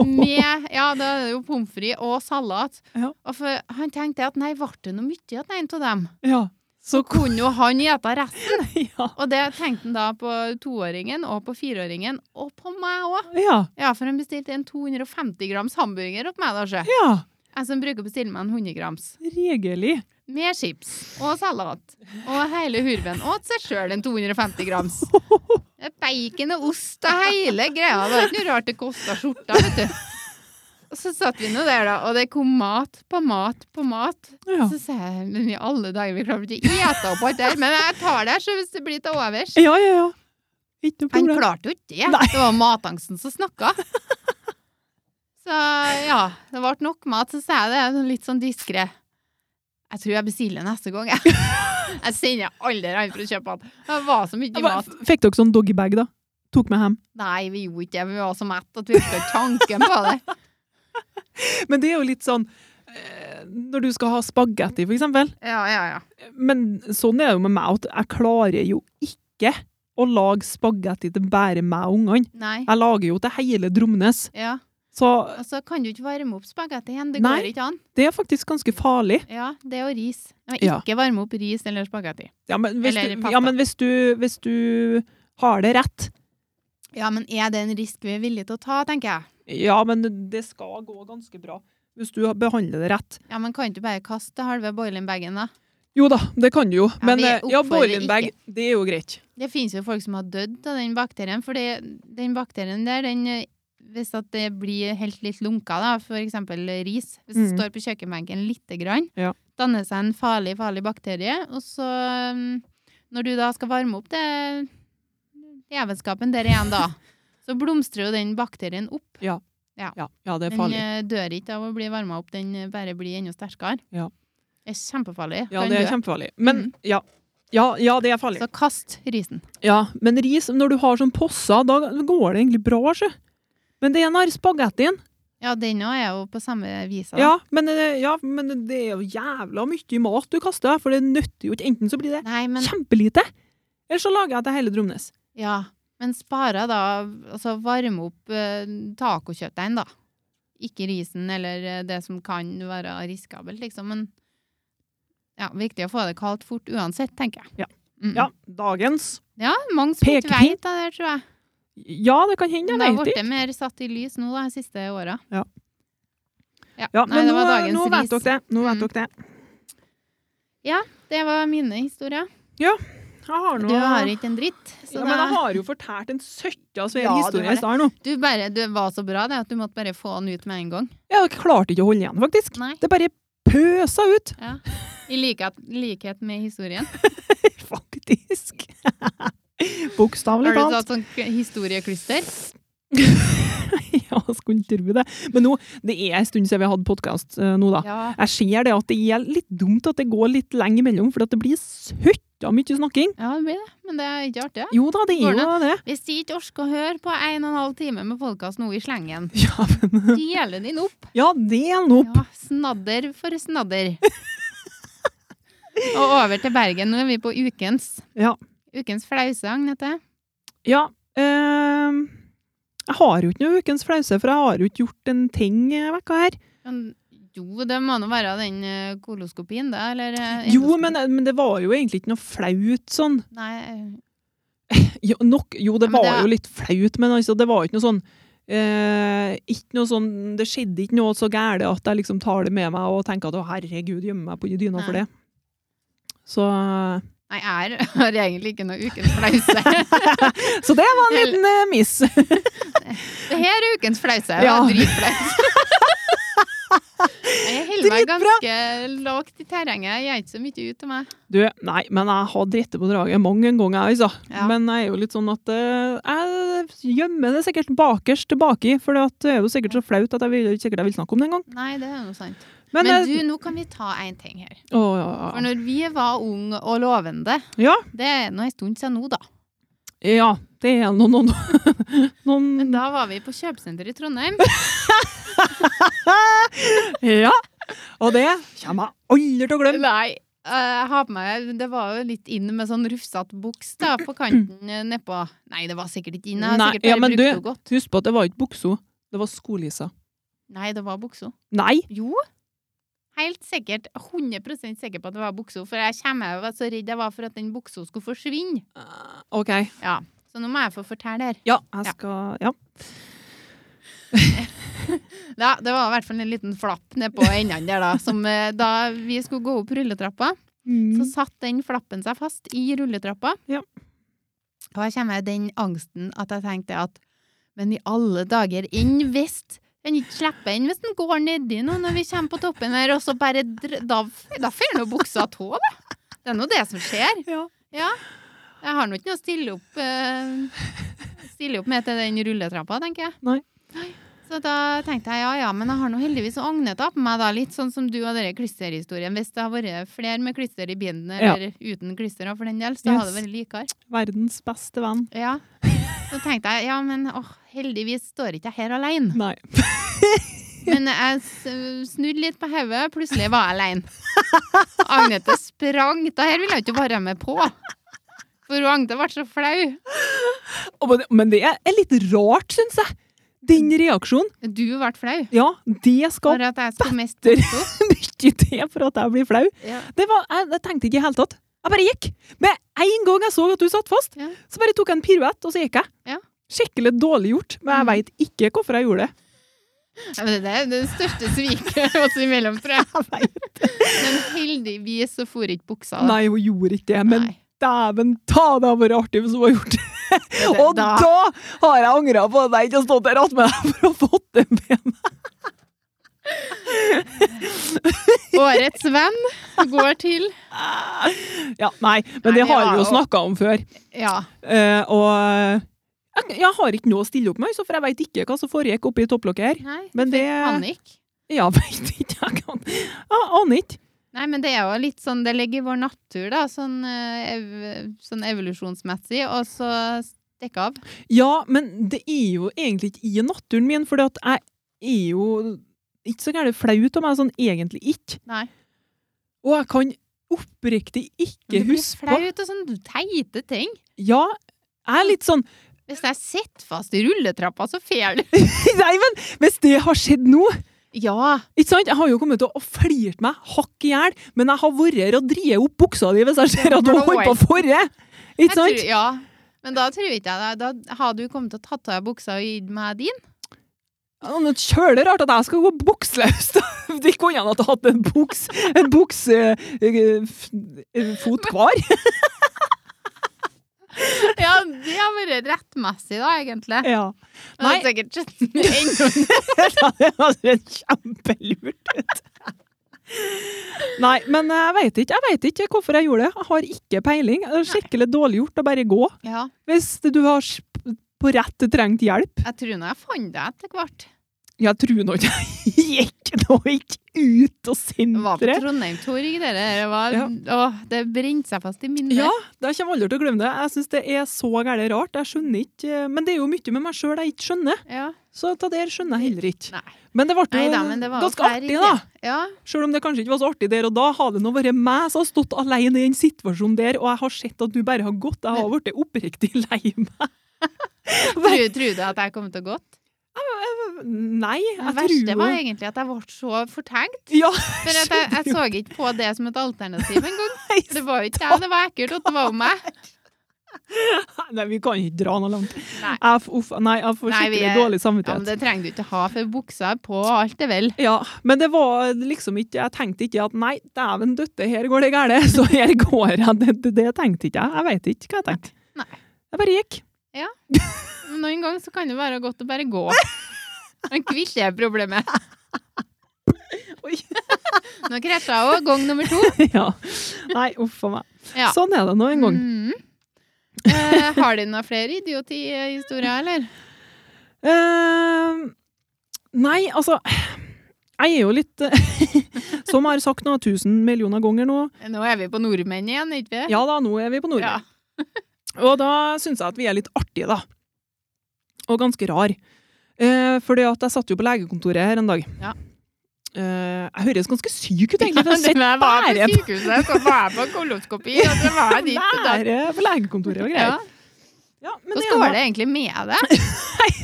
med ja, da er det jo pommes frites og salat.
Ja.
Og for han tenkte at nei, ble det noe mye til en av dem?
Ja. Så ko-
Kunne jo han spise resten?
ja.
Og det tenkte han da på toåringen og på fireåringen, og på meg òg.
ja.
Ja, for han bestilte en 250 grams hamburger opp meg, da, sjø.
Ja.
Jeg som bruker å bestille meg en 100 grams.
Regelig.
med chips og salat og hele hurven og til seg sjøl en 250 grams. Det er Bacon og ost og hele greia. Det er ikke noe rart det kosta skjorta, vet du. Og så satt vi nå der, da, og det kom mat på mat på mat.
Ja.
Så sa jeg men i alle dager, vi klarer ikke å ete opp alt det her, men jeg tar det her, så hvis det blir til overs.
Ja, ja, ja. Ikke noe
Han
problem.
klarte jo ikke det.
Nei.
Det var matangsten som snakka. Så ja, det ble nok mat, så sa jeg det litt sånn diskré. Jeg tror jeg bestiller neste gang, jeg. Jeg sender aldri han for å kjøpe han. Det var så mye
Hva-
mat.
Fikk dere sånn doggybag, da? Tok med hjem?
Nei, vi gjorde ikke det. Vi var så mette at vi ikke hadde tanken på det.
Men det er jo litt sånn eh, når du skal ha spagetti, for eksempel.
Ja, ja, ja.
Men sånn er det jo med meg at jeg klarer jo ikke å lage spagetti til bare meg og ungene.
Nei.
Jeg lager jo til hele Dromnes.
Ja.
Så
Og så kan du ikke varme opp spagetti igjen. Det
Nei.
går ikke an.
det er faktisk ganske farlig.
Ja, det og ris. Men
Ja.
ikke varme opp ris eller spagetti.
Ja, men hvis,
Eller
du,
pasta.
ja, men hvis, du, hvis du har det rett
Ja, men er det en risk vi er villige til å ta, tenker jeg.
Ja, men det skal gå ganske bra. Hvis du behandler det rett.
Ja, men kan du bare kaste halve boiling-bagen, da?
Jo da, det kan du jo.
Ja,
men
vi
eh, ja,
oppfordrer
boilingbag, det er jo greit.
Det finnes jo folk som har dødd av den bakterien, for det- den bakterien der, den, eh, hvis at det blir helt litt lunka, da, for eksempel ris, hvis det
Mm.
står på kjøkkenbenken lite grann,
Ja.
danner seg en farlig, farlig bakterie, og så mm, når du da skal varme opp det jævelskapen der igjen da, så blomstrer jo den bakterien opp.
Ja, ja det er
Den
farlig.
eh, dør ikke av å bli varma opp, den eh, bare blir enda sterkere.
Ja.
Det er kjempefarlig.
Ja,
Kan
det er
dø.
kjempefarlig. Men ja. Ja, ja, det er farlig.
Så kast risen.
Ja, men ris, når du har sånn posser, da går det egentlig bra, sjø. Men det er den her spagettien.
Ja, den òg er jo på samme vis. da.
Ja men, eh, ja, men det er jo jævla mye mat du kaster, for det nytter jo ikke. Enten så blir det
Nei, men
kjempelite, Eller så lager jeg til hele Dromnes.
Ja, men spare da, altså varme opp eh, tacokjøttdeigen, da. Ikke risen eller eh, det som kan være riskabelt, liksom. Men ja, viktig å få det kaldt fort uansett, tenker jeg.
Ja.
Mm.
Ja, dagens.
Ja, mange som ikke
Pekepinn.
vet det der, tror jeg.
Ja, det kan hende,
Men
jeg
det har
vet
blitt
ikke.
mer satt i lys nå da, de siste åra.
Ja.
Ja,
Ja,
nei,
men
det
nå,
var dagens
nå vet
ris.
dere det. Nå vet
Mm.
dere det.
Det var mine historier.
Jeg har nå...
Du har ikke en dritt. Så
ja, men jeg
da,
har jo fortalt en søkka svær
Ja, du har
historie
det.
i stad nå.
du, bare, du var så bra det at du måtte bare få den ut med en gang.
Jeg klarte ikke å holde igjen, faktisk.
Nei.
Det bare pøsa ut.
Ja. I likhet, likhet med historien.
Faktisk.
Har
Bokstavelig
du
talt.
tatt sånn k- historieklyster?
Ja, skulle tro det. Men nå, det er en stund siden vi hadde podkast nå, da.
Ja.
Jeg ser det at det er litt dumt at det går litt lenge imellom, for at det blir søtta mye snakking.
det blir det. Men det er ikke artig. det.
Jo da, det
Går
er jo det.
Hvis de ikke orker å høre på en og en halv time med podkast nå i slengen,
Ja, men,
deler den opp.
ja del nå.
Ja, snadder for snadder. Og over til Bergen. Nå er vi på ukens.
Ja.
Ukens flausang, heter det.
Ja. ehm, jeg har jo ikke noe ukens flause, for jeg har jo ikke gjort en ting eh, vekka her.
Men Jo, det må nå være den eh, koloskopien, da, eller eh,
Jo,
endoskopi-
men, men det var jo egentlig ikke noe flaut sånn.
Nei, eh,
Jo, nok, jo det
Ja, men
var
det er-
jo litt flaut, men altså, det var jo ikke noe sånn eh, ikke noe sånn, Det skjedde ikke noe så gærent at jeg liksom tar det med meg og tenker at å, herregud, gjemmer meg på dyna for
Nei.
det. Så,
nei, jeg er- har egentlig ikke noe ukens flause.
så det var en liten eh, miss.
Det her er ukens flause.
Ja.
Ja. Dritflaut. Jeg holder meg
Dritbra.
ganske lavt i terrenget. Jeg er ikke så mye ut til meg.
Du, nei, men jeg har dritt på draget mange en gang, jeg, altså.
Ja.
Men jeg er jo litt sånn at eh, jeg gjemmer det sikkert bakerst tilbake, for det er jo sikkert så flaut at jeg vil, sikkert jeg vil snakke om det en gang.
Nei, det er jo sant.
Men,
Men,
eh,
du, nå kan vi ta én ting her.
å, ja,
For
ja,
når vi var unge og lovende,
ja.
det er nå en stund siden nå, da.
ja, ja, det er noen, noen, noen
Men da var vi på kjøpesenter i Trondheim.
Ja, og det kommer jeg aldri til å glemme.
Nei. Jeg har på meg, Det var jo litt inn med sånn rufsete buks da, på kanten eh, nedpå. Nei, det var sikkert ikke inn. Jeg har
Nei,
sikkert
ja,
bare
men
brukt
du-
det godt.
Husk på at det var ikke buksa, det var skolissa.
Nei, det var buksa.
Nei,
Jo. Helt sikkert. 100 sikker på at det var buksa. For jeg kommer, jeg var så redd jeg var for at den buksa skulle forsvinne.
Eh, OK.
Ja. Så nå må jeg få fortelle her.
Ja, jeg skal Ja.
Ja, det var i hvert fall en liten flapp nedpå endene der, da. Som eh, da vi skulle gå opp rulletrappa,
Mm.
så satt den flappen seg fast i rulletrappa.
Ja.
Og her kommer den angsten at jeg tenkte at Men i alle dager, enn hvis den ikke slipper inn hvis den går nedi nå når vi kommer på toppen her, og så bare dr Da, da faller nå buksa av, da. Det er nå det som skjer.
Ja.
Ja. Jeg har nå ikke noe å stille opp eh, Stille opp med til den rulletrappa, tenker jeg.
Nei.
Så da tenkte jeg ja ja, men jeg har nå heldigvis agneta på meg, da. Litt sånn som du og den klisterhistorien. Hvis det har vært flere med klister i bilen,
Ja.
eller uten klister da, for den del, så hadde det
Yes.
vært likere.
Verdens beste venn.
Ja. Så tenkte jeg ja, men åh, heldigvis står ikke jeg her alene.
Nei.
Men jeg s- snudde litt på hodet, plutselig var jeg alene. Agnete sprang. Det her ville hun ikke være med på. For hun Agnete ble så flau.
Å, Men det- men det er litt rart, syns jeg. Den reaksjonen.
Du ble flau
Ja, det skal
for at jeg skulle miste
Batter.
buksa.
mye til for at jeg blir flau.
Ja.
Det var, jeg, jeg tenkte ikke i det hele tatt. Jeg bare gikk. Med en gang jeg så at du satt fast,
Ja.
så bare tok jeg en piruett, og så gikk jeg.
Ja. Mm.
Skikkelig dårlig gjort, men jeg veit ikke hvorfor jeg gjorde det.
Ja, men Det er det største sviket oss imellom, tror jeg.
Jeg vet.
Men heldigvis så for ikke buksa. da.
Nei, hun gjorde ikke det, men
Ah. Nei.
Dæven ta, det har vært artig hvis hun har gjort det.
Det-
Og da,
da-
har jeg angra på at jeg ikke har stått der attmed deg for å få det med meg.
Årets venn går til
Ja, nei, men
Nei,
det
det
har
var
vi jo
jo-
snakka om før.
Ja.
Eh, og jeg, jeg har ikke noe å stille opp med, så for jeg veit ikke hva som foregikk oppe i topplokket her.
Nei,
Men eh, det
panikk.
Ja, veit ikke. Jeg kan Jeg aner ikke.
Nei, men det er jo litt sånn, det ligger i vår natur, da, sånn, eh, ev sånn evolusjonsmessig, og så stikke av.
Ja, men det er jo egentlig ikke i naturen min, for jeg er jo ikke så gærent flau av meg, sånn egentlig ikke.
Nei.
Og jeg kan oppriktig
Men
ikke
det blir
huske på
flaut og sånn teite ting.
Ja, jeg er litt sånn
Hvis jeg sitter fast i rulletrappa, så fer du.
Nei, men hvis det har skjedd nå
Ja.
Ikke sant? Jeg har jo kommet til å flirte meg hakk i hjel, men jeg har vært her og dreid opp buksa di hvis jeg ser at du holder på å forre.
jeg
Ikke sant?
Tror, ja. Men da tror ikke jeg det. Da har du kommet til å tatt av deg buksa og gitt meg din.
Ja, men Kjølig rart at jeg skal gå buksløs! da. Det kunne han ha hatt en buks En eh, buksefot hver.
Ja, det har vært rettmessig, da, egentlig.
Ja. Nei,
Men det er sikkert
det var kjempelurt. vet du. Nei, men jeg veit ikke, jeg vet ikke hvorfor jeg gjorde det. Jeg har ikke peiling. Det er Skikkelig dårlig gjort å bare gå.
Ja.
Hvis du har sp- på rett trengt hjelp.
Jeg tror nå jeg fant deg etter hvert.
Jeg tror nå ikke jeg gikk nå ikke ut
Det var på
av senteret.
Trondheim Torg, det der. Det, var, åh, det brente seg fast i minnet.
Ja, det kommer aldri til å glemme det. Jeg syns det er så gærent rart. Jeg skjønner ikke eh, Men det er jo mye med meg sjøl jeg ikke skjønner,
Ja.
så det der skjønner jeg heller ikke.
Nei.
Men det ble
Nei
jo
da, men det var jo
ganske
fair,
artig,
ikke?
da.
Ja.
Sjøl om det kanskje ikke var så artig der og da, har det nå vært meg som har stått alene i den situasjonen der, og jeg har sett at du bare har gått. Jeg har blitt oppriktig lei meg.
Tror, tror du at jeg kom til å gått?
Nei,
Det
jeg tror
verste
jo
var egentlig at jeg ble så fortenkt.
Ja,
For at jeg, jeg så ikke på det som et alternativ engang.
nei,
Det var jo ikke jeg, det var ekkelt at det var meg.
nei, vi kan ikke dra noe langt.
Nei.
Jeg, f- uff, nei, jeg får
Nei, vi
skikkelig
er-
dårlig
Ja, men
samvittighet.
det trenger du ikke ha, for buksa er på og alt er vel.
Ja, men det var liksom ikke Jeg tenkte ikke at nei, dæven døtte, her går det gale, så her går jeg. Det, det, det tenkte ikke jeg. Jeg veit ikke hva jeg tenkte.
Nei.
Jeg bare gikk.
Men Noen ganger så kan det være godt å bare gå. Men kvitt er problemet.
Oi.
Nå krasja jeg òg, gang nummer to.
Ja. Nei, uff a meg.
Ja.
Sånn er det nå en gang.
Mm. Eh, har du noen flere idioti-historier, eller? Mm.
Eh, nei, altså Jeg er jo litt eh, Som jeg har sagt nå tusen millioner ganger nå
Nå er vi på nordmenn igjen, ikke vi?
Ja da, nå er vi på Nordmøre. Og da syns jeg at vi er litt artige, da. Og ganske rar. Eh, fordi at jeg satt jo på legekontoret her en dag.
Ja.
Eh, jeg høres ganske syk ut,
Ja,
egentlig.
men
for Jeg
jeg var på
bare-
sykehuset og var på koloskopi, og det var dit og
sitter
datt.
nære sånn. på legekontoret og
Ja.
greier. Ja, men
Hvordan
det
går
ene-
det egentlig med deg?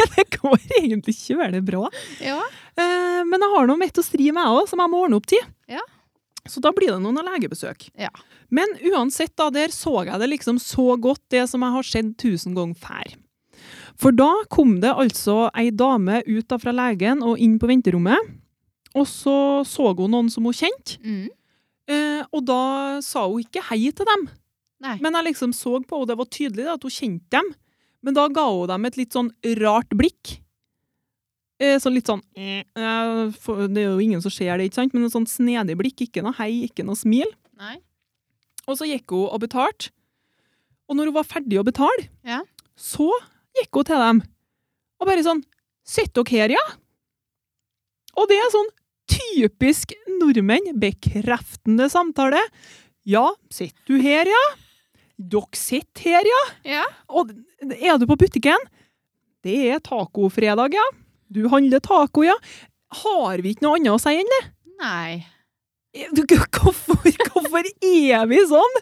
det går egentlig ikke veldig bra.
Ja.
Eh, men jeg har nå mitt å stri med, jeg òg, som jeg må ordne opp til.
Ja.
Så da blir det noen legebesøk.
Ja.
Men uansett, da, der så jeg det liksom så godt, det som jeg har sett tusen ganger før. For da kom det altså ei dame ut da fra legen og inn på venterommet. Og så så hun noen som hun kjente,
Mm.
eh, og da sa hun ikke hei til dem.
Nei.
Men jeg liksom så på henne, det var tydelig da, at hun kjente dem. Men da ga hun dem et litt sånn rart blikk. Eh, sånn litt sånn eh, eh, for Det er jo ingen som ser det, ikke sant? Men et sånn snedig blikk. Ikke noe hei, ikke noe smil.
Nei.
Og så gikk hun og betalte. Og når hun var ferdig å betale,
Ja.
så gikk hun til dem. Og bare sånn Sitter dere her, ja? Og det er sånn typisk nordmenn, bekreftende samtale. Ja, sitter du her, ja? Dere sitter her, ja?
Ja.
Og er du på butikken? Det er tacofredag, ja. Du handler taco, ja. Har vi ikke noe annet å si enn
Nei.
Eh, du, hvorfor, hvorfor er vi sånn?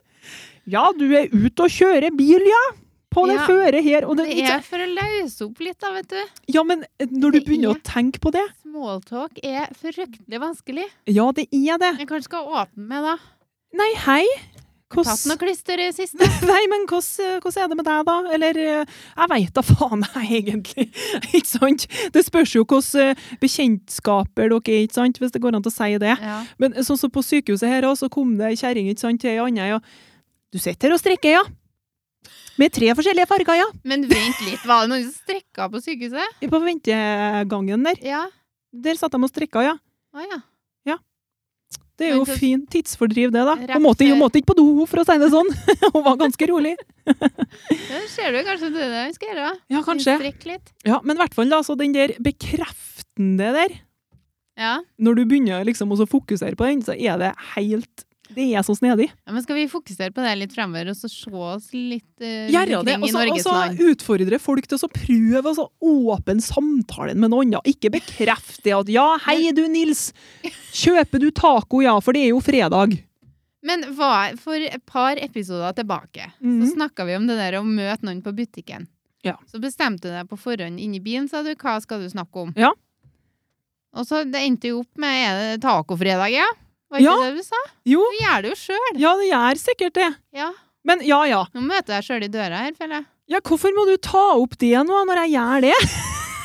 Ja, du er ute og kjører bil, ja. På det
Ja,
føret her. Og det,
Det er for å løse opp litt, da, vet du.
Ja, men eh, når du
Det
begynner
er-
å tenke på det
Smalltalk er fryktelig vanskelig.
Ja, det er det.
Jeg kanskje skal åpne med, da.
Nei, hei.
Tatt
Hvordan
noe klister i det siste.
Nei, men hvordan eh, hvordan er det med deg, da? Eller eh, Jeg veit da faen, jeg, egentlig. Ikke sant? Det spørs jo hvordan eh, bekjentskaper dere er, ikke sant? Hvis det går an å si det.
Ja.
Men sånn som på sykehuset her også, så kom det ei kjerring ikke sant, til ei anna, ja. Du sitter her og strikker, ja. Med tre forskjellige farger, ja.
Men vent litt, var det noen som strekka på sykehuset?
På ventegangen der.
Ja.
Der satt de og strikka, ja.
Å ja.
Det er jo
Men så-
fin tidsfordriv, det, da.
Rett
Hun måtte, hun
før-
måtte ikke på do, for å si det sånn. Hun var ganske rolig.
Det ser du kanskje det er det vi skal gjøre. da.
Ja, kanskje.
Strekke litt.
Ja, men i hvert fall, da, så den der bekreftende der
Ja.
Når du begynner liksom å så fokusere på den, så er det helt Det er så snedig.
ja, men skal vi fokusere på det litt fremover, og så se oss litt eh, rundt
Gjør det.
omkring
Og
i
så- og
Norges
så
land?
utfordre folk til å så prøve å så åpne samtalen med noen. andre. Ikke bekrefte at 'ja, hei du, Nils, kjøper du taco, ja, for det er jo fredag'.
Men hva, for et par episoder tilbake så
Mhm.
snakka vi om det der å møte noen på butikken.
Ja.
Så bestemte du deg på forhånd inni bilen, sa du, hva skal du snakke om?
Ja.
Og så det endte jo opp med er det tacofredag, ja? Var ikke
Ja.
det du sa?
Jo,
Du gjør det jo sjøl.
ja, det gjør sikkert det.
Ja.
Men ja, ja.
Nå møter jeg sjøl i døra her, føler jeg.
Ja, hvorfor må du ta opp det nå, når jeg gjør det?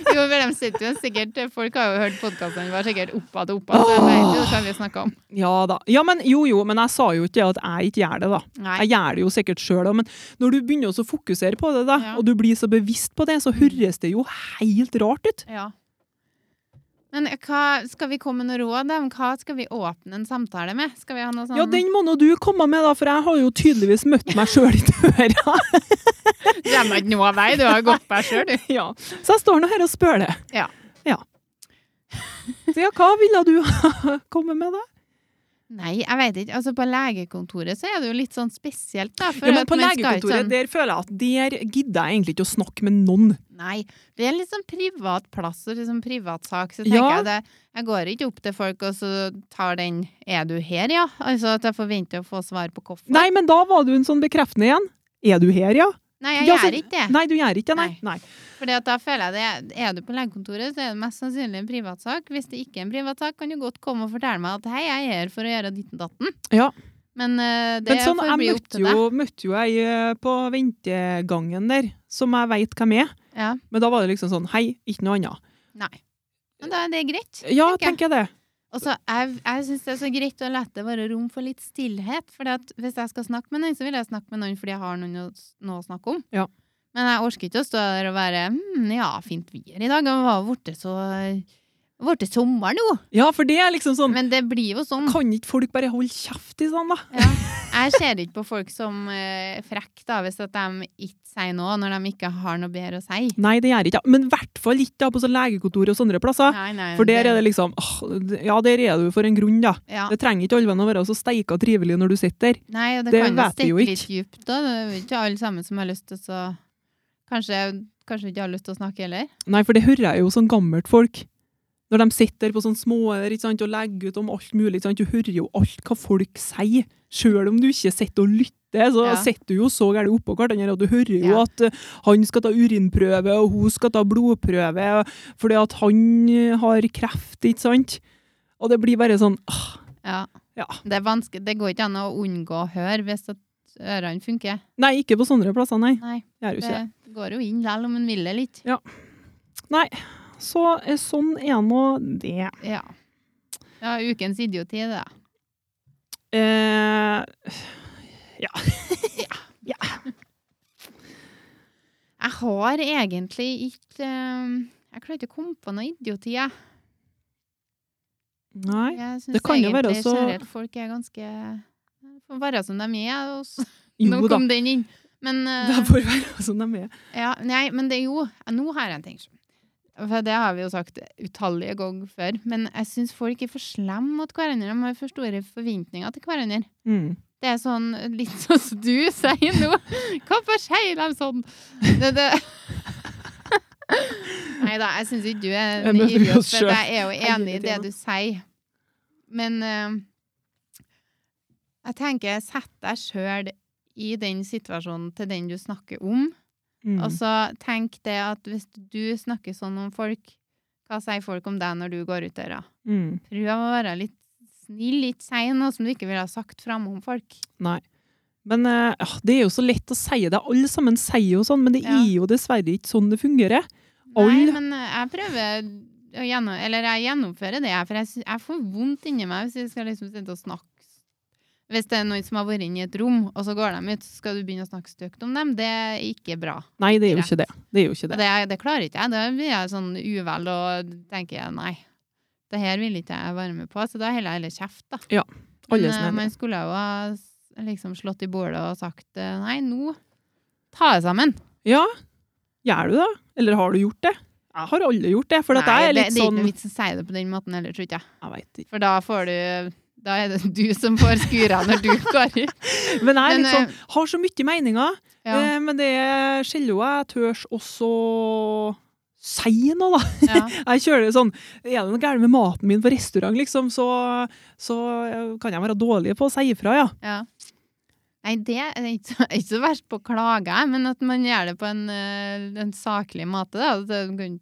Jo, for de sitter jo sikkert Folk har jo hørt podkastene våre sikkert oppad og oppad, så jeg vet jo hva vi snakker om.
Ja da. Ja, men jo, jo, men jeg sa jo ikke at jeg ikke gjør det, da.
Nei.
Jeg gjør det jo sikkert sjøl òg, men når du begynner også å fokusere på det, da,
Ja.
og du blir så bevisst på det, så høres det jo helt rart ut.
Ja. Men hva, skal vi komme med noe råd? da? Om Hva skal vi åpne en samtale med? Skal vi ha noe sånn
Ja, den må nå du komme med, da, for jeg har jo tydeligvis møtt meg sjøl i døra.
Kommer ikke noe av vei, du har gått deg sjøl, du.
Ja. Så jeg står nå her og spør det.
Ja.
ja. Så ja, hva ville du ha kommet med, da?
Nei, jeg vet ikke. Altså, på legekontoret så er det jo litt sånn spesielt, da. for
Ja, men
at
på
man skal ikke
legekontoret,
sånn-
der føler jeg at der gidder jeg egentlig ikke å snakke med noen.
Nei, det er litt sånn privat plass og litt sånn privatsak, så tenker
Ja.
jeg det. Jeg går ikke opp til folk og så tar den 'er du her', ja. Altså at jeg forventer å få svar på hvorfor.
Nei, men da var du en sånn bekreftende igjen. Er du her, ja?
Nei, jeg
Ja, så-
gjør ikke det.
Nei, du gjør ikke det, nei. nei.
Fordi at da føler jeg det. Er du på legekontoret, så er det mest sannsynlig en privatsak. Hvis det ikke er en privatsak, kan du godt komme og fortelle meg at 'hei, jeg er her for å gjøre ditten datten'.
Ja.
Men eh, det
Men sånn,
får bli
jeg
opp
møtte
til deg.
jo, møtte jo ei eh, på ventegangen der, som jeg veit hvem er.
Ja.
Men da var det liksom sånn Hei, ikke noe annet.
Nei. Men da er det greit.
Ja,
Tenker
tenker jeg det.
Og så jeg, jeg syns det er så greit å la det være rom for litt stillhet. For hvis jeg skal snakke med noen, så vil jeg snakke med noen fordi jeg har noen å, s- noe å snakke om.
Ja.
Men jeg orker ikke å stå der og være hm, Ja, fint vær i dag. Det var blitt så Blitt sommer nå.
Ja, for det er liksom sånn
Men det blir jo sånn.
Kan ikke folk bare holde kjeft i sånn, da?
Ja. Jeg ser ikke på folk som eh, frekke, da, hvis at de ikke sier noe når de ikke har noe bedre å si.
Nei, det gjør ikke jeg. Men i hvert fall ikke da på sånn legekontor og sånne plasser.
Nei, nei,
For der er det liksom «Åh, Ja, der er du for en grunn, da.
ja.
Det trenger ikke alle venn å være så steika trivelig når du sitter der.
Nei, og det,
Det
kan jo
vet vi jo
stikke litt djupt da. Det er jo ikke alle sammen som har lyst til å så- Kanskje, kanskje ikke har lyst til å snakke heller.
Nei, for det hører jeg jo sånn gammelt folk. Når de sitter på sånne små der, ikke sant, og legger ut om alt mulig, ikke sant? du hører jo alt hva folk sier. Selv om du ikke sitter og lytter, så
Ja.
sitter du jo så gærent oppå hverandre, og du hører jo
Ja.
at eh, han skal ta urinprøve, og hun skal ta blodprøve, og- fordi at han eh, har kreft, ikke sant? Og det blir bare sånn, ah,
Ja.
Ja.
Det, er vanske- det går ikke an å unngå å høre hvis at ørene funker.
nei, ikke på sånne plasser, nei.
Nei,
Gjør jo ikke det.
det går jo inn selv om en vil det litt.
Så eh, sånn er nå det.
Ja. Ja, ukens idioti, det. da.
Eh,
Jeg har egentlig ikke eh, Jeg klarer ikke å komme på noe idioti, jeg.
nei.
Jeg syns
Det kan jo være
egentlig
så-
generelt folk er ganske Får være som de er. Og så,
Jo
nå
da,
kom den inn. Men eh,
det får være sånn de er.
Ja, nei, men det er jo Nå har jeg en ting som For det har vi jo sagt utallige ganger før. Men jeg syns folk er for slemme mot hverandre. De har for store forventninger til hverandre.
Mm.
Det er sånn litt sånn som du sier nå. Hvorfor sier de sånn? Det, det. Nei da, jeg syns ikke du er
Jeg
en
møter
idiot,
oss
for
selv.
jeg er jo enig i det
Hele tiden.
du sier. Men eh, jeg tenker, sett deg sjøl i den situasjonen til den du snakker om.
Mm.
Og så Altså, tenk det at hvis du snakker sånn om folk, hva sier folk om deg når du går ut døra?
mm.
Prøv å være litt snill, litt si noe som du ikke ville ha sagt framme om folk.
Nei. Men eh, ah, det er jo så lett å si det. Alle sammen sier jo sånn, men det
Ja.
er jo dessverre ikke sånn det fungerer.
Nei,
Alle-
men eh, jeg prøver å gjennom, eller jeg gjennomfører det, jeg, for jeg, sy- jeg får vondt inni meg hvis jeg skal liksom sitte og snakke. Hvis det er noen som har vært inne i et rom, og så går de ut, så skal du begynne å snakke stygt om dem. Det er ikke bra.
Nei, det er jo ikke det. Det er jo ikke
Og
det.
det, det klarer ikke jeg. Da blir jeg sånn uvel og tenker jeg, nei, det her vil ikke jeg være med på. Så da heller jeg heller kjeft, da. Men eh,
Alle som er
man skulle jo ha s- liksom slått i bordet og sagt eh, nei, nå ta det sammen.
Ja, gjør du det? Eller har du gjort det? Jeg har aldri gjort det, for at
nei,
jeg er
det,
litt
det er ikke
sånn
noe vits å si det på den måten heller, tror ikke jeg.
Jeg vet ikke.
For da får du Da er det du som får skura når du går ut. Men,
Men jeg er
eh,
litt sånn Har så mye meninger,
Ja.
eh, men det skiller jo jeg tørs også Si noe, da!
Ja.
Jeg kjører det sånn Er det noe gærent med maten min på restaurant, liksom, så, så eh, kan jeg være dårlig på å si ifra, ja.
Ja. Nei, det er ikke så, ikke så verst på å klage, jeg, men at man gjør det på en, eh, en saklig måte. Da. At det kan-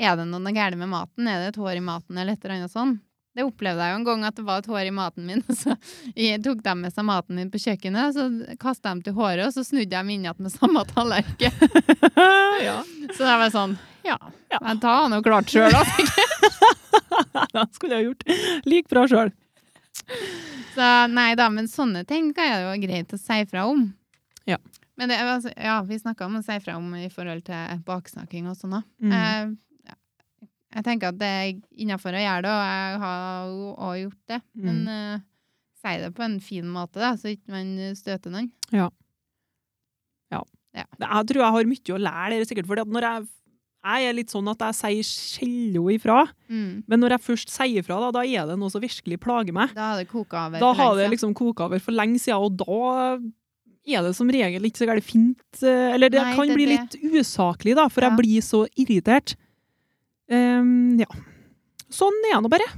Er det noe galt med maten? Er det et hår i maten, eller et eller annet sånt? Det opplevde jeg jo en gang at det var et hår i maten min. og Så jeg tok de med seg maten min på kjøkkenet, så kasta de til håret, og så snudde de inn igjen med samme tallerken.
ja.
Så det var sånn Ja,
Ja.
men da har han jo klart altså. sjøl, da.
Det skulle jeg ha gjort like bra sjøl.
Så nei da, men sånne ting kan jeg jo være greit å si fra om.
Ja.
Men det, er altså, ja, vi snakka om å si fra om i forhold til baksnakking og sånn òg.
Mm.
jeg tenker at det er innafor å gjøre det, og jeg har jo òg gjort det.
Mm.
Men eh, si det på en fin måte, da, så ikke man støter noen.
Jeg tror jeg har mye å lære dere sikkert, for når jeg, jeg er litt sånn at jeg sier sjelden ifra,
Mm.
men når jeg først sier ifra, da, da er det noe som virkelig plager meg.
Da har det koka over. for
Da
lenge
har det
siden.
liksom koka over for lenge siden, og da er det som regel ikke så gærent fint. eh, Eller det
Nei,
kan
det er
bli
det.
litt usaklig, da, for
Ja.
jeg blir så irritert. Ehm, ja. Sånn er det nå bare.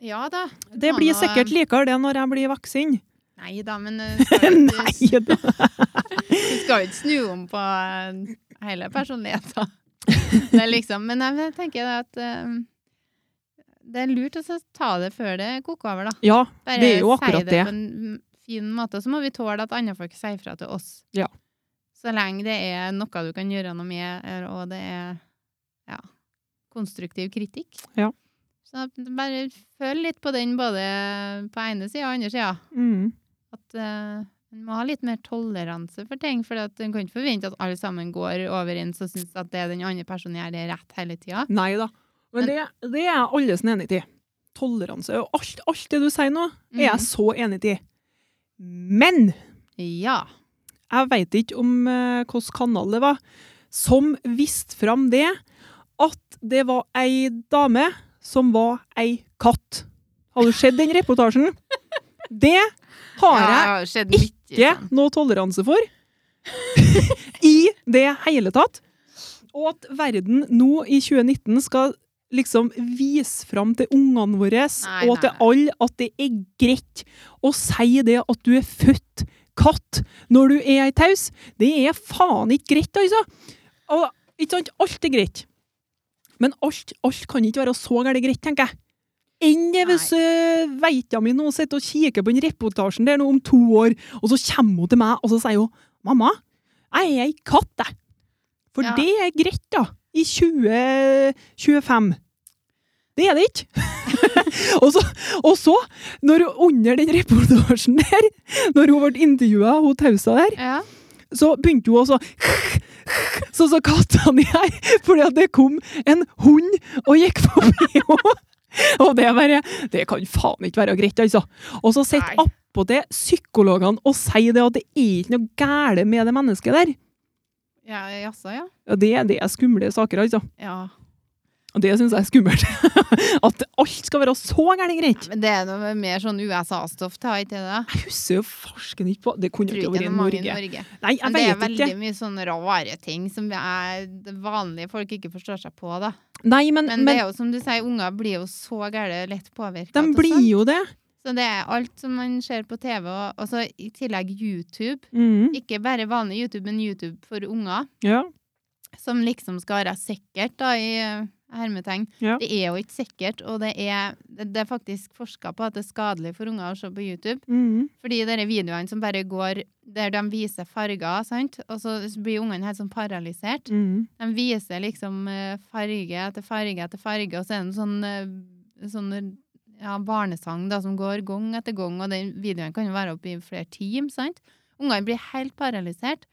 Ja da.
liksom- Det
Faen,
blir
og,
sikkert likere det når jeg blir voksen.
Nei da, men eh, skal jo ikke-
Nei da.
Du skal jo ikke snu om på eh, hele personligheten. Det er liksom, men jeg tenker det at eh, det er lurt å så ta det før det koker over, da.
Ja, det er jo akkurat
si
det.
på en fin måte. Så må vi tåle at andre folk sier fra til oss.
Ja.
Så lenge det er noe du kan gjøre noe med, er- og det er ja, konstruktiv kritikk.
Ja.
Så bare føl litt på den både på ene sida og andre sida.
Mm.
At eh, en må ha litt mer toleranse for ting. For at en kan ikke forvente at alle sammen går overens og syns at det den andre personen gjør, det er rett hele tida.
Nei da. Men det, det er jeg alles enig i. Toleranse. Og alt, alt det du sier nå, er jeg så enig i. Men
Ja.
jeg veit ikke om hvilken kanal det var, som viste fram det at det var ei dame som var ei katt. Har du sett den reportasjen? Det har liksom. jeg
ja, skjedd mye
ikke
sånn.
noe toleranse for i det hele tatt. Og at verden nå i 2019 skal liksom vise fram til ungene våre
Nei,
og til
nei, nei.
alle at det er greit å si det at du er født katt når du er ei taus. Det er faen ikke greit, altså. Og, ikke sant? Alt er greit. Men alt, alt kan ikke være så gærent greit, tenker jeg. Enn det hvis uh, veita mi nå sitter og kikker på den reportasjen der nå om to år, og så kommer hun til meg og så sier hun, 'Mamma, jeg er ei katt, jeg.' For
Ja.
det er greit, da. I 2025. Det er det ikke. og, så, og så, når hun under den reportasjen der, når hun ble intervjua, hun tausa der,
Ja.
så begynte hun også Sånn som kattene her, fordi at det kom en hund og gikk forbi henne. Og det er bare Det kan faen ikke være greit, altså. Og så sitter
Nei.
attpåtil psykologene og sier det at det er ikke noe galt med det mennesket der.
Ja, jaså, ja.
Ja, det, det er skumle saker, altså.
ja.
Og det syns jeg er skummelt. At alt skal være så gærent greit.
Men det er noe mer sånn USA-stoff, det har ikke det? da?
Jeg husker jo farsken ikke på Det kunne
Tror ikke
ikke
det er
vært i
mange i
Norge.
Norge.
Nei, jeg
Men det er
vet
veldig
ikke.
mye sånne rare ting som er vanlige folk ikke forstår seg på, da.
Nei, men,
Men,
men,
det er jo som du sier, unger blir jo så gærent lett påvirka.
de blir jo det.
Så det er alt som man ser på TV, og og så i tillegg YouTube.
Mm,
Ikke bare vanlig YouTube, men YouTube for unger,
ja.
som liksom skal være sikkert, da, i eh, hermetegn.
Ja.
Det er jo ikke sikkert, og det er, det det er faktisk forska på at det er skadelig for unger å se på YouTube.
Mm,
Fordi de der videoene som bare går der de viser farger, sant, og så blir ungene helt sånn paralysert.
mm.
De viser liksom eh, farge etter farge etter farge, og så er det en sånn, eh, sånn ja, barnesang da, som går gang etter gang, og den videoen kan jo være oppe i flere timer, sant? Ungene blir helt paralysert.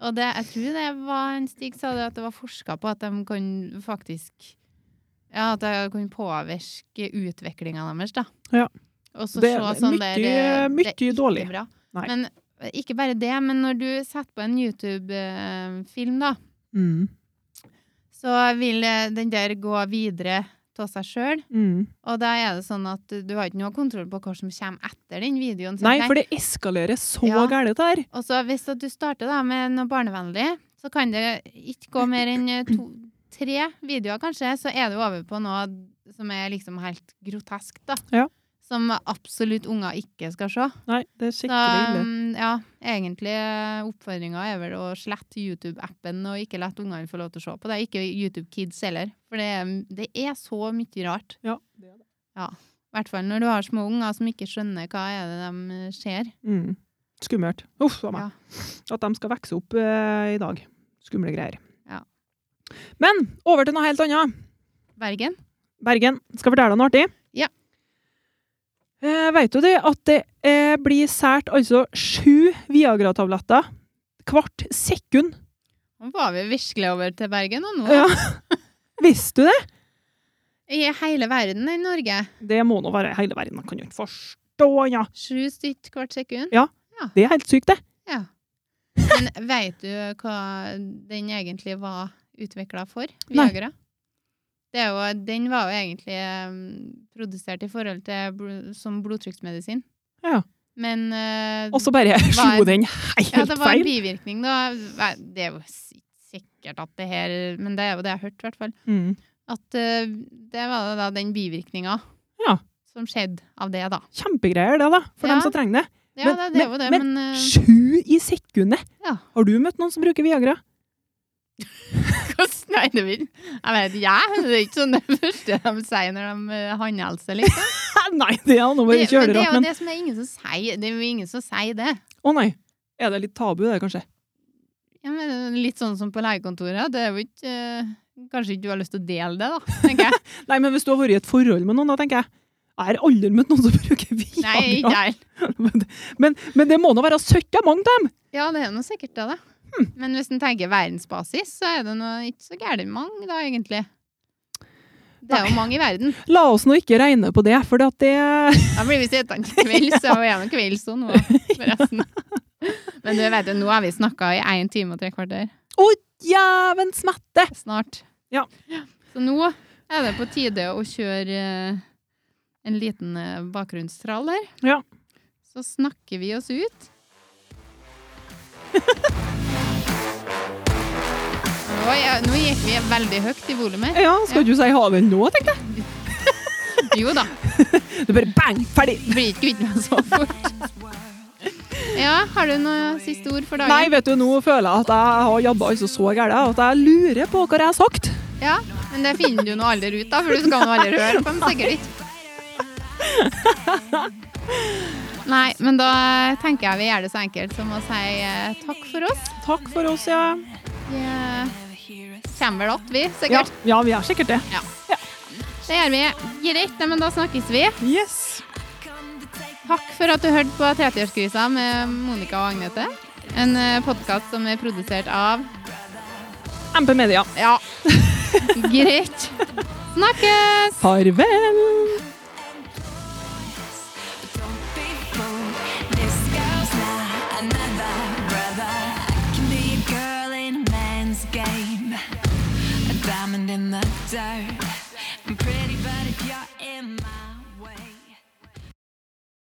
Og det, jeg tror det var en Stig sa det, at det var forska på at de kan faktisk Ja, at det kan påvirke utviklinga deres, da.
Ja.
Og så
Det-
se sånn
mye-
der eh, det er
mye
ikke
dårlig.
bra.
Nei.
Men eh, ikke bare det, men når du setter på en YouTube-film, da,
Mm.
så vil eh, den der gå videre av seg sjøl.
Mm.
Og da er det sånn at du har ikke noe kontroll på hva som kommer etter den videoen. så
Nei,
tenk-
for det eskalerer så
Ja.
gærent der.
Og så hvis at du starter da med noe barnevennlig, så kan det ikke gå mer enn eh, to, tre videoer, kanskje, så er du over på noe som er liksom helt grotesk, da.
Ja.
Som absolutt unger ikke skal se.
Nei, det er
Så
skikkelig ille.
mm, ja, egentlig eh, oppfordringa er vel å slette YouTube-appen og ikke la ungene få lov til å se på det. Ikke YouTube Kids heller, for det, er- det er så mye rart.
Ja, det er det.
I hvert fall når du har små unger som ikke skjønner hva er det de eh, ser.
Mm. Skummelt. Uff a meg. At de skal vokse opp eh, i dag. Skumle greier.
Ja.
Men over til noe helt annet.
Bergen?
Bergen, skal fortelle deg noe artig.
Ja.
Eh, vet du det at det eh, blir sært altså sju Viagra-tabletter hvert sekund?
Nå var vi virkelig over til Bergen, og nå
Ja. Visste du det?
i hele verden i Norge.
Det må nå være hele verden. Man kan jo ikke forstå, ja.
Sju stykker hvert sekund.
Det er helt sykt, det.
Ja. Men veit du hva den egentlig var utvikla for?
Nei.
Viagra? Det er jo, den var jo egentlig eh, produsert i forhold til bl som blodtrykksmedisin.
Ja.
Men eh,
Og så bare slo
en-
den helt
ja, det var en
feil.
bivirkning, da. Nei, Det er jo si- sikkert at det her Men det er jo det jeg har hørt, i hvert fall.
Mm.
At eh, det var da den bivirkninga
Ja.
som skjedde av det, da.
Kjempegreier, det, da. For
Ja.
dem som trenger det.
Ja,
Men-
det, det er jo det,
men-
men, eh,
Sju i sekundet!
Ja.
Har du møtt noen som bruker Viagra?
Hvordan Nei, det vil Jeg vet ikke, jeg. Det er ikke sånn det første de sier når de eh, håndhilser, liksom.
Nei, det er
Det,
noe bare
men det
kjølerart,
er jo
men
det som er ingen som sier Det er jo ingen som sier det.
Å nei. Er det litt tabu, det, kanskje?
Ja, men litt sånn som på legekontoret. Det er jo ikke eh, Kanskje ikke du har lyst til å dele det, da, tenker jeg.
Nei, men hvis du har vært i et forhold med noen, da tenker jeg Jeg har aldri møtt noen som bruker
Nei, ikke
Viagra.
jeg.
men, men, men det må nå være søkka mange av dem!
Ja, det er noe sikkert det, da. Men hvis en tenker verdensbasis, så er det noe ikke så gærent mange, da, egentlig. Det er jo mange i verden.
La oss nå ikke regne på det, for at det
Da blir vi sittende til kvelds, og jeg er noe kvelds og nå, forresten. Men du vet jo, nå har vi snakka i én time og tre kvarter.
Å, jæven smette!
Snart.
Ja.
Så nå er det på tide å kjøre eh, en liten eh, bakgrunnstrall her.
Ja.
Så snakker vi oss ut. Oi, ja, nå gikk vi veldig høyt i volumet.
Ja, skal du si ha det nå, tenkte jeg.
Jo da.
Du bare bang, ferdig!
Blir ikke kvitt meg så fort. Ja, har du noe siste ord for dagen?
Nei, vet du, nå føler jeg at jeg har jobba altså så gærent at jeg lurer på hva jeg har sagt.
Ja, men det finner du nå aldri ut av, for du skal nå aldri høre på dem, sikkert ikke. Nei, men da tenker jeg vi gjør det så enkelt som å si eh, takk for oss.
Takk for oss, ja.
Vi eh, kommer vel att, vi,
Ja,
sikkert.
ja vi er sikkert det.
Det gjør vi. Greit, nei, men da snakkes vi.
Yes.
Takk for at du hørte på 30-årskrisa med Monica og Agnete. En podkast som er produsert av
MP Media.
Ja. Greit. Snakkes!
Farvel!